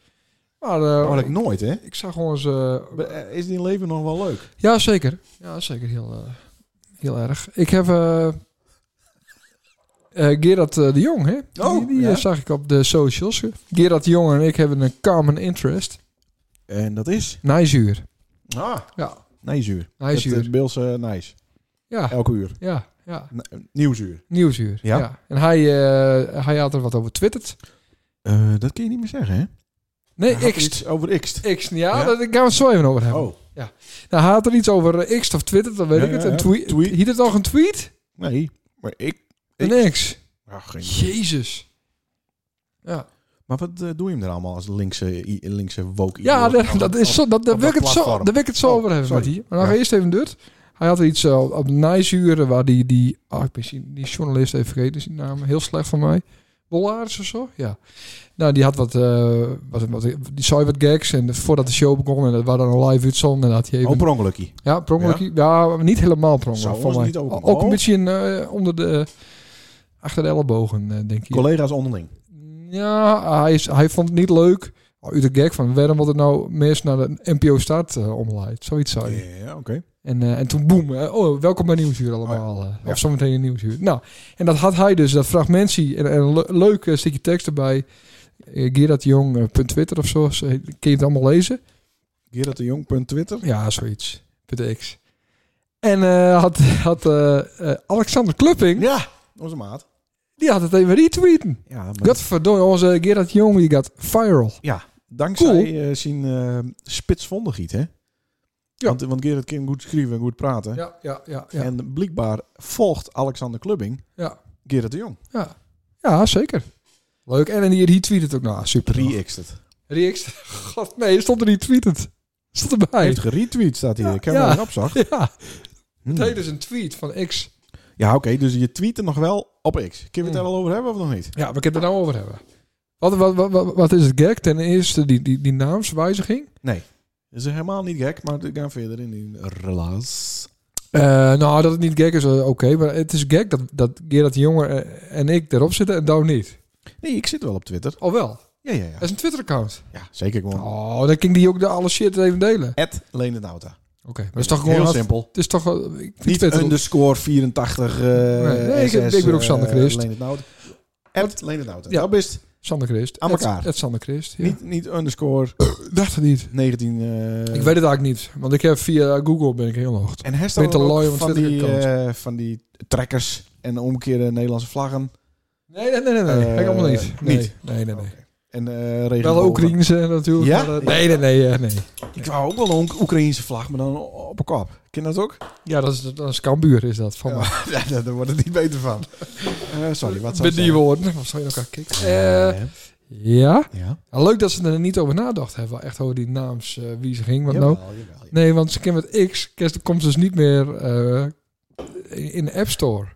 [SPEAKER 4] Maar eh,
[SPEAKER 2] Oh, dat
[SPEAKER 4] ik,
[SPEAKER 2] ik nooit, hè?
[SPEAKER 4] zag gewoon eens... eh,
[SPEAKER 2] Maar, eh, Is die leven nog wel leuk?
[SPEAKER 4] ja, zeker. Ja, zeker. Heel, eh, heel erg. Ik heb... eh eh, Gerard eh, de Jong, hè?
[SPEAKER 2] Oh,
[SPEAKER 4] die die,
[SPEAKER 2] ja.
[SPEAKER 4] eh, zag ik op de socials. Gerard de Jong en ik hebben een common interest.
[SPEAKER 2] En dat is?
[SPEAKER 4] Nijzuur.
[SPEAKER 2] Ah,
[SPEAKER 4] Ja,
[SPEAKER 2] nijzuur.
[SPEAKER 4] nijzuur.
[SPEAKER 2] Het, eh, Beelse nijs.
[SPEAKER 4] ja,
[SPEAKER 2] Elke uur.
[SPEAKER 4] ja, ja.
[SPEAKER 2] N- eh, nieuwzuur.
[SPEAKER 4] Nieuwsuur.
[SPEAKER 2] Ja.
[SPEAKER 4] Ja. En hij, eh, hij had er wat over twitterd.
[SPEAKER 2] Eh, dat kun je niet meer zeggen, hè?
[SPEAKER 4] Nee,
[SPEAKER 2] Hij had
[SPEAKER 4] X.
[SPEAKER 2] iets Over X.
[SPEAKER 4] X, ja,
[SPEAKER 2] Ja?
[SPEAKER 4] dat ik gaan we het zo even over hebben.
[SPEAKER 2] Oh,
[SPEAKER 4] Nou, hij had er iets over eh, X of Twitter, dan weet
[SPEAKER 2] Ja,
[SPEAKER 4] ik het.
[SPEAKER 2] ja,
[SPEAKER 4] Een
[SPEAKER 2] ja.
[SPEAKER 4] tweet.
[SPEAKER 2] Tweet.
[SPEAKER 4] Hiet het nog een tweet?
[SPEAKER 2] nee. Maar ik...
[SPEAKER 4] Een X.
[SPEAKER 2] Ach, geen...
[SPEAKER 4] Jezus. Ja,
[SPEAKER 2] Maar wat eh, doe je hem er allemaal als linkse, i- linkse woke?
[SPEAKER 4] ja
[SPEAKER 2] idool?
[SPEAKER 4] dat, dat is zo. Dat, daar
[SPEAKER 2] op
[SPEAKER 4] wil ik
[SPEAKER 2] dat
[SPEAKER 4] het zo,
[SPEAKER 2] platform.
[SPEAKER 4] daar wil ik het zo
[SPEAKER 2] Oh,
[SPEAKER 4] over hebben,
[SPEAKER 2] sorry.
[SPEAKER 4] Mattie. Maar dan
[SPEAKER 2] Ja.
[SPEAKER 4] ga eerst even dit. Hij had er iets eh, op Nijzuren waar die, die, ah, ik ben die- die journalist even vergeten, is die naam heel slecht van mij. Bollaars of zo, ja. Nou, die had wat, eh, wat, wat, die zei wat gags en voordat de show begon en dat was dan een live uitzond en dat had hij even
[SPEAKER 2] Oh, per ongelukkie.
[SPEAKER 4] Ja, per ongeluk. Ja, maar niet helemaal per ongeluk.
[SPEAKER 2] Zou
[SPEAKER 4] voor
[SPEAKER 2] ons
[SPEAKER 4] mij.
[SPEAKER 2] niet ook-
[SPEAKER 4] ook een
[SPEAKER 2] oh.
[SPEAKER 4] beetje een, eh, onder de... Achter de ellebogen, eh, denk ik.
[SPEAKER 2] Collega's onderling.
[SPEAKER 4] Ja, hij, is, hij vond het niet leuk. Oh, Uit de gag van, waarom wordt het nou mensen naar de NPO Start eh, omgeleid? Zoiets zou je.
[SPEAKER 2] Ja, oké.
[SPEAKER 4] En, eh, en toen boem, eh, oh, welkom bij Nieuwsuur allemaal. eh,
[SPEAKER 2] Oh, Ja.
[SPEAKER 4] Of zometeen in Nieuwsuur. Nou, en dat had hij dus, dat fragmentje en, en een le- leuk eh, stukje tekst erbij. Eh, Gerard Jong, eh, punt Twitter of zo. zo heet- Kun je het allemaal lezen?
[SPEAKER 2] Gerard de Jong, punt Twitter.
[SPEAKER 4] Ja, zoiets. Punt X. En eh, had, had eh, eh, Alexander Klupping,
[SPEAKER 2] Ja, onze maat.
[SPEAKER 4] die had het even retweeten.
[SPEAKER 2] Ja, maar
[SPEAKER 4] Godverdomme, onze Gerard Jong, die gaat viral.
[SPEAKER 2] dankzij
[SPEAKER 4] Cool.
[SPEAKER 2] eh, zijn eh, spitsvondigheid, hè?
[SPEAKER 4] Ja.
[SPEAKER 2] Want, want Gerard kan goed schrijven en goed praten.
[SPEAKER 4] Ja, ja, ja. Ja,
[SPEAKER 2] En blijkbaar volgt Alexander Klubbing
[SPEAKER 4] ja.
[SPEAKER 2] Gerard de Jong.
[SPEAKER 4] ja. ja zeker. Leuk. En, en die retweet het ook. Nou, super.
[SPEAKER 2] Re-ext het.
[SPEAKER 4] React. God, nee, stond er retweeted. Stond erbij.
[SPEAKER 2] heeft geretweet, staat hier.
[SPEAKER 4] Ja,
[SPEAKER 2] ik heb
[SPEAKER 4] ja.
[SPEAKER 2] hem erop zag.
[SPEAKER 4] Ja,
[SPEAKER 2] Hmm.
[SPEAKER 4] het heet dus een tweet van X.
[SPEAKER 2] Ja, oké. dus je tweet er nog wel op X. Kunnen we het
[SPEAKER 4] Hmm.
[SPEAKER 2] er al over hebben of nog niet?
[SPEAKER 4] Ja, we kunnen het er nou over hebben. Wat, wat, wat, wat, wat is het gag? Ten eerste die, die, die naamswijziging.
[SPEAKER 2] Dat is helemaal niet gek, maar we gaan verder in die relaas.
[SPEAKER 4] Eh, nou, dat het niet gek is, eh, oké. maar het is gek dat, dat Gerard de Jonge eh, en ik erop zitten en Douw niet.
[SPEAKER 2] Nee, ik zit wel op Twitter.
[SPEAKER 4] Al wel.
[SPEAKER 2] Ja, ja, ja.
[SPEAKER 4] Dat is een Twitter-account.
[SPEAKER 2] Ja, zeker gewoon.
[SPEAKER 4] Oh, dan ging die ook de alle shit even delen. Oké,
[SPEAKER 2] At Lene Nauta.
[SPEAKER 4] maar dat is toch gewoon...
[SPEAKER 2] Heel
[SPEAKER 4] wat-
[SPEAKER 2] simpel.
[SPEAKER 4] Het is toch... wel- Ik vind
[SPEAKER 2] Niet dus
[SPEAKER 4] Twitter-
[SPEAKER 2] underscore 84 eh
[SPEAKER 4] nee, ik-
[SPEAKER 2] SS,
[SPEAKER 4] ik ben ook
[SPEAKER 2] eh,
[SPEAKER 4] Sander Christ.
[SPEAKER 2] Lene Nauta. At Lene Nauta.
[SPEAKER 4] Ja.
[SPEAKER 2] Dat is
[SPEAKER 4] Sander Christ.
[SPEAKER 2] Aan
[SPEAKER 4] Het-
[SPEAKER 2] elkaar.
[SPEAKER 4] Het, Sander Christ, ja.
[SPEAKER 2] niet, niet underscore
[SPEAKER 4] Ik dacht het niet.
[SPEAKER 2] 19... eh,
[SPEAKER 4] ik weet het eigenlijk niet. Want ik heb via Google ben ik heel hoog.
[SPEAKER 2] En hij staat
[SPEAKER 4] Ik ben te
[SPEAKER 2] ook
[SPEAKER 4] looi om
[SPEAKER 2] van
[SPEAKER 4] Twitter
[SPEAKER 2] die,
[SPEAKER 4] account.
[SPEAKER 2] eh, van die trekkers en omgekeerde Nederlandse vlaggen.
[SPEAKER 4] Nee, nee, nee, nee. nee.
[SPEAKER 2] Eh,
[SPEAKER 4] Kijk, allemaal niet. Nee,
[SPEAKER 2] niet.
[SPEAKER 4] Nee, nee, nee.
[SPEAKER 2] Oké. En eh regenbogen.
[SPEAKER 4] Wel Oekraïense natuurlijk.
[SPEAKER 2] Ja?
[SPEAKER 4] maar, eh, nee, nee, nee, eh, nee.
[SPEAKER 2] Ik wou ook wel een Oek- Oekraïense vlag, maar dan op een kop. Ken je dat ook?
[SPEAKER 4] Ja, dat is, dat is Kambuur is dat van
[SPEAKER 2] Ja.
[SPEAKER 4] mij.
[SPEAKER 2] Ja, daar daar wordt het niet beter van. Eh, sorry, wat zou
[SPEAKER 4] Met die woorden. Wat zou je elkaar kicken? Eh, ja.
[SPEAKER 2] ja.
[SPEAKER 4] Ja, Leuk dat ze er niet over nadacht hebben. Echt over die naamswijziging. Wat
[SPEAKER 2] Jawel,
[SPEAKER 4] nou?
[SPEAKER 2] jawel, jawel.
[SPEAKER 4] Nee, want ze kennen met X. kerst- komt dus niet meer eh, in de App Store.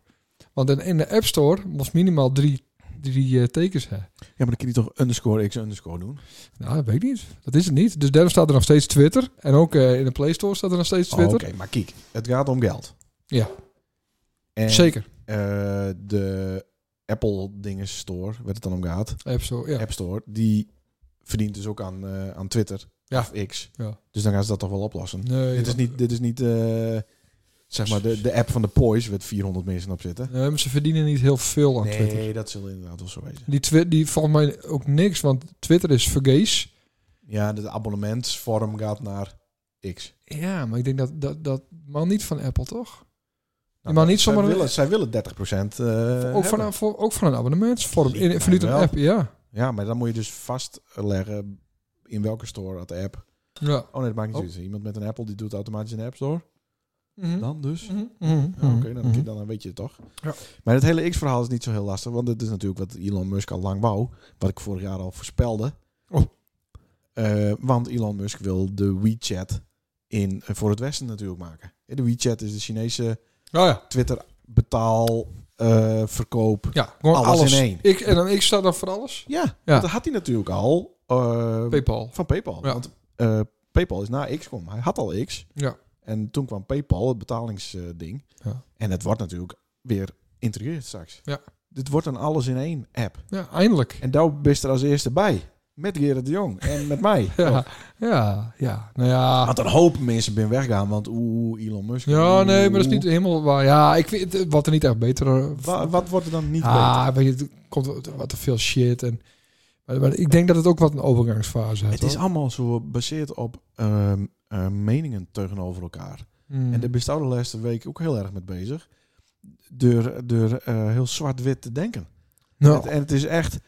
[SPEAKER 4] Want in, in de App Store moest minimaal drie, drie eh, tekens hebben.
[SPEAKER 2] Ja, maar dan kun je toch underscore x underscore doen?
[SPEAKER 4] Nou, dat weet ik niet. Dat is het niet. Dus daarom staat er nog steeds Twitter. En ook eh, in de Play Store staat er nog steeds
[SPEAKER 2] Oh, Oké,
[SPEAKER 4] Twitter.
[SPEAKER 2] maar kijk, het gaat om geld.
[SPEAKER 4] Ja.
[SPEAKER 2] En,
[SPEAKER 4] Zeker.
[SPEAKER 2] eh, de Apple dingen store, waar het dan om gaat,
[SPEAKER 4] App Store, ja.
[SPEAKER 2] App Store, die verdient dus ook aan, eh, aan Twitter
[SPEAKER 4] Ja.
[SPEAKER 2] of X.
[SPEAKER 4] Ja.
[SPEAKER 2] Dus dan gaan ze dat toch wel oplossen.
[SPEAKER 4] Nee,
[SPEAKER 2] dit is niet, dit is niet eh, zeg maar de, de app van de Poise, waar 400 mensen op zitten.
[SPEAKER 4] Nee, maar ze verdienen niet heel veel aan Twitter.
[SPEAKER 2] Nee, dat zal inderdaad wel zo wezen.
[SPEAKER 4] Die, twi- die valt mij ook niks, want Twitter is vergees.
[SPEAKER 2] Ja, de abonnementsvorm gaat naar X.
[SPEAKER 4] Ja, maar ik denk dat dat, dat man niet van Apple, toch?
[SPEAKER 2] Nou,
[SPEAKER 4] maar niet
[SPEAKER 2] zij
[SPEAKER 4] zomaar een-
[SPEAKER 2] willen, zij willen 30 procent. eh,
[SPEAKER 4] ook, van een, voor, ook van een abonnementsvorm.
[SPEAKER 2] Lijkt
[SPEAKER 4] In, vanuit
[SPEAKER 2] mij
[SPEAKER 4] een
[SPEAKER 2] wel.
[SPEAKER 4] app, ja.
[SPEAKER 2] Ja, maar dan moet je dus vastleggen in welke store dat de app.
[SPEAKER 4] ja.
[SPEAKER 2] Oh nee, dat maakt niet
[SPEAKER 4] Oh.
[SPEAKER 2] uit. Iemand met een Apple die doet automatisch in de App Store.
[SPEAKER 4] Mhm.
[SPEAKER 2] Dan dus. Hm.
[SPEAKER 4] Mhm. Mhm.
[SPEAKER 2] Ja, Oké, dan,
[SPEAKER 4] Mhm.
[SPEAKER 2] dan weet je het toch.
[SPEAKER 4] Ja.
[SPEAKER 2] Maar het hele X-verhaal is niet zo heel lastig, want het is natuurlijk wat Elon Musk al lang wou, wat ik vorig jaar al voorspelde.
[SPEAKER 4] Oh.
[SPEAKER 2] Eh, want Elon Musk wil de eh, WeChat in, voor het Westen natuurlijk maken. De WeChat is de Chinese
[SPEAKER 4] Oh ja,
[SPEAKER 2] Twitter betaal, eh, verkoop.
[SPEAKER 4] Ja, gewoon
[SPEAKER 2] Alles
[SPEAKER 4] alles.
[SPEAKER 2] in één.
[SPEAKER 4] Ik, en dan ik sta dan voor alles.
[SPEAKER 2] Ja,
[SPEAKER 4] Ja.
[SPEAKER 2] dat had hij natuurlijk al eh,
[SPEAKER 4] Paypal.
[SPEAKER 2] van PayPal.
[SPEAKER 4] Ja.
[SPEAKER 2] Want eh, PayPal is na XCOM. Hij had al X.
[SPEAKER 4] Ja.
[SPEAKER 2] En toen kwam PayPal, het betalingsding.
[SPEAKER 4] Ja.
[SPEAKER 2] En het wordt natuurlijk weer integreerd straks.
[SPEAKER 4] Ja.
[SPEAKER 2] Dit wordt een alles in één app.
[SPEAKER 4] Ja, eindelijk.
[SPEAKER 2] En daar bist er als eerste bij. Met Gerard de Jong en met mij.
[SPEAKER 4] Ja, ja, ja. Nou ja.
[SPEAKER 2] Had een hoop mensen ben weggaan, want oeh, Elon Musk.
[SPEAKER 4] Ja,
[SPEAKER 2] oeh.
[SPEAKER 4] nee, maar dat is niet helemaal waar. Ja, ik vind het wat er niet echt beter. eh,
[SPEAKER 2] Wa- wat wordt er dan niet beter?
[SPEAKER 4] Ah, weet je, er komt wat- wat te veel shit. En, maar, maar ik denk dat het ook wat een overgangsfase heeft.
[SPEAKER 2] Het is
[SPEAKER 4] hoor.
[SPEAKER 2] allemaal zo gebaseerd op ehm, eh, meningen tegenover elkaar.
[SPEAKER 4] Mm.
[SPEAKER 2] En daar ben je de laatste week ook heel erg mee bezig. Door, door eh, heel zwart-wit te denken.
[SPEAKER 4] nou,
[SPEAKER 2] Het- en het is echt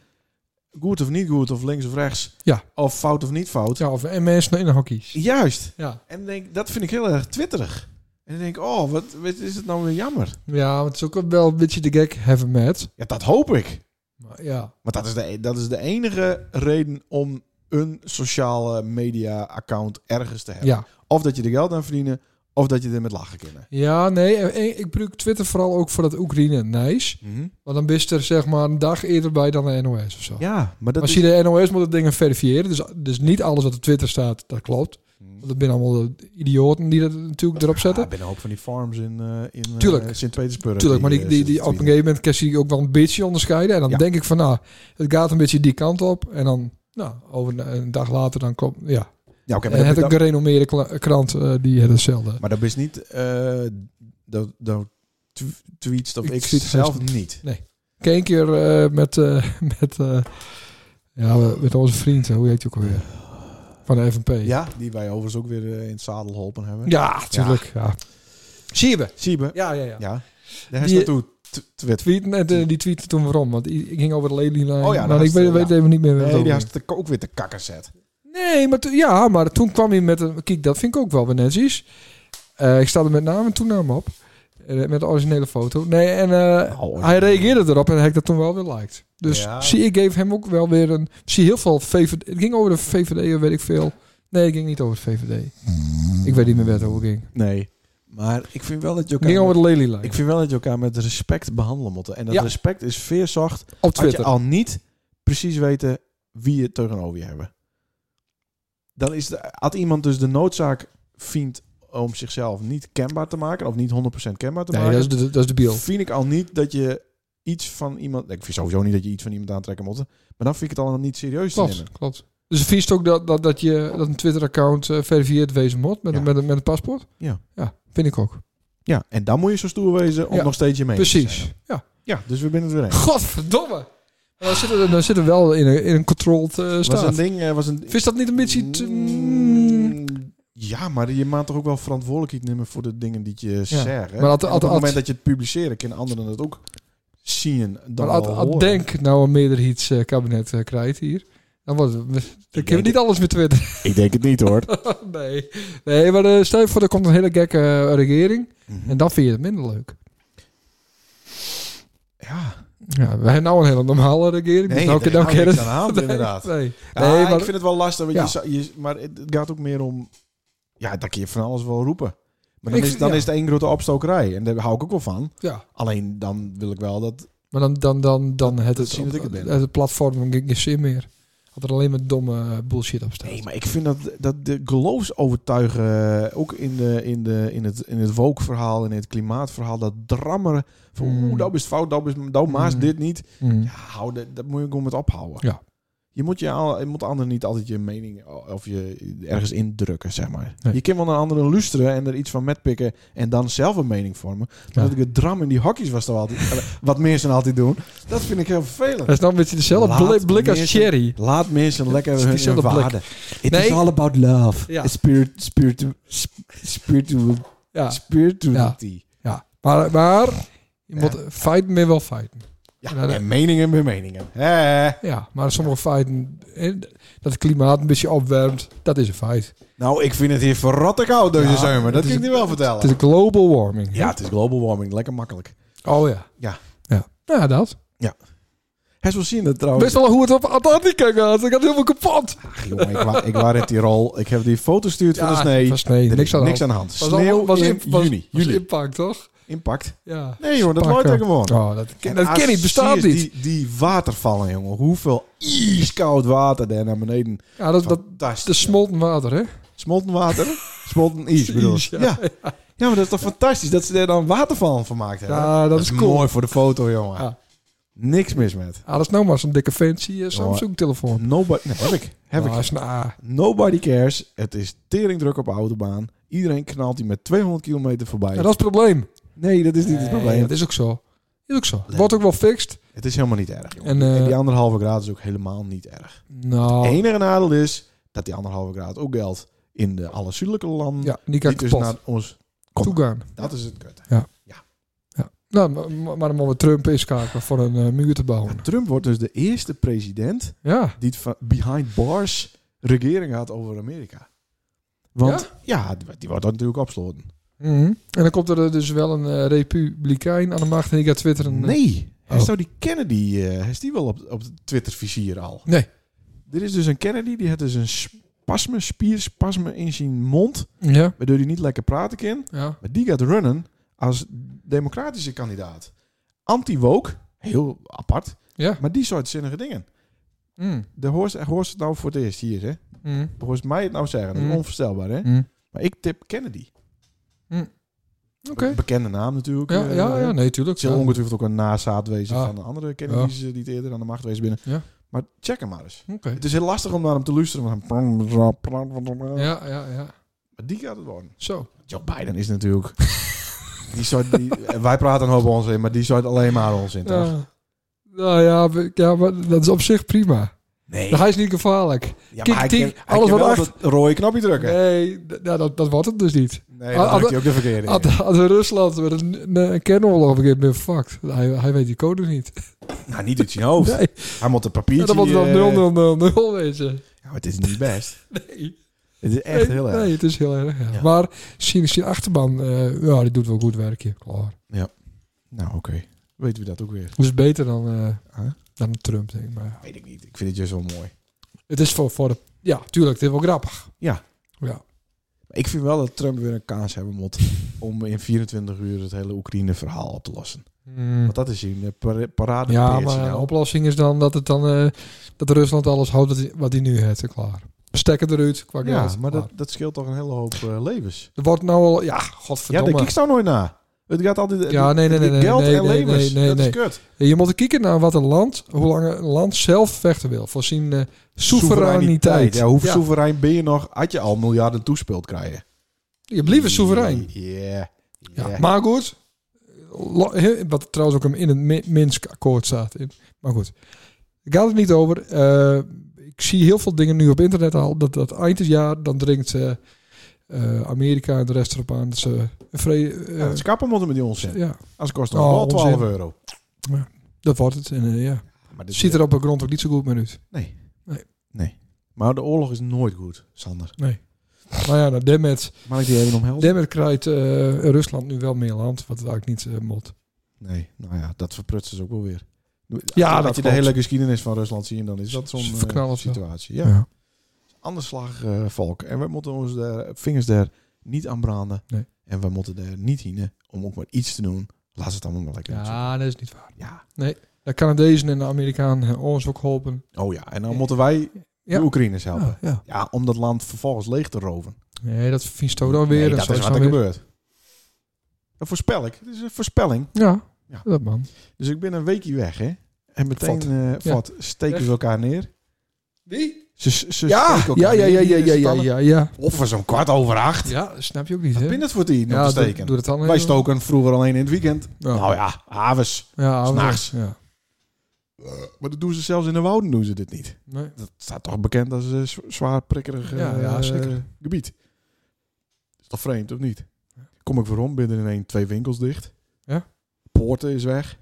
[SPEAKER 2] goed of niet goed, of links of rechts.
[SPEAKER 4] Ja.
[SPEAKER 2] Of fout of niet fout.
[SPEAKER 4] ja, of, en mensen nou in de hockey.
[SPEAKER 2] Juist.
[SPEAKER 4] Ja.
[SPEAKER 2] En dan denk, ik, dat vind ik heel erg twitterig. En dan denk ik, oh, wat, wat is het nou weer jammer?
[SPEAKER 4] ja, maar het is ook wel een beetje de gek have met.
[SPEAKER 2] Ja, dat hoop ik.
[SPEAKER 4] Maar ja,
[SPEAKER 2] Maar dat is de, e, dat is de enige reden om een sociale media account ergens te hebben.
[SPEAKER 4] ja.
[SPEAKER 2] Of dat je er geld aan verdienen, of dat je er met lachen kunnen.
[SPEAKER 4] Ja, nee. en- en ik gebruik Twitter vooral ook voor dat Oekraïne nice.
[SPEAKER 2] Mhm.
[SPEAKER 4] Want dan bist er zeg maar een dag eerder bij dan de NOS of zo.
[SPEAKER 2] Ja, maar dat
[SPEAKER 4] Als
[SPEAKER 2] is...
[SPEAKER 4] je de NOS moet het dingen verifiëren. Dus, dus niet alles wat op Twitter staat, dat klopt. Want dat zijn allemaal de idioten die dat natuurlijk erop zetten.
[SPEAKER 2] Hmm. Ah, binnen ook van die farms in, eh, in eh,
[SPEAKER 4] Tuurlijk.
[SPEAKER 2] Sint-Petersburg.
[SPEAKER 4] Tuurlijk, maar die,
[SPEAKER 2] eh,
[SPEAKER 4] die, die,
[SPEAKER 2] zitten
[SPEAKER 4] op een
[SPEAKER 2] te
[SPEAKER 4] gegeven moment kan je die ook wel een beetje onderscheiden. En dan
[SPEAKER 2] Ja.
[SPEAKER 4] denk ik van, nou, het gaat een beetje die kant op. En dan, nou, over een, een dag later dan komt, ja.
[SPEAKER 2] tweeten. Ja, oké,
[SPEAKER 4] en
[SPEAKER 2] maar,
[SPEAKER 4] het
[SPEAKER 2] dat-
[SPEAKER 4] een gerenommeerde kla- krant, eh, die het hetzelfde.
[SPEAKER 2] maar dat is niet... eh dat, dat tw- tweets of
[SPEAKER 4] Ik
[SPEAKER 2] ik,
[SPEAKER 4] tweet
[SPEAKER 2] zelf
[SPEAKER 4] zelfs
[SPEAKER 2] niet.
[SPEAKER 4] Ik heb een keer eh, met, eh, met, eh, ja, we- met onze vriend, eh, hoe heet je ook alweer? Van de FNP.
[SPEAKER 2] Ja, die wij overigens ook weer eh, in het zadel geholpen hebben.
[SPEAKER 4] ja tuurlijk. Ja. Zie je me?
[SPEAKER 2] Siebe. Ja.
[SPEAKER 4] Ja, ja, ja.
[SPEAKER 2] Daar is
[SPEAKER 4] Die-
[SPEAKER 2] naartoe tw- twitteren.
[SPEAKER 4] Tweeten, en eh, die tweette toen waarom, want i- ik ging over de lelylijn.
[SPEAKER 2] Oh ja,
[SPEAKER 4] maar
[SPEAKER 2] dat
[SPEAKER 4] ik
[SPEAKER 2] was,
[SPEAKER 4] weet,
[SPEAKER 2] eh,
[SPEAKER 4] weet
[SPEAKER 2] ja.
[SPEAKER 4] even niet meer. waar het
[SPEAKER 2] Nee,
[SPEAKER 4] over
[SPEAKER 2] die
[SPEAKER 4] ging.
[SPEAKER 2] had het ook weer te kakken zet.
[SPEAKER 4] Nee, maar, toen- ja, maar toen kwam hij met een... Kijk, dat vind ik ook wel weer netjes. Eh, ik sta er met naam en toenaam op. Eh, met de originele foto. Nee, en eh,
[SPEAKER 2] Nou,
[SPEAKER 4] hij reageerde erop en hij heeft dat toen wel weer liked. Dus
[SPEAKER 2] Ja.
[SPEAKER 4] zie, ik geef hem ook wel weer een... Zie, heel veel VVD... Het ging over de VVD, weet ik veel. Nee, het ging niet over het VVD. Ik weet niet meer waar het over ging.
[SPEAKER 2] Nee. Maar ik vind wel dat je
[SPEAKER 4] Het ging
[SPEAKER 2] elkaar...
[SPEAKER 4] over
[SPEAKER 2] met-
[SPEAKER 4] de lelylijn.
[SPEAKER 2] Ik vind wel dat je elkaar met respect behandelen moet. En dat
[SPEAKER 4] Ja.
[SPEAKER 2] respect is veerzacht
[SPEAKER 4] Op
[SPEAKER 2] als je
[SPEAKER 4] Twitter.
[SPEAKER 2] al niet precies weten wie je tegenover je hebben. Dan is de, had iemand dus de noodzaak vindt om zichzelf niet kenbaar te maken of niet 100% kenbaar te
[SPEAKER 4] Nee, dat
[SPEAKER 2] maken.
[SPEAKER 4] is, de, dat is de biel.
[SPEAKER 2] vind ik al niet dat je iets van iemand. Ik vind sowieso niet dat je iets van iemand aantrekken moet. Maar dan vind ik het al niet serieus te nemen.
[SPEAKER 4] Klopt, klopt. Dus het vies ook dat, dat, dat je dat een Twitter-account eh, verifieerd wezen moet met,
[SPEAKER 2] Ja.
[SPEAKER 4] een, met, een, met een paspoort.
[SPEAKER 2] Ja.
[SPEAKER 4] Ja, vind ik ook.
[SPEAKER 2] Ja, en dan moet je zo stoer wezen om
[SPEAKER 4] Ja,
[SPEAKER 2] nog steeds je mee te
[SPEAKER 4] Precies.
[SPEAKER 2] zijn.
[SPEAKER 4] Ja.
[SPEAKER 2] Ja, dus we binnen het weer eens.
[SPEAKER 4] Godverdomme. Maar dan zitten we, dan zitten we wel in een, in een controlled eh,
[SPEAKER 2] Was een
[SPEAKER 4] staat.
[SPEAKER 2] ding, eh, was een.
[SPEAKER 4] Is dat niet een beetje... te- mm,
[SPEAKER 2] Ja, maar je maakt toch ook wel verantwoordelijkheid nemen voor de dingen die je zegt.
[SPEAKER 4] Maar
[SPEAKER 2] Maar
[SPEAKER 4] had-
[SPEAKER 2] op
[SPEAKER 4] had-
[SPEAKER 2] het moment
[SPEAKER 4] had-
[SPEAKER 2] dat je het publiceren, kunnen anderen het ook zien. Dan
[SPEAKER 4] maar als-
[SPEAKER 2] wel
[SPEAKER 4] als
[SPEAKER 2] horen.
[SPEAKER 4] Denk nou een meerderheidskabinet eh, krijgt hier. Dan, wordt, het- dan kunnen we niet alles met Twitter.
[SPEAKER 2] Ik denk het niet hoor.
[SPEAKER 4] nee. nee, maar eh, stel je voor, er komt een hele gekke eh, regering.
[SPEAKER 2] Mhm.
[SPEAKER 4] En dan vind je het minder leuk.
[SPEAKER 2] ja,
[SPEAKER 4] Ja, we hebben nou een hele normale regering.
[SPEAKER 2] nee,
[SPEAKER 4] dus nou,
[SPEAKER 2] daar
[SPEAKER 4] nou
[SPEAKER 2] hou je
[SPEAKER 4] kennen-
[SPEAKER 2] niks aan de hand,
[SPEAKER 4] Nee,
[SPEAKER 2] inderdaad.
[SPEAKER 4] Nee,
[SPEAKER 2] Ja,
[SPEAKER 4] nee
[SPEAKER 2] Ah, ik
[SPEAKER 4] maar,
[SPEAKER 2] vind het wel lastig. Want
[SPEAKER 4] Ja.
[SPEAKER 2] je, zou- je, maar het het gaat ook meer om... Ja, dat kun je van alles wel roepen. Maar dan,
[SPEAKER 4] Ik-
[SPEAKER 2] is, dan
[SPEAKER 4] ja.
[SPEAKER 2] is het één grote opstokerij. En daar hou ik ook wel van.
[SPEAKER 4] ja.
[SPEAKER 2] Alleen dan wil ik wel dat...
[SPEAKER 4] maar dan, dan, dan, dan het,
[SPEAKER 2] Dat
[SPEAKER 4] het,
[SPEAKER 2] zie je dat ik het ben.
[SPEAKER 4] het, het platform geen zin meer. Had er alleen maar domme eh, bullshit op staat.
[SPEAKER 2] Nee, maar ik vind dat, dat de geloofsovertuigen... eh, Ook in, de, in, de, in het, in het woke-verhaal, in het klimaatverhaal... Dat drammeren van...
[SPEAKER 4] Mm.
[SPEAKER 2] Oeh, dat is fout, dat is... Dat maast
[SPEAKER 4] Mm.
[SPEAKER 2] dit niet.
[SPEAKER 4] Mm.
[SPEAKER 2] Ja, hou, dat, dat moet je gewoon met ophouden.
[SPEAKER 4] Ja.
[SPEAKER 2] Je moet, je, al- je moet anderen niet altijd je mening of je ergens indrukken, zeg maar.
[SPEAKER 4] Nee.
[SPEAKER 2] Je kan wel naar anderen luisteren en er iets van metpikken en dan zelf een mening vormen.
[SPEAKER 4] Ja.
[SPEAKER 2] Maar dat ik het dram in die hokjes was toch altijd, eh, wat mensen altijd doen, dat vind ik heel vervelend.
[SPEAKER 4] Dat is nou een beetje dezelfde
[SPEAKER 2] Laat
[SPEAKER 4] blik, blik als
[SPEAKER 2] mensen-
[SPEAKER 4] Cherry.
[SPEAKER 2] Laat mensen lekker
[SPEAKER 4] Het is
[SPEAKER 2] hun, hun
[SPEAKER 4] diezelfde
[SPEAKER 2] waarden. It
[SPEAKER 4] Nee.
[SPEAKER 2] is all about love.
[SPEAKER 4] Ja.
[SPEAKER 2] Spirit, spirit, sp- spiritual,
[SPEAKER 4] Ja,
[SPEAKER 2] spirituality.
[SPEAKER 4] ja. Maar, maar je
[SPEAKER 2] Ja.
[SPEAKER 4] moet fighten meer wel fighten.
[SPEAKER 2] Ja.
[SPEAKER 4] Ja, dat-
[SPEAKER 2] en meningen bij meningen. Hè?
[SPEAKER 4] Ja, maar sommige feiten, eh, dat het klimaat een beetje opwarmt, dat is een feit.
[SPEAKER 2] Nou, ik vind het hier verrotte koud deze
[SPEAKER 4] Ja,
[SPEAKER 2] zomer.
[SPEAKER 4] het
[SPEAKER 2] Dat
[SPEAKER 4] is-
[SPEAKER 2] kan ik niet wel
[SPEAKER 4] Het is
[SPEAKER 2] vertellen.
[SPEAKER 4] een global warming.
[SPEAKER 2] Ja, het is global warming. Lekker makkelijk.
[SPEAKER 4] Oh ja.
[SPEAKER 2] Ja.
[SPEAKER 4] Ja, nou, ja, dat.
[SPEAKER 2] Hij zal zien dat trouwens.
[SPEAKER 4] Best wel hoe het op Atlantica gaat. Ik had helemaal kapot.
[SPEAKER 2] Ach, jongen, ik, wa- ik was in Tirol. Ik heb die foto gestuurd van de
[SPEAKER 4] Ja,
[SPEAKER 2] snee.
[SPEAKER 4] van snee.
[SPEAKER 2] Er is
[SPEAKER 4] Niks aan de
[SPEAKER 2] niks
[SPEAKER 4] hand.
[SPEAKER 2] aan de hand.
[SPEAKER 4] allemaal-
[SPEAKER 2] Sneeuw in
[SPEAKER 4] was- was
[SPEAKER 2] juni. juli.
[SPEAKER 4] impact, toch?
[SPEAKER 2] Impact.
[SPEAKER 4] Ja.
[SPEAKER 2] Nee, jongen, dat
[SPEAKER 4] Pakken.
[SPEAKER 2] nooit gewoon.
[SPEAKER 4] Oh, dat
[SPEAKER 2] En
[SPEAKER 4] dat
[SPEAKER 2] als
[SPEAKER 4] ken niet, bestaat
[SPEAKER 2] zie je
[SPEAKER 4] niet.
[SPEAKER 2] Die, die watervallen, jongen. Hoeveel ijskoud water daar naar beneden.
[SPEAKER 4] Ja, dat, dat,
[SPEAKER 2] Fantastisch.
[SPEAKER 4] dat smolten water, hè?
[SPEAKER 2] Smolten water? Smolten ijs, bedoel ik.
[SPEAKER 4] Ijs, ja.
[SPEAKER 2] Ja. Ja. maar dat is toch fantastisch dat ze daar dan watervallen van maakt hebben.
[SPEAKER 4] Ja, dat, is cool.
[SPEAKER 2] mooi voor de foto, jongen.
[SPEAKER 4] Ja.
[SPEAKER 2] Niks mis met.
[SPEAKER 4] Ah, dat is nou maar zo'n dikke fancy eh, Samsung-telefoon.
[SPEAKER 2] Nobody, nee, heb ik. Heb
[SPEAKER 4] Ah,
[SPEAKER 2] ik.
[SPEAKER 4] is een A.
[SPEAKER 2] Nobody cares. Het is teringdruk op de autobaan. Iedereen knalt die met 200 kilometer voorbij.
[SPEAKER 4] Ja, dat is het probleem.
[SPEAKER 2] Nee, dat is niet het probleem.
[SPEAKER 4] dat is ook zo. Is ook zo. Het wordt ook wel fixed.
[SPEAKER 2] Het is helemaal niet erg. jongen.
[SPEAKER 4] En, eh,
[SPEAKER 2] en die anderhalve graad is ook helemaal niet erg.
[SPEAKER 4] Nou,
[SPEAKER 2] Het enige nadeel is dat die anderhalve graad ook geldt in de alle zuidelijke landen.
[SPEAKER 4] ja, die kan
[SPEAKER 2] die dus
[SPEAKER 4] kapot
[SPEAKER 2] naar ons. Kom.
[SPEAKER 4] toegaan.
[SPEAKER 2] Dat is het kut.
[SPEAKER 4] Nou, maar, maar dan moeten we Trump inschakelen voor een eh, muur te
[SPEAKER 2] Ja,
[SPEAKER 4] bouwen.
[SPEAKER 2] Trump wordt dus de eerste president
[SPEAKER 4] Ja,
[SPEAKER 2] die het van behind bars regering had over Amerika. Want ja, die- die wordt dan natuurlijk opsloten.
[SPEAKER 4] Mhm. En dan komt er eh, dus wel een eh, republikein aan de macht en die gaat twitteren. eh,
[SPEAKER 2] Nee, hij
[SPEAKER 4] Oh.
[SPEAKER 2] zou die Kennedy, eh, hij is die wel op, op het Twitter-vizier al.
[SPEAKER 4] Nee.
[SPEAKER 2] Dit is dus een Kennedy, die had dus een spasme, spierspasme in zijn mond,
[SPEAKER 4] Ja,
[SPEAKER 2] waardoor hij niet lekker praten kan.
[SPEAKER 4] ja.
[SPEAKER 2] Maar die gaat runnen als democratische kandidaat. Anti-woke, heel apart,
[SPEAKER 4] Ja.
[SPEAKER 2] maar die soort zinnige dingen.
[SPEAKER 4] Mm.
[SPEAKER 2] De hoort, hoort het nou voor het eerst hier, hè?
[SPEAKER 4] Mm.
[SPEAKER 2] Hoort mij het nou zeggen, dat is
[SPEAKER 4] Mm.
[SPEAKER 2] onvoorstelbaar, hè?
[SPEAKER 4] Mm.
[SPEAKER 2] Maar ik tip Kennedy.
[SPEAKER 4] Oké.
[SPEAKER 2] Be- Bekende naam natuurlijk.
[SPEAKER 4] Ja,
[SPEAKER 2] eh,
[SPEAKER 4] ja,
[SPEAKER 2] hè?
[SPEAKER 4] ja, nee, tuurlijk.
[SPEAKER 2] Het zal
[SPEAKER 4] Ja.
[SPEAKER 2] ongetwijfeld ook een nazaat wezen
[SPEAKER 4] Ja.
[SPEAKER 2] van de andere Kennedy's eh, die het eerder aan de macht wezen binnen.
[SPEAKER 4] Ja.
[SPEAKER 2] Maar check hem maar eens.
[SPEAKER 4] Oké.
[SPEAKER 2] Het is heel lastig om naar hem te luisteren. want hij-
[SPEAKER 4] Ja, ja, ja.
[SPEAKER 2] Maar die gaat het worden.
[SPEAKER 4] Zo.
[SPEAKER 2] Joe Biden is natuurlijk... die soort, die, wij praten een hoop onzin, maar die soort alleen maar onzin, toch?
[SPEAKER 4] Ja. Nou ja, we- ja, maar dat is op zich prima.
[SPEAKER 2] Nee.
[SPEAKER 4] Hij is niet gevaarlijk.
[SPEAKER 2] Ja,
[SPEAKER 4] Kik,
[SPEAKER 2] maar hij
[SPEAKER 4] tik,
[SPEAKER 2] kan, hij
[SPEAKER 4] alles
[SPEAKER 2] kan
[SPEAKER 4] wat
[SPEAKER 2] wel
[SPEAKER 4] achter-
[SPEAKER 2] dat rode knopje drukken. Nee,
[SPEAKER 4] Nee, d- ja, dat, dat wordt het dus niet.
[SPEAKER 2] dat
[SPEAKER 4] Ah,
[SPEAKER 2] drukt hij ook de verkeerde. in.
[SPEAKER 4] Had, had Rusland met een, een kernoorlog op een gegeven moment fucked. Hij, hij weet die code niet.
[SPEAKER 2] Nou, niet uit zijn hoofd.
[SPEAKER 4] Nee,
[SPEAKER 2] Hij moet een papiertje...
[SPEAKER 4] ja, dan wordt
[SPEAKER 2] eh,
[SPEAKER 4] het wel 0000 wezen.
[SPEAKER 2] Ja, maar het is niet best.
[SPEAKER 4] Nee.
[SPEAKER 2] Het is echt
[SPEAKER 4] nee,
[SPEAKER 2] heel erg.
[SPEAKER 4] Nee, het is heel erg. Ja.
[SPEAKER 2] Ja.
[SPEAKER 4] Maar zien is die achterban, eh, ja, die doet wel goed werkje. Klaar.
[SPEAKER 2] Nou, oké. Weten we dat ook weer?
[SPEAKER 4] Dus beter dan, eh,
[SPEAKER 2] Huh?
[SPEAKER 4] dan Trump, denk ik. Maar, ja.
[SPEAKER 2] Weet ik niet. Ik vind het juist wel mooi.
[SPEAKER 4] het is voor, voor de. Ja, tuurlijk, het is wel grappig.
[SPEAKER 2] Ja.
[SPEAKER 4] Ja.
[SPEAKER 2] Maar ik vind wel dat Trump weer een kans hebben moet... om in 24 uur het hele Oekraïne-verhaal op te lossen.
[SPEAKER 4] Mm.
[SPEAKER 2] Want dat is hier een nou. para- parade.
[SPEAKER 4] Ja, maar de oplossing is dan dat het dan eh, dat Rusland alles houdt wat hij- wat hij nu heeft. Klaar. Stekker eruit qua
[SPEAKER 2] ja,
[SPEAKER 4] geld.
[SPEAKER 2] maar
[SPEAKER 4] klaar.
[SPEAKER 2] dat, dat scheelt toch een hele hoop eh, levens.
[SPEAKER 4] er wordt nou al ja,
[SPEAKER 2] Ja,
[SPEAKER 4] godverdomme.
[SPEAKER 2] daar kijk ik nou nooit naar. Het gaat altijd...
[SPEAKER 4] Ja, nee, nee, nee, nee,
[SPEAKER 2] Geld
[SPEAKER 4] nee,
[SPEAKER 2] en
[SPEAKER 4] nee,
[SPEAKER 2] levens.
[SPEAKER 4] nee, nee,
[SPEAKER 2] dat
[SPEAKER 4] nee.
[SPEAKER 2] is kut.
[SPEAKER 4] Ja, Je moet kijken naar wat een land, hoe lang een land zelf vechten wil. Voor zijn eh, soevereiniteit.
[SPEAKER 2] Ja, hoe soeverein ben je nog? Had je al miljarden toespeeld krijgen?
[SPEAKER 4] Je blijft soeverein.
[SPEAKER 2] Ja.
[SPEAKER 4] Ja.
[SPEAKER 2] Ja.
[SPEAKER 4] Maar goed, lo- he- wat trouwens ook in het Mi- Minsk-akkoord staat. in. Maar goed, daar gaat het niet over. Eh, ik zie heel veel dingen nu op internet al. Dat, dat eind het jaar, dan dringt eh, eh, Amerika en de rest erop aan. Dat ze een vrede... eh,
[SPEAKER 2] Ja, het is kappen Nou, moeten met die onzin.
[SPEAKER 4] ja,
[SPEAKER 2] Als kost het
[SPEAKER 4] Oh,
[SPEAKER 2] wel 12
[SPEAKER 4] onzin.
[SPEAKER 2] euro.
[SPEAKER 4] dat wordt het. En, eh, ja.
[SPEAKER 2] Maar dit
[SPEAKER 4] Ziet er op de grond ook niet zo goed meer uit.
[SPEAKER 2] Nee.
[SPEAKER 4] Nee.
[SPEAKER 2] Nee. Maar de oorlog is nooit goed, Sander.
[SPEAKER 4] Maar ja, nou, demet...
[SPEAKER 2] Mag ik die even omhelzen?
[SPEAKER 4] Demmer krijgt eh, Rusland nu wel meer land, wat het eigenlijk niet eh moet.
[SPEAKER 2] Nee. Nou ja, dat verprutsen ze ook wel weer.
[SPEAKER 4] Ja,
[SPEAKER 2] Als je
[SPEAKER 4] dat
[SPEAKER 2] de
[SPEAKER 4] klopt.
[SPEAKER 2] hele geschiedenis van Rusland zien, dan is dat zo'n
[SPEAKER 4] Ze
[SPEAKER 2] eh,
[SPEAKER 4] verknallen het wel.
[SPEAKER 2] situatie. Ja. Anderslag eh, volk. En we moeten onze daar- vingers daar niet aan branden.
[SPEAKER 4] Nee.
[SPEAKER 2] En we moeten daar niet hienen om ook maar iets te doen. Laat ze het allemaal maar lekker doen.
[SPEAKER 4] ja, dat is niet waar.
[SPEAKER 2] ja.
[SPEAKER 4] De Canadezen en de Amerikanen hebben ons ook geholpen.
[SPEAKER 2] Oh ja, en dan moeten wij
[SPEAKER 4] Ja.
[SPEAKER 2] de Oekraïners helpen.
[SPEAKER 4] Ja,
[SPEAKER 2] Ja.
[SPEAKER 4] ja.
[SPEAKER 2] om dat land vervolgens leeg te roven.
[SPEAKER 4] Nee, dat vindt ook dan weer.
[SPEAKER 2] Nee,
[SPEAKER 4] en
[SPEAKER 2] dat
[SPEAKER 4] zo
[SPEAKER 2] is
[SPEAKER 4] is
[SPEAKER 2] wat er
[SPEAKER 4] dan weer-
[SPEAKER 2] gebeurt. Dat voorspel ik. Het is een voorspelling.
[SPEAKER 4] Ja,
[SPEAKER 2] Ja.
[SPEAKER 4] dat man.
[SPEAKER 2] Dus ik ben een weekje weg, hè. En meteen
[SPEAKER 4] Vat.
[SPEAKER 2] eh,
[SPEAKER 4] Ja.
[SPEAKER 2] vat, steken
[SPEAKER 4] Echt?
[SPEAKER 2] ze elkaar neer.
[SPEAKER 4] Wie?
[SPEAKER 2] Ze, ze
[SPEAKER 4] Ja,
[SPEAKER 2] steken elkaar
[SPEAKER 4] ja, ja, ja,
[SPEAKER 2] neer,
[SPEAKER 4] ja,
[SPEAKER 2] hier in
[SPEAKER 4] ja, ja,
[SPEAKER 2] stallen.
[SPEAKER 4] ja, ja.
[SPEAKER 2] Of we zo'n kwart over acht.
[SPEAKER 4] Ja, dat snap je ook niet, hè?
[SPEAKER 2] Wat ben het voor die
[SPEAKER 4] ja,
[SPEAKER 2] nog te
[SPEAKER 4] doe-
[SPEAKER 2] steken?
[SPEAKER 4] Doe dat dan
[SPEAKER 2] Wij
[SPEAKER 4] even.
[SPEAKER 2] stoken vroeger alleen in het weekend.
[SPEAKER 4] Ja.
[SPEAKER 2] Nou ja, havens.
[SPEAKER 4] Ja, ouwe.
[SPEAKER 2] s'nachts.
[SPEAKER 4] Ja.
[SPEAKER 2] Maar dat doen ze zelfs in de wouden doen ze dit niet.
[SPEAKER 4] Nee.
[SPEAKER 2] Dat staat toch bekend als een z- zwaar prikkerig eh,
[SPEAKER 4] Ja, ja, zeker.
[SPEAKER 2] gebied. Is toch vreemd, of niet? Kom ik waarom? Binnen in één twee winkels dicht.
[SPEAKER 4] Ja.
[SPEAKER 2] Poorten is weg.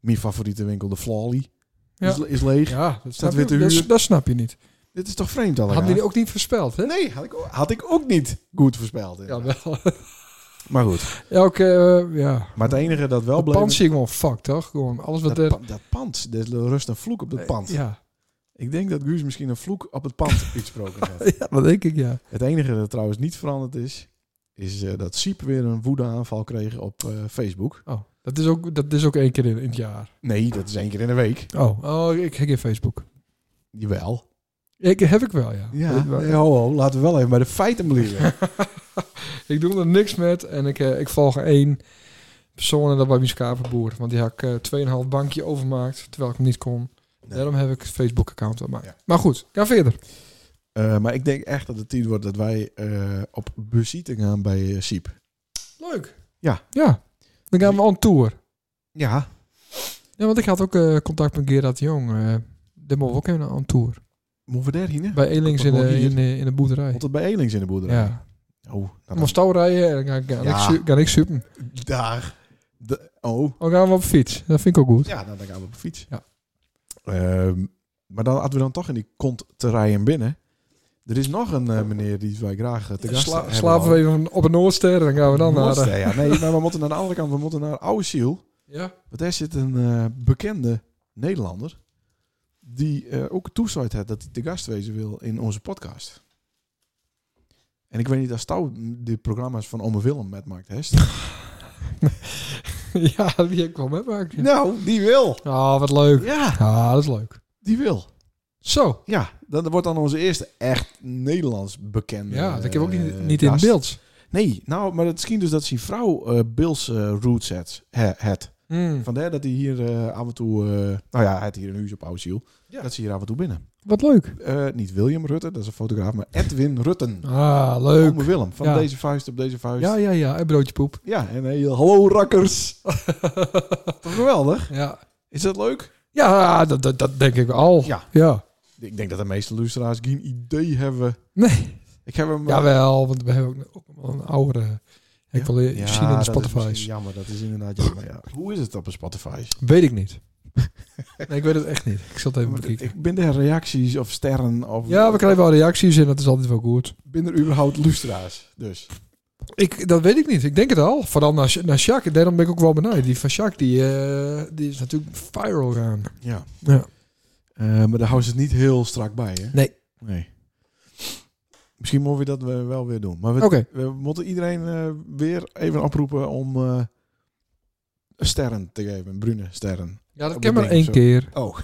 [SPEAKER 2] Mijn favoriete winkel, de Flally,
[SPEAKER 4] Ja.
[SPEAKER 2] is, is leeg.
[SPEAKER 4] Ja,
[SPEAKER 2] Staat
[SPEAKER 4] dat snap, je,
[SPEAKER 2] witte
[SPEAKER 4] dat,
[SPEAKER 2] huur.
[SPEAKER 4] dat snap je niet.
[SPEAKER 2] Dit is toch vreemd allemaal?
[SPEAKER 4] Hadden die ook niet voorspeld, hè?
[SPEAKER 2] Nee, had ik, ook- had ik ook niet goed voorspeld.
[SPEAKER 4] Ja,
[SPEAKER 2] inderdaad.
[SPEAKER 4] wel.
[SPEAKER 2] Maar goed.
[SPEAKER 4] Elke, eh, ja.
[SPEAKER 2] Maar het enige dat wel
[SPEAKER 4] Dat
[SPEAKER 2] bleef...
[SPEAKER 4] pand zie ik gewoon fuck, toch? Gewoon alles wat
[SPEAKER 2] dat,
[SPEAKER 4] er... Eh,
[SPEAKER 2] pa- dat pand. Er rust een vloek op dat pand.
[SPEAKER 4] Ja.
[SPEAKER 2] Ik denk dat Guus misschien een vloek op het pand uitgesproken heeft.
[SPEAKER 4] ja, dat denk ik, ja.
[SPEAKER 2] Het enige dat trouwens niet veranderd is, is eh, dat Siep weer een woedeaanval kreeg op eh, Facebook.
[SPEAKER 4] Oh, dat is ook, dat is ook één keer in, in het jaar.
[SPEAKER 2] Nee, dat is één keer in de week.
[SPEAKER 4] Oh, oh ik heb geen Facebook.
[SPEAKER 2] Jawel.
[SPEAKER 4] Ik, heb ik wel, ja.
[SPEAKER 2] Ja,
[SPEAKER 4] Ik, wel-
[SPEAKER 2] nee, ho, ho, laten we wel even bij de feiten blijven.
[SPEAKER 4] ik doe er niks met en ik, eh, ik volg één persoon en dat was mijn schapenboer. Want die had ik eh 2,5 bankje overmaakt, terwijl ik hem niet kon.
[SPEAKER 2] Nee.
[SPEAKER 4] Daarom heb ik het Facebook-account op mij.
[SPEAKER 2] Ja.
[SPEAKER 4] Maar goed, ga verder.
[SPEAKER 2] Eh, maar ik denk echt dat het tijd wordt dat wij eh, op bezieting gaan bij eh, Siep.
[SPEAKER 4] Leuk.
[SPEAKER 2] Ja.
[SPEAKER 4] Ja. Dan gaan we on tour.
[SPEAKER 2] Ja.
[SPEAKER 4] Ja, want ik had ook eh, contact met Gerard de Jong. eh daar mogen we ook even on tour.
[SPEAKER 2] Moeten we daar heen? hè?
[SPEAKER 4] Bij Elings in,
[SPEAKER 2] Gewoon
[SPEAKER 4] de-
[SPEAKER 2] hier.
[SPEAKER 4] in, de- in de boerderij.
[SPEAKER 2] Want het bij Elings in de boerderij.
[SPEAKER 4] Ja.
[SPEAKER 2] Oh, nou,
[SPEAKER 4] Moest touw rijden en dan ga, ga,
[SPEAKER 2] Ja.
[SPEAKER 4] ik, su- ga ik suppen.
[SPEAKER 2] daar. De, oh.
[SPEAKER 4] Dan gaan we op fiets. Dat vind ik ook goed.
[SPEAKER 2] Ja, nou, dan gaan we op de fiets.
[SPEAKER 4] Ja.
[SPEAKER 2] Ehm, maar dan hadden we dan toch in die kont te rijden binnen. Er is nog een eh, meneer die wij graag eh, te gast
[SPEAKER 4] Sla-
[SPEAKER 2] hebben.
[SPEAKER 4] slapen we even op een Noordster dan gaan we dan naar...
[SPEAKER 2] Moest,
[SPEAKER 4] eh,
[SPEAKER 2] hè, ja. Nee, maar we moeten naar de andere kant. We moeten naar Oude Ziel.
[SPEAKER 4] ja.
[SPEAKER 2] Want daar zit een eh, bekende Nederlander. Die eh, ook toezicht heeft dat hij te gast wezen wil in onze podcast. En ik weet niet als Touw de programma's van Ome Willem met Mark Hest.
[SPEAKER 4] ja, die heb ik wel meemaakt. Ja.
[SPEAKER 2] nou, die wil.
[SPEAKER 4] Ah, wat leuk.
[SPEAKER 2] Ja,
[SPEAKER 4] Ja, dat is leuk.
[SPEAKER 2] die wil.
[SPEAKER 4] Zo.
[SPEAKER 2] Ja, dat wordt dan onze eerste echt Nederlands bekende.
[SPEAKER 4] Ja, dat heb ik ook niet,
[SPEAKER 2] eh,
[SPEAKER 4] niet in
[SPEAKER 2] gast.
[SPEAKER 4] beeld.
[SPEAKER 2] Nee, nou, maar het schijnt dus dat zijn vrouw eh Bills eh, roots het. he- het.
[SPEAKER 4] Hmm.
[SPEAKER 2] Vandaar dat hij hier eh, af en toe... eh, nou ja, hij had hier een huis op Oudsiel.
[SPEAKER 4] Ja.
[SPEAKER 2] Dat ze hier af en toe binnen.
[SPEAKER 4] Wat leuk.
[SPEAKER 2] Eh, niet William Rutte, dat is een fotograaf, maar Edwin Rutten.
[SPEAKER 4] Ah,
[SPEAKER 2] Ome
[SPEAKER 4] leuk.
[SPEAKER 2] Willem, van
[SPEAKER 4] Ja.
[SPEAKER 2] deze vuist op deze vuist.
[SPEAKER 4] Ja,
[SPEAKER 2] Ja,
[SPEAKER 4] ja, ja. En broodje poep.
[SPEAKER 2] en heel hallo rakkers. Toch geweldig?
[SPEAKER 4] Ja,
[SPEAKER 2] Is dat leuk?
[SPEAKER 4] ja dat, dat, dat denk ik al.
[SPEAKER 2] Ja.
[SPEAKER 4] ja.
[SPEAKER 2] Ik denk dat de meeste luisteraars geen idee hebben.
[SPEAKER 4] Nee.
[SPEAKER 2] Ik heb hem... eh,
[SPEAKER 4] Jawel, want we hebben ook nog- ook wel een oudere. Ik wil je zien in de
[SPEAKER 2] dat is misschien
[SPEAKER 4] Spotify's.
[SPEAKER 2] jammer, dat is inderdaad jammer. Ja. Hoe is het op een Spotify?
[SPEAKER 4] Weet ik niet. nee, ik weet het echt niet. Ik zal het even bekijken.
[SPEAKER 2] Ik ben er reacties of sterren of...
[SPEAKER 4] Ja, we krijgen wel reacties en dat is altijd wel goed.
[SPEAKER 2] Ben er überhaupt lustra's? Dus.
[SPEAKER 4] Ik, dat weet ik niet. Ik denk het al. Vooral naar, Sja- naar Sjaak. Daarom ben ik ook wel benieuwd. Die van Sjaak, die, eh, die is natuurlijk viral gaan.
[SPEAKER 2] Ja.
[SPEAKER 4] Ja.
[SPEAKER 2] Eh, maar daar houden ze het niet heel strak bij, hè?
[SPEAKER 4] Nee.
[SPEAKER 2] Nee. Misschien moeten we dat we- wel weer doen. Maar we,
[SPEAKER 4] Oké.
[SPEAKER 2] we moeten iedereen eh, weer even oproepen om eh, sterren te geven. Brune sterren.
[SPEAKER 4] Ja, dat
[SPEAKER 2] Op
[SPEAKER 4] kan
[SPEAKER 2] dat
[SPEAKER 4] maar
[SPEAKER 2] ding
[SPEAKER 4] één
[SPEAKER 2] of
[SPEAKER 4] keer.
[SPEAKER 2] Oh.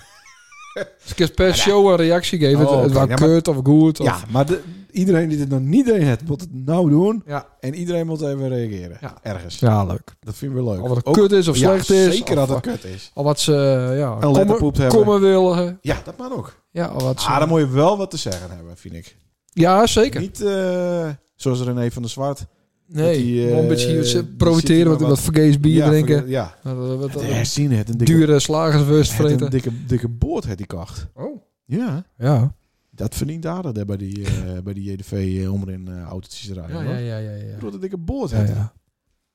[SPEAKER 4] Dus ik heb per show een reactie geven.
[SPEAKER 2] Oh,
[SPEAKER 4] het het
[SPEAKER 2] oké.
[SPEAKER 4] was
[SPEAKER 2] Ja, maar-
[SPEAKER 4] kut of goed. Of...
[SPEAKER 2] Ja, maar de- iedereen die dit nog niet deed, heeft, moet het nou doen.
[SPEAKER 4] Ja.
[SPEAKER 2] En iedereen moet even reageren.
[SPEAKER 4] Ja.
[SPEAKER 2] Ergens.
[SPEAKER 4] Ja, leuk.
[SPEAKER 2] Dat vinden we leuk.
[SPEAKER 4] Of het
[SPEAKER 2] Ook-
[SPEAKER 4] kut is of
[SPEAKER 2] Ja,
[SPEAKER 4] slecht is.
[SPEAKER 2] Zeker
[SPEAKER 4] of, eh,
[SPEAKER 2] dat het kut is.
[SPEAKER 4] Of wat ze eh, ja,
[SPEAKER 2] Een
[SPEAKER 4] komen,
[SPEAKER 2] letterpoep hebben.
[SPEAKER 4] komen willen.
[SPEAKER 2] Ja, dat mag ook.
[SPEAKER 4] Ja, of wat ze-
[SPEAKER 2] Ah, dan moet je wel wat te zeggen hebben, vind ik.
[SPEAKER 4] ja zeker.
[SPEAKER 2] Niet eh, zoals René van der Zwart.
[SPEAKER 4] nee,
[SPEAKER 2] dat die, eh,
[SPEAKER 4] gewoon een beetje
[SPEAKER 2] die
[SPEAKER 4] ze
[SPEAKER 2] zitten
[SPEAKER 4] profiteren
[SPEAKER 2] maar
[SPEAKER 4] wat, wat
[SPEAKER 2] wat-
[SPEAKER 4] vergees bier
[SPEAKER 2] ja,
[SPEAKER 4] drinken.
[SPEAKER 2] van- Ja.
[SPEAKER 4] Wat- wat- wat-
[SPEAKER 2] Het herzien het een dikke,
[SPEAKER 4] dure slagerswurst
[SPEAKER 2] het een
[SPEAKER 4] vreten.
[SPEAKER 2] dikke, dikke boord had die kacht.
[SPEAKER 4] Oh.
[SPEAKER 2] Ja.
[SPEAKER 4] Ja.
[SPEAKER 2] Dat verdient aardig daar bij die, eh, bij die JDV eh, om in eh autootjes te rijden.
[SPEAKER 4] Ja,
[SPEAKER 2] hoor.
[SPEAKER 4] ja, ja, ja. ja.
[SPEAKER 2] Ik bedoel, dat dikke boord
[SPEAKER 4] Ja,
[SPEAKER 2] had
[SPEAKER 4] ja.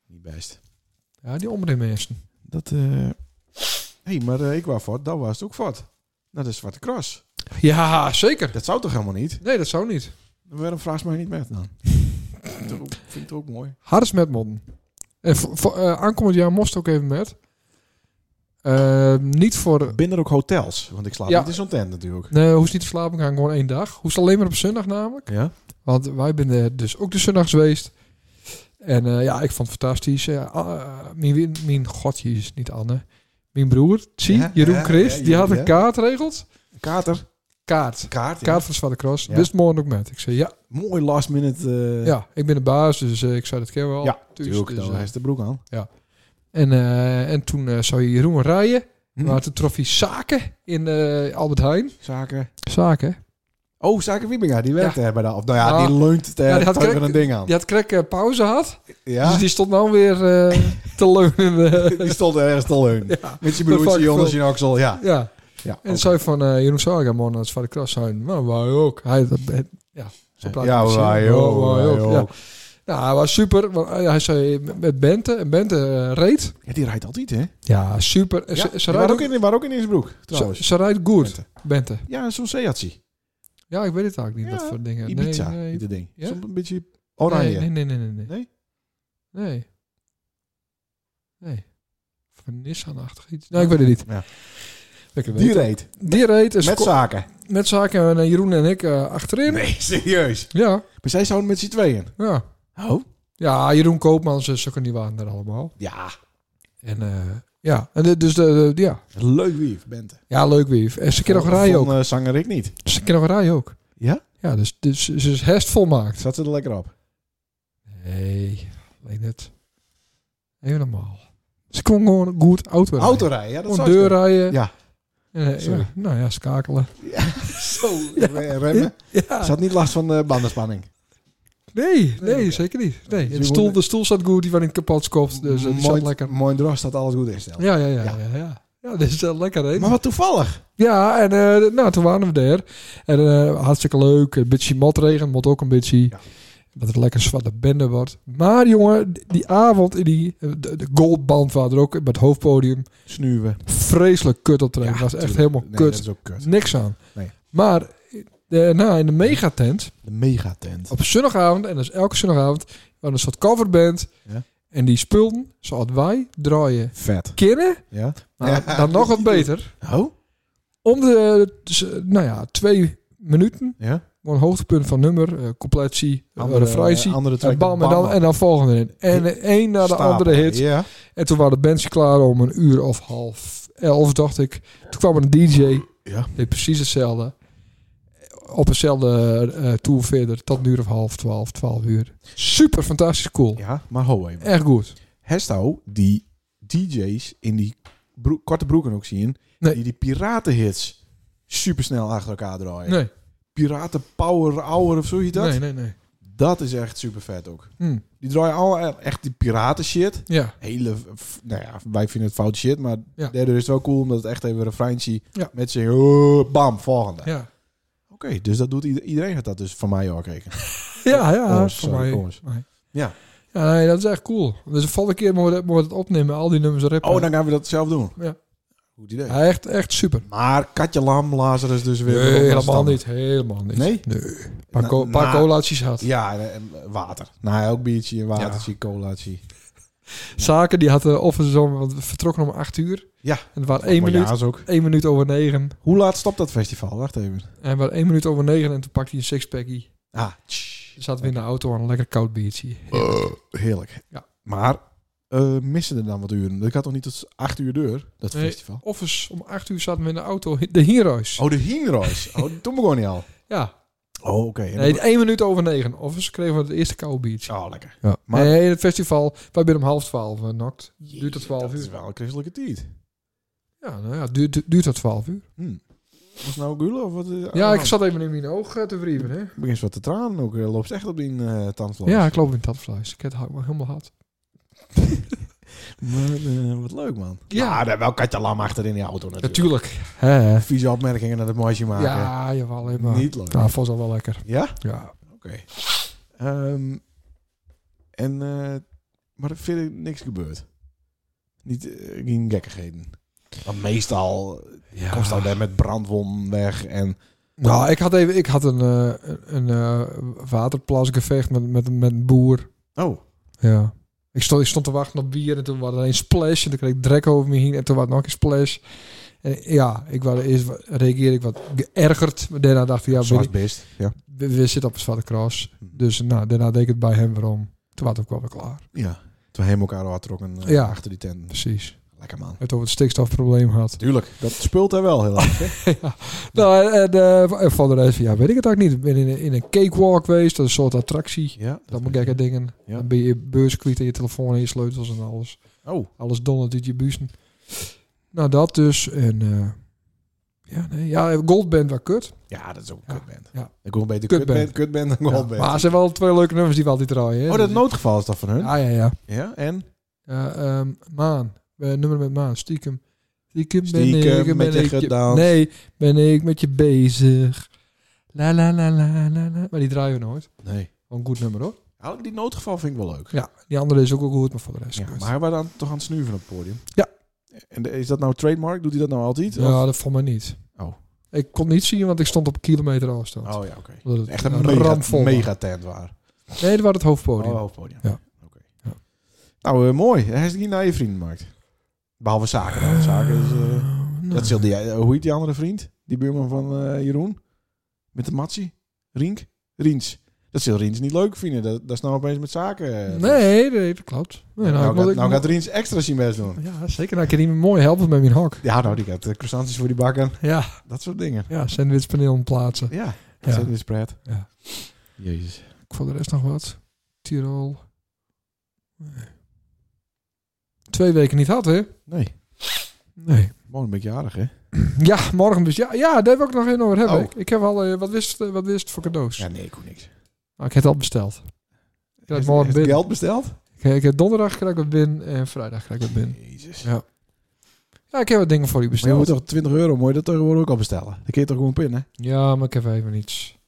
[SPEAKER 2] Niet best.
[SPEAKER 4] ja die omringende mensen.
[SPEAKER 2] Dat, eh hey, maar eh, ik was fort, dat was het ook fort. Naar de Zwarte Cross.
[SPEAKER 4] Ja, zeker.
[SPEAKER 2] Dat zou toch helemaal niet?
[SPEAKER 4] Nee, dat zou niet.
[SPEAKER 2] Waarom vraag ze mij niet met dan? vind ik ook- vind ik het ook mooi.
[SPEAKER 4] Harris met modden. En voor, voor, eh, aankomend jaar moest ook even met. Eh, niet voor...
[SPEAKER 2] Binnen ook hotels, want ik slaap
[SPEAKER 4] Ja.
[SPEAKER 2] niet in zo'n tent natuurlijk.
[SPEAKER 4] Nee, hoeft niet te slapen gaan, gewoon één dag. Hoeft alleen maar op zondag namelijk.
[SPEAKER 2] Ja?
[SPEAKER 4] Want wij zijn eh, dus ook de zondags geweest. En eh, ja, ik vond het fantastisch. Eh, ah, eh, mijn, mijn godje is niet Anne. Mijn broer, zie,
[SPEAKER 2] Ja,
[SPEAKER 4] Jeroen
[SPEAKER 2] ja,
[SPEAKER 4] Christ,
[SPEAKER 2] ja,
[SPEAKER 4] die had
[SPEAKER 2] Jeroen,
[SPEAKER 4] een
[SPEAKER 2] ja.
[SPEAKER 4] kaart regeld.
[SPEAKER 2] Kater.
[SPEAKER 4] Kaart.
[SPEAKER 2] Kaart, ja.
[SPEAKER 4] Kaart van Zwarte Cross.
[SPEAKER 2] Ja.
[SPEAKER 4] Wist morgen ook met. Ik zei, ja,
[SPEAKER 2] Mooi last minute. eh,
[SPEAKER 4] ja ik ben de baas, dus eh, ik zei, dat keer wel.
[SPEAKER 2] Ja,
[SPEAKER 4] Dus,
[SPEAKER 2] Oh, Tuurlijk,
[SPEAKER 4] dus,
[SPEAKER 2] dan
[SPEAKER 4] eh,
[SPEAKER 2] hij is de broek aan.
[SPEAKER 4] en, eh, en toen eh, zou je Jeroen rijden.
[SPEAKER 2] Hm.
[SPEAKER 4] Maar toen trof hij Zaken in eh, Albert Heijn.
[SPEAKER 2] Zaken.
[SPEAKER 4] Zaken.
[SPEAKER 2] Oh, Zaken Wiebinga, die werkte eh, bij de... Of nou ja,
[SPEAKER 4] Ah.
[SPEAKER 2] die leunt
[SPEAKER 4] Ja,
[SPEAKER 2] tegen
[SPEAKER 4] die had
[SPEAKER 2] tegen
[SPEAKER 4] krek-
[SPEAKER 2] een ding aan.
[SPEAKER 4] Die had krek eh, pauze had. Dus
[SPEAKER 2] Ja,
[SPEAKER 4] die stond nou weer eh, te leunen. eh.
[SPEAKER 2] die stond ergens te leunen.
[SPEAKER 4] Ja.
[SPEAKER 2] Met zijn broertje
[SPEAKER 4] fucking
[SPEAKER 2] onder zijn oksel, ja.
[SPEAKER 4] ja.
[SPEAKER 2] ja
[SPEAKER 4] En zei van eh Jeroen Saga, man, als van de klas zijn. Maar wij ook. Hij, dat, het- ja, zo praat
[SPEAKER 2] Ja,
[SPEAKER 4] hij precies.
[SPEAKER 2] wij ook,
[SPEAKER 4] Ja,
[SPEAKER 2] wij ook.
[SPEAKER 4] Ja. Nou, hij was super. want Hij zei met- met Bente. En Bente eh, reed.
[SPEAKER 2] Ja, die rijdt altijd, hè?
[SPEAKER 4] Ja, super. En
[SPEAKER 2] Ja,
[SPEAKER 4] ze, ze,
[SPEAKER 2] die waren
[SPEAKER 4] rijdt
[SPEAKER 2] ook
[SPEAKER 4] ook,
[SPEAKER 2] in, waren ook in Innsbruck, trouwens.
[SPEAKER 4] ze, ze rijdt goed,
[SPEAKER 2] Bente.
[SPEAKER 4] Bente.
[SPEAKER 2] Ja, zo'n Seatsie.
[SPEAKER 4] Ja, ik weet het eigenlijk niet.
[SPEAKER 2] Ja,
[SPEAKER 4] dat voor dingen.
[SPEAKER 2] Ibiza,
[SPEAKER 4] Nee, nee,
[SPEAKER 2] ieder ding.
[SPEAKER 4] Ja?
[SPEAKER 2] Soms een beetje oranje.
[SPEAKER 4] Nee, nee, nee, nee. Nee.
[SPEAKER 2] Nee?
[SPEAKER 4] Nee. nee. Van Nissan-achtig iets. Nou, ik weet het niet.
[SPEAKER 2] Ja.
[SPEAKER 4] Lekker
[SPEAKER 2] Die
[SPEAKER 4] weten.
[SPEAKER 2] reed.
[SPEAKER 4] Die reed. Een
[SPEAKER 2] Met
[SPEAKER 4] sco-
[SPEAKER 2] zaken.
[SPEAKER 4] met zaken en eh, Jeroen en ik eh, achterin.
[SPEAKER 2] Nee, serieus.
[SPEAKER 4] Ja,
[SPEAKER 2] Maar zij zouden met z'n tweeën.
[SPEAKER 4] ja.
[SPEAKER 2] Oh?
[SPEAKER 4] Ja, Jeroen Koopmans eh, en Sukker waren er allemaal.
[SPEAKER 2] Ja,
[SPEAKER 4] En eh, ja, en dit- dus de, de- ja.
[SPEAKER 2] leuk wief, Bente.
[SPEAKER 4] ja, leuk weer. En ze kan nog
[SPEAKER 2] Van-
[SPEAKER 4] rijden ook.
[SPEAKER 2] van, eh, zanger ik niet.
[SPEAKER 4] Ze kan nog rijden ook.
[SPEAKER 2] Ja?
[SPEAKER 4] Ja, dus, dus ze is herst volmaakt.
[SPEAKER 2] Zat ze er lekker op?
[SPEAKER 4] Nee, alleen het. Even normaal. Ze kon gewoon goed auto rijden.
[SPEAKER 2] Autorijden, ja, dat
[SPEAKER 4] Gewoon
[SPEAKER 2] zou
[SPEAKER 4] deur
[SPEAKER 2] kunnen.
[SPEAKER 4] rijden.
[SPEAKER 2] Ja.
[SPEAKER 4] En, eh,
[SPEAKER 2] Sorry.
[SPEAKER 4] ja, Nou ja, schakelen.
[SPEAKER 2] Zo, re- remmen. Ze had niet last van de bandenspanning.
[SPEAKER 4] Nee, nee,
[SPEAKER 2] oké.
[SPEAKER 4] zeker niet. Nee.
[SPEAKER 2] Dus
[SPEAKER 4] en
[SPEAKER 2] je
[SPEAKER 4] De, stoel,
[SPEAKER 2] moet-
[SPEAKER 4] de stoel zat goed, die werd in kapot skopt. Dus eh, die zat
[SPEAKER 2] mooi,
[SPEAKER 4] lekker.
[SPEAKER 2] mooi droog dat alles goed instelt.
[SPEAKER 4] Ja, ja, ja.
[SPEAKER 2] Ja.
[SPEAKER 4] Ja, ja, ja. dit is eh, lekker, hè?
[SPEAKER 2] Maar wat toevallig.
[SPEAKER 4] Ja, en eh, nou, toen waren we daar. En eh, hartstikke leuk. Een beetje motregen, mot ook een beetje.
[SPEAKER 2] Ja.
[SPEAKER 4] Dat het lekker zwarte bende wordt. Maar jongen, die avond in die eh, de, de goldband waar er ook met het hoofdpodium
[SPEAKER 2] Snuwen.
[SPEAKER 4] vreselijk kut optreden. was echt
[SPEAKER 2] tuurlijk.
[SPEAKER 4] helemaal
[SPEAKER 2] Nee,
[SPEAKER 4] kut.
[SPEAKER 2] dat is ook kut.
[SPEAKER 4] Niks aan.
[SPEAKER 2] Nee.
[SPEAKER 4] Maar daarna in de megatent
[SPEAKER 2] De megatent.
[SPEAKER 4] op zondagavond, en dat is elke zondagavond, waren een soort coverband.
[SPEAKER 2] Ja.
[SPEAKER 4] En die spulden, zoals wij, draaien
[SPEAKER 2] Vet.
[SPEAKER 4] kennen.
[SPEAKER 2] Ja.
[SPEAKER 4] Maar
[SPEAKER 2] Ja.
[SPEAKER 4] dan nog wat beter.
[SPEAKER 2] Oh?
[SPEAKER 4] Om de, dus, eh, nou ja, twee minuten.
[SPEAKER 2] Ja.
[SPEAKER 4] Gewoon hoogtepunt van nummer, eh completie, eh, refractie.
[SPEAKER 2] eh, andere
[SPEAKER 4] en
[SPEAKER 2] track.
[SPEAKER 4] bam, en dan, en dan volgende in. En de een na de
[SPEAKER 2] Stapel.
[SPEAKER 4] andere hit.
[SPEAKER 2] Ja.
[SPEAKER 4] En toen waren de bands klaar om een uur of half elf, dacht ik. Toen kwam er een DJ.
[SPEAKER 2] Ja.
[SPEAKER 4] Deed precies hetzelfde. Op eenzelfde eh tour verder. Tot een uur of half twaalf, twaalf uur. Super fantastisch cool.
[SPEAKER 2] ja, maar ho even.
[SPEAKER 4] Echt goed.
[SPEAKER 2] Hesto, die DJ's in die broek- korte broeken ook zien,
[SPEAKER 4] Nee.
[SPEAKER 2] die die piratenhits supersnel achter elkaar draaien.
[SPEAKER 4] Nee,
[SPEAKER 2] Piraten Power Hour of zo heet dat.
[SPEAKER 4] nee, nee. nee.
[SPEAKER 2] Dat is echt super vet ook.
[SPEAKER 4] Hm,
[SPEAKER 2] Die draaien allemaal echt die piraten shit.
[SPEAKER 4] Ja,
[SPEAKER 2] Hele, f- nou ja, wij vinden het fout shit, maar
[SPEAKER 4] Ja.
[SPEAKER 2] daardoor is het wel cool omdat het echt even een refreintje
[SPEAKER 4] Ja.
[SPEAKER 2] met zingen. oh, bam, volgende.
[SPEAKER 4] ja.
[SPEAKER 2] Oké, dus dat doet ieder- iedereen gaat dat dus van mij ook rekenen.
[SPEAKER 4] Ja, ja.
[SPEAKER 2] Oh,
[SPEAKER 4] voor
[SPEAKER 2] sorry,
[SPEAKER 4] mij.
[SPEAKER 2] kom eens.
[SPEAKER 4] mij.
[SPEAKER 2] Ja.
[SPEAKER 4] Ja, nee, dat is echt cool. Dus de volgende keer moeten we dat- moeten we het opnemen. Al die nummers rappen.
[SPEAKER 2] Oh, dan gaan we dat zelf doen.
[SPEAKER 4] Ja.
[SPEAKER 2] Goed idee.
[SPEAKER 4] Ja, echt, echt super.
[SPEAKER 2] Maar Katje Lam, Lazarus dus weer.
[SPEAKER 4] Nee, helemaal niet. Helemaal niet.
[SPEAKER 2] Nee?
[SPEAKER 4] Nee. Paar,
[SPEAKER 2] Na-
[SPEAKER 4] co- paar
[SPEAKER 2] na-
[SPEAKER 4] colaatjes had.
[SPEAKER 2] Ja, en, en water. Na elk biertje een watertje, colaatje.
[SPEAKER 4] Zaken die hadden of ze zo, want we vertrokken om 8 uur.
[SPEAKER 2] Ja.
[SPEAKER 4] En het waren 1
[SPEAKER 2] Maar ja,
[SPEAKER 4] minuut,
[SPEAKER 2] is ook.
[SPEAKER 4] 1 minuut over 9.
[SPEAKER 2] Hoe laat stopt dat festival? Wacht even.
[SPEAKER 4] En we waren 1 minuut over 9 en toen pakte hij een sixpackie.
[SPEAKER 2] Ah, tsch. Eh,
[SPEAKER 4] Toen zaten we in de auto aan een lekker koud biertje.
[SPEAKER 2] Oh. heerlijk.
[SPEAKER 4] Ja.
[SPEAKER 2] Maar eh, missen er dan wat uren? Dat gaat toch niet tot acht uur deur, dat
[SPEAKER 4] Nee.
[SPEAKER 2] festival?
[SPEAKER 4] Of eens om 8 uur zaten we in de auto, de Heroes.
[SPEAKER 2] Oh, de Hienroos. Oh, toen begon hij al.
[SPEAKER 4] Ja,
[SPEAKER 2] Oh, oké. En
[SPEAKER 4] nee,
[SPEAKER 2] dat-
[SPEAKER 4] 1 minuut over 9. Of eens kregen we het eerste koud biertje.
[SPEAKER 2] Oh, lekker.
[SPEAKER 4] Ja.
[SPEAKER 2] Maar-
[SPEAKER 4] nee, het festival, wij zijn om half 12 eh, nakt. Duurt tot 12
[SPEAKER 2] Dat is
[SPEAKER 4] uur.
[SPEAKER 2] wel een christelijke tijd.
[SPEAKER 4] Ja, nou ja, duurt, duurt- duurt tot 12 uur.
[SPEAKER 2] Hm. Was het nou gulen of wat? eh, aan de
[SPEAKER 4] Ja, ik
[SPEAKER 2] hand?
[SPEAKER 4] zat even in mijn oog eh, te wrieven, hè.
[SPEAKER 2] Begint wat te tranen ook. eh, Loopt echt op die eh tandvlees.
[SPEAKER 4] Ja, ik loop in het tandvlees. Ik heb het hou- helemaal gehad.
[SPEAKER 2] Maar, eh, wat leuk, man.
[SPEAKER 4] Ja.
[SPEAKER 2] Maar Nou, daar wel Katja Lam achter in die auto natuurlijk.
[SPEAKER 4] Natuurlijk. hè.
[SPEAKER 2] Vieze opmerkingen naar het mooisje maken.
[SPEAKER 4] Ja, jawel, helemaal.
[SPEAKER 2] Niet leuk.
[SPEAKER 4] Ja, vond ze al wel lekker.
[SPEAKER 2] Ja?
[SPEAKER 4] Ja.
[SPEAKER 2] Oké. Ehm, en, eh, maar er verder niks gebeurd. Niet, eh, geen gekkigheden. Want meestal komt hij daar met brandwon weg en...
[SPEAKER 4] Nou, ik had even, ik had een, eh, een eh, waterplasgevecht met, met, met een boer.
[SPEAKER 2] Oh,
[SPEAKER 4] Ja. Ik stond, ik stond te wachten op bier en toen was er een splash en toen kreeg ik drek over me heen en toen was er nog een splash. En ja, ik was eerst wat- reageerde ik wat geërgerd, maar daarna dacht ik, ja, ben
[SPEAKER 2] zwart
[SPEAKER 4] ik-
[SPEAKER 2] best. Ja.
[SPEAKER 4] we, we zitten op een zwarte cross. Dus nou, daarna deed ik het bij hem waarom. Toen was het ook wel weer klaar.
[SPEAKER 2] ja. Toen we hem elkaar al trokken eh,
[SPEAKER 4] Ja.
[SPEAKER 2] achter die tent.
[SPEAKER 4] Precies.
[SPEAKER 2] Lekker man.
[SPEAKER 4] Het over het stikstofprobleem had.
[SPEAKER 2] Tuurlijk, dat speelt hij wel heel erg. hè?
[SPEAKER 4] Nou, en, en, eh, en voor de rest, ja, weet ik het ook niet. Ik ben in een, in een cakewalk geweest, dat is een soort attractie.
[SPEAKER 2] Ja, dat
[SPEAKER 4] Dat
[SPEAKER 2] weet
[SPEAKER 4] moet gekke
[SPEAKER 2] ik.
[SPEAKER 4] dingen.
[SPEAKER 2] Ja.
[SPEAKER 4] Dan ben je beurs kwijt en je telefoon en je sleutels en alles.
[SPEAKER 2] Oh,
[SPEAKER 4] Alles dondert uit je buzen. Nou, dat dus. En eh, ja, nee. Ja, Goldband was kut.
[SPEAKER 2] ja, dat is ook een
[SPEAKER 4] Ja.
[SPEAKER 2] kutband.
[SPEAKER 4] Ja.
[SPEAKER 2] Ik wil beter
[SPEAKER 4] Kutband.
[SPEAKER 2] kutband, kutband dan
[SPEAKER 4] Ja,
[SPEAKER 2] goldband.
[SPEAKER 4] Maar ze hebben wel twee leuke nummers die we altijd draaien. hè.
[SPEAKER 2] oh, dat
[SPEAKER 4] Dus-
[SPEAKER 2] noodgeval is dat van hun? Ja,
[SPEAKER 4] Ja, ja, ja.
[SPEAKER 2] en?
[SPEAKER 4] Ja, ehm, maan. Eh, nummer met Maan. Stiekem. Stiekem ben
[SPEAKER 2] Stiekem
[SPEAKER 4] ik. ben
[SPEAKER 2] met je
[SPEAKER 4] ik
[SPEAKER 2] gedanst.
[SPEAKER 4] Nee, ben ik met je bezig. La la la la la la. Maar die draaien we nooit.
[SPEAKER 2] Nee.
[SPEAKER 4] Wel een goed nummer hoor.
[SPEAKER 2] Ja, Oh, Die noodgeval vind ik wel leuk.
[SPEAKER 4] Ja, die andere is ook wel goed, maar voor de rest.
[SPEAKER 2] Ja,
[SPEAKER 4] kut.
[SPEAKER 2] maar hij was dan toch aan het snuiven op het podium?
[SPEAKER 4] Ja.
[SPEAKER 2] En de- is dat nou trademark? Doet hij dat nou altijd? Of-
[SPEAKER 4] Ja, dat vond mij niet.
[SPEAKER 2] Oh.
[SPEAKER 4] Ik kon niet zien, want ik stond op een kilometer afstand.
[SPEAKER 2] Oh ja, oké.
[SPEAKER 4] Omdat het
[SPEAKER 2] Echt een mega,
[SPEAKER 4] ramvol was.
[SPEAKER 2] mega tent waar.
[SPEAKER 4] Nee, dat was het hoofdpodium.
[SPEAKER 2] Oh, hoofdpodium.
[SPEAKER 4] Ja.
[SPEAKER 2] Oké.
[SPEAKER 4] Ja.
[SPEAKER 2] Nou, eh, mooi. Hij is niet naar je vriendenmarkt. Behalve zaken. dan. Zaken is... eh,
[SPEAKER 4] Nou,
[SPEAKER 2] dat zilde jij. Hoe heet die eh, andere vriend? Die buurman van eh, Jeroen? Met de matsie? Rink? Riens. Dat zal Rins niet leuk vinden. Dat, dat is nou opeens met zaken. eh,
[SPEAKER 4] nee, nee, dat klopt. Nee,
[SPEAKER 2] nou,
[SPEAKER 4] ik wil-
[SPEAKER 2] gaat,
[SPEAKER 4] ik
[SPEAKER 2] nou
[SPEAKER 4] wil-
[SPEAKER 2] gaat Rins extra zijn best doen.
[SPEAKER 4] Ja, zeker. Nou, ik kan die me mooi helpen met mijn hok.
[SPEAKER 2] Ja, nou, die gaat eh, croissantjes voor die bakken.
[SPEAKER 4] Ja,
[SPEAKER 2] Dat soort dingen.
[SPEAKER 4] ja sandwichpaneel plaatsen.
[SPEAKER 2] Ja,
[SPEAKER 4] Ja.
[SPEAKER 2] dat is spread.
[SPEAKER 4] Ja.
[SPEAKER 2] Jezus.
[SPEAKER 4] Ik voor de rest nog wat. Tirol. Nee. Twee weken niet had, hè?
[SPEAKER 2] Nee,
[SPEAKER 4] Nee.
[SPEAKER 2] morgen ben ik jarig, hè?
[SPEAKER 4] Ja, morgen dus. Ja, ja daar wil ik nog in over hebben.
[SPEAKER 2] Oh.
[SPEAKER 4] Ik, ik heb al... eh, wat, wist, eh, wat wist voor cadeaus?
[SPEAKER 2] Ja, nee, ik hoef niks.
[SPEAKER 4] Nou, ik heb het al besteld. Ik heb
[SPEAKER 2] Heeft-
[SPEAKER 4] het morgen
[SPEAKER 2] heeft het
[SPEAKER 4] binnen.
[SPEAKER 2] geld besteld?
[SPEAKER 4] Ik, ik heb donderdag krijg ik het binnen en vrijdag krijg ik het binnen.
[SPEAKER 2] Jezus.
[SPEAKER 4] Ja, Ja, ik heb wat dingen voor u
[SPEAKER 2] Maar je
[SPEAKER 4] besteld.
[SPEAKER 2] moet toch 20 euro, mooi dat tegenwoordig ook al bestellen. Dan kun je toch gewoon pinnen?
[SPEAKER 4] Ja, maar ik heb even iets...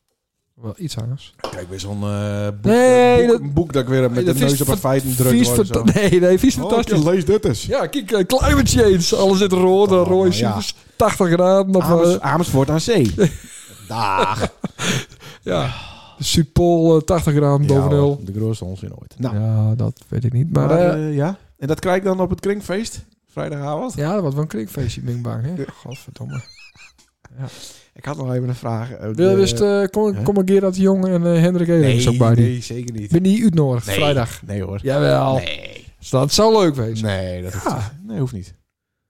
[SPEAKER 4] Wel iets anders.
[SPEAKER 2] Kijk, weer zo'n eh, boek,
[SPEAKER 4] Nee,
[SPEAKER 2] eh, boek,
[SPEAKER 4] dat-
[SPEAKER 2] een boek dat ik weer met
[SPEAKER 4] Nee,
[SPEAKER 2] de
[SPEAKER 4] dat vies
[SPEAKER 2] neus op het
[SPEAKER 4] fa-
[SPEAKER 2] feit druk
[SPEAKER 4] Vies
[SPEAKER 2] word. of zo.
[SPEAKER 4] fanta- Nee, nee, vies
[SPEAKER 2] Oh,
[SPEAKER 4] fantastisch.
[SPEAKER 2] kijk, lees dit eens.
[SPEAKER 4] Ja, kijk, eh, climate change. Alles zit rood, en
[SPEAKER 2] Oh,
[SPEAKER 4] rode
[SPEAKER 2] ja.
[SPEAKER 4] cijfers, 80 graden. Of,
[SPEAKER 2] Amers-
[SPEAKER 4] eh,
[SPEAKER 2] Amersfoort aan zee. Daag.
[SPEAKER 4] ja, de Zuidpool eh, 80 graden boven
[SPEAKER 2] Ja,
[SPEAKER 4] nul.
[SPEAKER 2] hoor, de grootste onzin ooit.
[SPEAKER 4] Ja,
[SPEAKER 2] Nou,
[SPEAKER 4] dat weet ik niet. Maar,
[SPEAKER 2] maar,
[SPEAKER 4] eh,
[SPEAKER 2] eh, ja. En dat krijg ik dan op het kringfeest? Vrijdagavond?
[SPEAKER 4] ja, dat wordt wel een klikfeestje, Bing Bang. Hè? Godverdomme.
[SPEAKER 2] Ik had nog even een vraag. eh,
[SPEAKER 4] Wil je
[SPEAKER 2] de-
[SPEAKER 4] wist, eh kom,
[SPEAKER 2] hè?
[SPEAKER 4] kom een keer dat Jong en eh, Hendrik Elings ook bij die.
[SPEAKER 2] nee, zeker niet.
[SPEAKER 4] Ben die uitnodigd,
[SPEAKER 2] Nee.
[SPEAKER 4] vrijdag.
[SPEAKER 2] Nee hoor.
[SPEAKER 4] Jawel.
[SPEAKER 2] Nee.
[SPEAKER 4] Dat zou leuk wezen.
[SPEAKER 2] Nee, dat hoeft,
[SPEAKER 4] Ja.
[SPEAKER 2] nee, hoeft niet.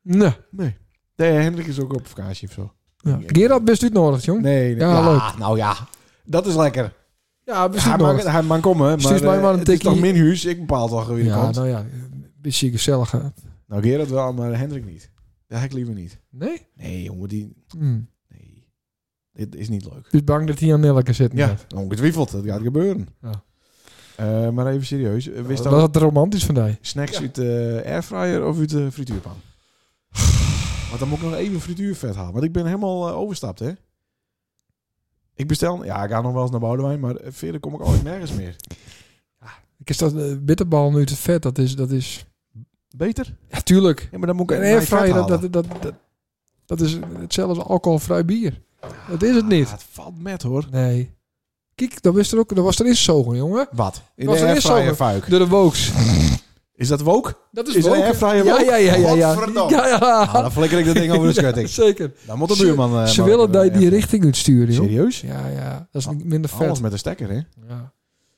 [SPEAKER 4] Nee.
[SPEAKER 2] Nee. Nee, Hendrik is ook op vakantie of zo.
[SPEAKER 4] Ja. Gerard best uitnodigd, jong.
[SPEAKER 2] Nee, nee.
[SPEAKER 4] Hm? Ja, leuk.
[SPEAKER 2] nou ja. Dat is lekker.
[SPEAKER 4] Ja, best
[SPEAKER 2] Hij mag,
[SPEAKER 4] uitnodigd.
[SPEAKER 2] hij mag komen, maar,
[SPEAKER 4] Stuurt mij
[SPEAKER 2] eh,
[SPEAKER 4] maar een
[SPEAKER 2] het is
[SPEAKER 4] tikkie.
[SPEAKER 2] toch min huis. Ik bepaal toch wie er
[SPEAKER 4] Ja,
[SPEAKER 2] komt.
[SPEAKER 4] nou ja, een beetje gezellig. hè.
[SPEAKER 2] Nou, Gerard wel, maar Hendrik niet. Dat heb ik liever niet.
[SPEAKER 4] Nee?
[SPEAKER 2] Nee, jongen, die...
[SPEAKER 4] Hm.
[SPEAKER 2] Nee. Dit is niet leuk.
[SPEAKER 4] Dus bang dat hij aan Nelleke zit.
[SPEAKER 2] Ja,
[SPEAKER 4] inderdaad.
[SPEAKER 2] ongetwijfeld. Dat gaat gebeuren.
[SPEAKER 4] Ja.
[SPEAKER 2] Eh, maar even serieus. Wist
[SPEAKER 4] Was
[SPEAKER 2] dat
[SPEAKER 4] dat romantisch van mij?
[SPEAKER 2] snacks uit de airfryer of uit de frituurpan? Want dan moet ik nog even frituurvet halen. Want ik ben helemaal eh, overstapt, hè? Ik bestel... Ja, ik ga nog wel eens naar Boudewijn, maar eh, verder kom ik altijd nergens meer.
[SPEAKER 4] Ik is dat eh, bitterbal nu te vet. Dat is, dat is.
[SPEAKER 2] Beter?
[SPEAKER 4] Ja, tuurlijk.
[SPEAKER 2] Ja, maar dan moet ik
[SPEAKER 4] Een
[SPEAKER 2] even mijn vet
[SPEAKER 4] airfryer, dat,
[SPEAKER 2] halen.
[SPEAKER 4] dat, dat, dat, dat is hetzelfde als alcoholvrij bier. Dat is het niet.
[SPEAKER 2] Ah, het valt met, hoor.
[SPEAKER 4] Nee. Kijk, dat was er ook. Dat was er eens zogen, jongen.
[SPEAKER 2] Wat? In
[SPEAKER 4] Was
[SPEAKER 2] de
[SPEAKER 4] er eerst
[SPEAKER 2] airfryer
[SPEAKER 4] zo'n-
[SPEAKER 2] fuik.
[SPEAKER 4] Door de Wooks.
[SPEAKER 2] Is dat wok?
[SPEAKER 4] Dat
[SPEAKER 2] Is een
[SPEAKER 4] woken.
[SPEAKER 2] airfryer
[SPEAKER 4] ja,
[SPEAKER 2] woke?
[SPEAKER 4] ja, ja, ja, ja.
[SPEAKER 2] Godverdomme.
[SPEAKER 4] Ja, ja.
[SPEAKER 2] Ah, dan flikker ik dat ding over de
[SPEAKER 4] Ja,
[SPEAKER 2] schutting.
[SPEAKER 4] Zeker.
[SPEAKER 2] Dan moet de buurman... eh,
[SPEAKER 4] Ze
[SPEAKER 2] maar-
[SPEAKER 4] willen dat je die
[SPEAKER 2] eh,
[SPEAKER 4] richting uitsturen, joh.
[SPEAKER 2] Serieus?
[SPEAKER 4] Ja, ja. Dat is
[SPEAKER 2] Al-
[SPEAKER 4] niet minder
[SPEAKER 2] Alles
[SPEAKER 4] vet.
[SPEAKER 2] met een stekker, hè?
[SPEAKER 4] Ja.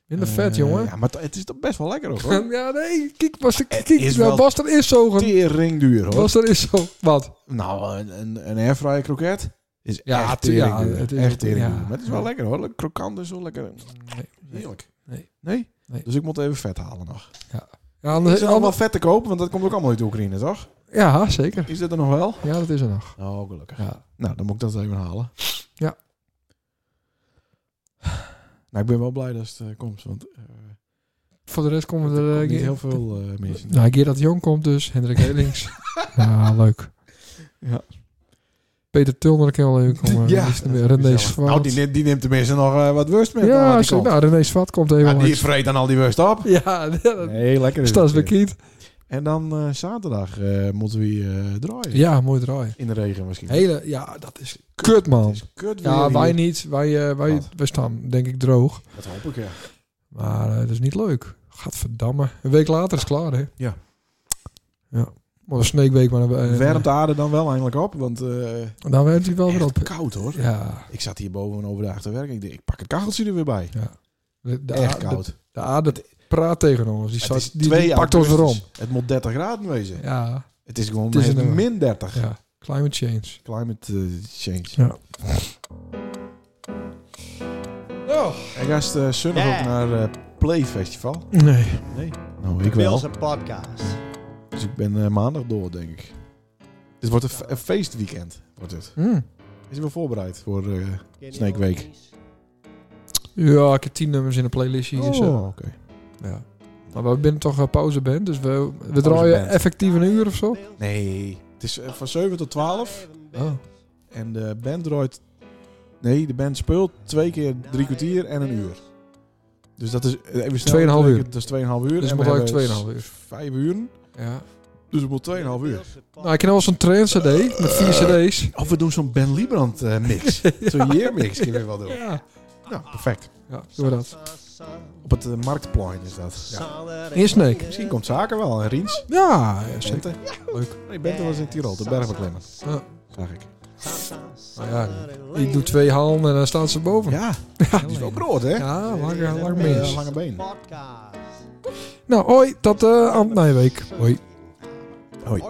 [SPEAKER 4] Minder
[SPEAKER 2] Eh,
[SPEAKER 4] vet, jongen.
[SPEAKER 2] Ja, maar t- het is toch best wel lekker ook, hoor.
[SPEAKER 4] Ja, nee. Kijk, was er,
[SPEAKER 2] Het
[SPEAKER 4] kijk, nou,
[SPEAKER 2] is wel-
[SPEAKER 4] was er eens zogen.
[SPEAKER 2] Tering duur, hoor.
[SPEAKER 4] Was er eens zo. Wat?
[SPEAKER 2] Nou, een, een, een airfryer kroket is
[SPEAKER 4] Ja,
[SPEAKER 2] echt
[SPEAKER 4] tu-
[SPEAKER 2] tering
[SPEAKER 4] ja,
[SPEAKER 2] duur.
[SPEAKER 4] het is ook-
[SPEAKER 2] echt tering
[SPEAKER 4] ja.
[SPEAKER 2] duur. Maar het is wel
[SPEAKER 4] Ja.
[SPEAKER 2] lekker, hoor. Krokant is wel lekker.
[SPEAKER 4] Nee.
[SPEAKER 2] Heerlijk.
[SPEAKER 4] Nee.
[SPEAKER 2] Nee?
[SPEAKER 4] Nee.
[SPEAKER 2] Dus ik moet even vet halen nog.
[SPEAKER 4] Ja,
[SPEAKER 2] Is
[SPEAKER 4] anders,
[SPEAKER 2] er allemaal vet te kopen? Want dat komt ook allemaal uit Oekraïne, toch?
[SPEAKER 4] ja, zeker.
[SPEAKER 2] Is dat er nog wel?
[SPEAKER 4] Ja, dat is er nog.
[SPEAKER 2] Oh, gelukkig.
[SPEAKER 4] Ja.
[SPEAKER 2] Nou, dan moet ik dat even halen.
[SPEAKER 4] Ja.
[SPEAKER 2] Nou, ik ben wel blij dat het eh, komt, want eh,
[SPEAKER 4] Voor de rest komen
[SPEAKER 2] er
[SPEAKER 4] er... eh,
[SPEAKER 2] komt niet
[SPEAKER 4] Ge-
[SPEAKER 2] heel veel eh mis.
[SPEAKER 4] Nou, Gerard Jong komt dus. Hendrik Helings. ja, leuk.
[SPEAKER 2] Ja.
[SPEAKER 4] Peter Tulner kan wel leuk eh, komen.
[SPEAKER 2] Ja,
[SPEAKER 4] Ja. René Zwart.
[SPEAKER 2] Nou, die, neemt- die neemt tenminste nog eh, wat worst mee. dan,
[SPEAKER 4] ja,
[SPEAKER 2] waar die
[SPEAKER 4] zo,
[SPEAKER 2] komt.
[SPEAKER 4] nou, René Zwart komt even
[SPEAKER 2] Ja, die
[SPEAKER 4] langs.
[SPEAKER 2] vreet dan al die worst op.
[SPEAKER 4] Ja, dat
[SPEAKER 2] Nee, lekker is
[SPEAKER 4] staat
[SPEAKER 2] het
[SPEAKER 4] weer
[SPEAKER 2] weer.
[SPEAKER 4] kiet.
[SPEAKER 2] En dan eh, zaterdag eh, moeten we eh, draaien.
[SPEAKER 4] Ja, mooi draai.
[SPEAKER 2] In de regen misschien.
[SPEAKER 4] Hele, ja, dat is kut,
[SPEAKER 2] Het
[SPEAKER 4] man.
[SPEAKER 2] is kut weer
[SPEAKER 4] Ja,
[SPEAKER 2] hier.
[SPEAKER 4] wij niet. Wij, eh, wij,
[SPEAKER 2] Wat?
[SPEAKER 4] wij staan, denk ik, droog.
[SPEAKER 2] Dat hoop ik, ja.
[SPEAKER 4] Maar eh, dat is niet leuk. Gadverdamme. Een week later is het klaar, hè?
[SPEAKER 2] Ja.
[SPEAKER 4] Ja. Maar een sneekweek, maar... eh, eh,
[SPEAKER 2] Wermt de aarde dan wel eindelijk op, want eh
[SPEAKER 4] Dan werd hij wel weer
[SPEAKER 2] echt
[SPEAKER 4] op.
[SPEAKER 2] koud hoor.
[SPEAKER 4] Ja.
[SPEAKER 2] Ik zat hier boven overdag te werken. Ik dacht, ik pak het kacheltje er weer bij.
[SPEAKER 4] De, de
[SPEAKER 2] echt
[SPEAKER 4] aarde-
[SPEAKER 2] koud. Dus
[SPEAKER 4] De aarde praat tegen ons. Die,
[SPEAKER 2] het
[SPEAKER 4] zat,
[SPEAKER 2] is
[SPEAKER 4] die,
[SPEAKER 2] twee
[SPEAKER 4] die pakt ons
[SPEAKER 2] augustus.
[SPEAKER 4] erom.
[SPEAKER 2] Het moet 30 graden wezen.
[SPEAKER 4] Ja,
[SPEAKER 2] Het is gewoon
[SPEAKER 4] Het is
[SPEAKER 2] het
[SPEAKER 4] een-
[SPEAKER 2] min 30.
[SPEAKER 4] ja. Climate change.
[SPEAKER 2] Climate eh, change.
[SPEAKER 4] Ja.
[SPEAKER 2] En gast eh zondag
[SPEAKER 3] Nee.
[SPEAKER 2] ook naar eh, Play Festival.
[SPEAKER 4] Nee.
[SPEAKER 2] Nou,
[SPEAKER 3] De
[SPEAKER 2] ik wel.
[SPEAKER 3] Bills podcast.
[SPEAKER 2] Dus ik ben eh, maandag door, denk ik. Dit wordt een, fe- een feestweekend. Wordt het.
[SPEAKER 4] Hm.
[SPEAKER 2] Is je wel voorbereid voor... eh, Snake Week.
[SPEAKER 4] Ja, ik heb tien nummers in de playlist hier. Dus, eh,
[SPEAKER 2] oh, oké.
[SPEAKER 4] ja. Maar Nou, we zijn toch een pauzeband, dus we, we
[SPEAKER 2] Pauzeband.
[SPEAKER 4] draaien effectief een uur of zo.
[SPEAKER 2] Nee. Het is eh, van 7 tot 12.
[SPEAKER 3] 12.
[SPEAKER 4] Oh.
[SPEAKER 2] En de band draait... Nee, de band speelt twee keer drie kwartier en een uur. Dus dat is... eh, Even snel.
[SPEAKER 4] Tweeënhalf
[SPEAKER 2] berekend,
[SPEAKER 4] uur.
[SPEAKER 2] Dat is 2,5 uur.
[SPEAKER 4] Dus
[SPEAKER 2] en
[SPEAKER 4] we
[SPEAKER 2] we
[SPEAKER 4] moeten
[SPEAKER 2] hebben
[SPEAKER 4] eigenlijk 2,5 uur.
[SPEAKER 2] s- Vijf uur.
[SPEAKER 4] Ja.
[SPEAKER 2] Dus het moet 2,5 uur.
[SPEAKER 4] Nou, ik ken wel zo'n trend CD met vier CD's.
[SPEAKER 2] Of we doen zo'n Ben Liebrand eh, mix. Zo'n year mix kunnen we wel doen.
[SPEAKER 4] Ja.
[SPEAKER 2] Nou, perfect.
[SPEAKER 4] ja, doen we dat.
[SPEAKER 2] Op het eh, Marktplein is dat. Ja.
[SPEAKER 4] In Snake.
[SPEAKER 2] Misschien komt Zaken wel. En Riens.
[SPEAKER 4] Ja, ja, zeker.
[SPEAKER 2] Bente.
[SPEAKER 4] Leuk.
[SPEAKER 2] Nee, Bente was in Tirol. De bergbeklimmer.
[SPEAKER 4] Ja.
[SPEAKER 2] Zag ik.
[SPEAKER 3] bergbeklimmen.
[SPEAKER 4] Nou ja, ik doe twee halen en dan staat ze boven. Ja,
[SPEAKER 2] Ja, dat is wel groot, hè?
[SPEAKER 4] ja Ah, lang, lang
[SPEAKER 2] Eh,
[SPEAKER 4] meer.
[SPEAKER 2] lange been.
[SPEAKER 3] Podcast.
[SPEAKER 4] Nou, hoi, tot eh aan het Nijweek. Hoi.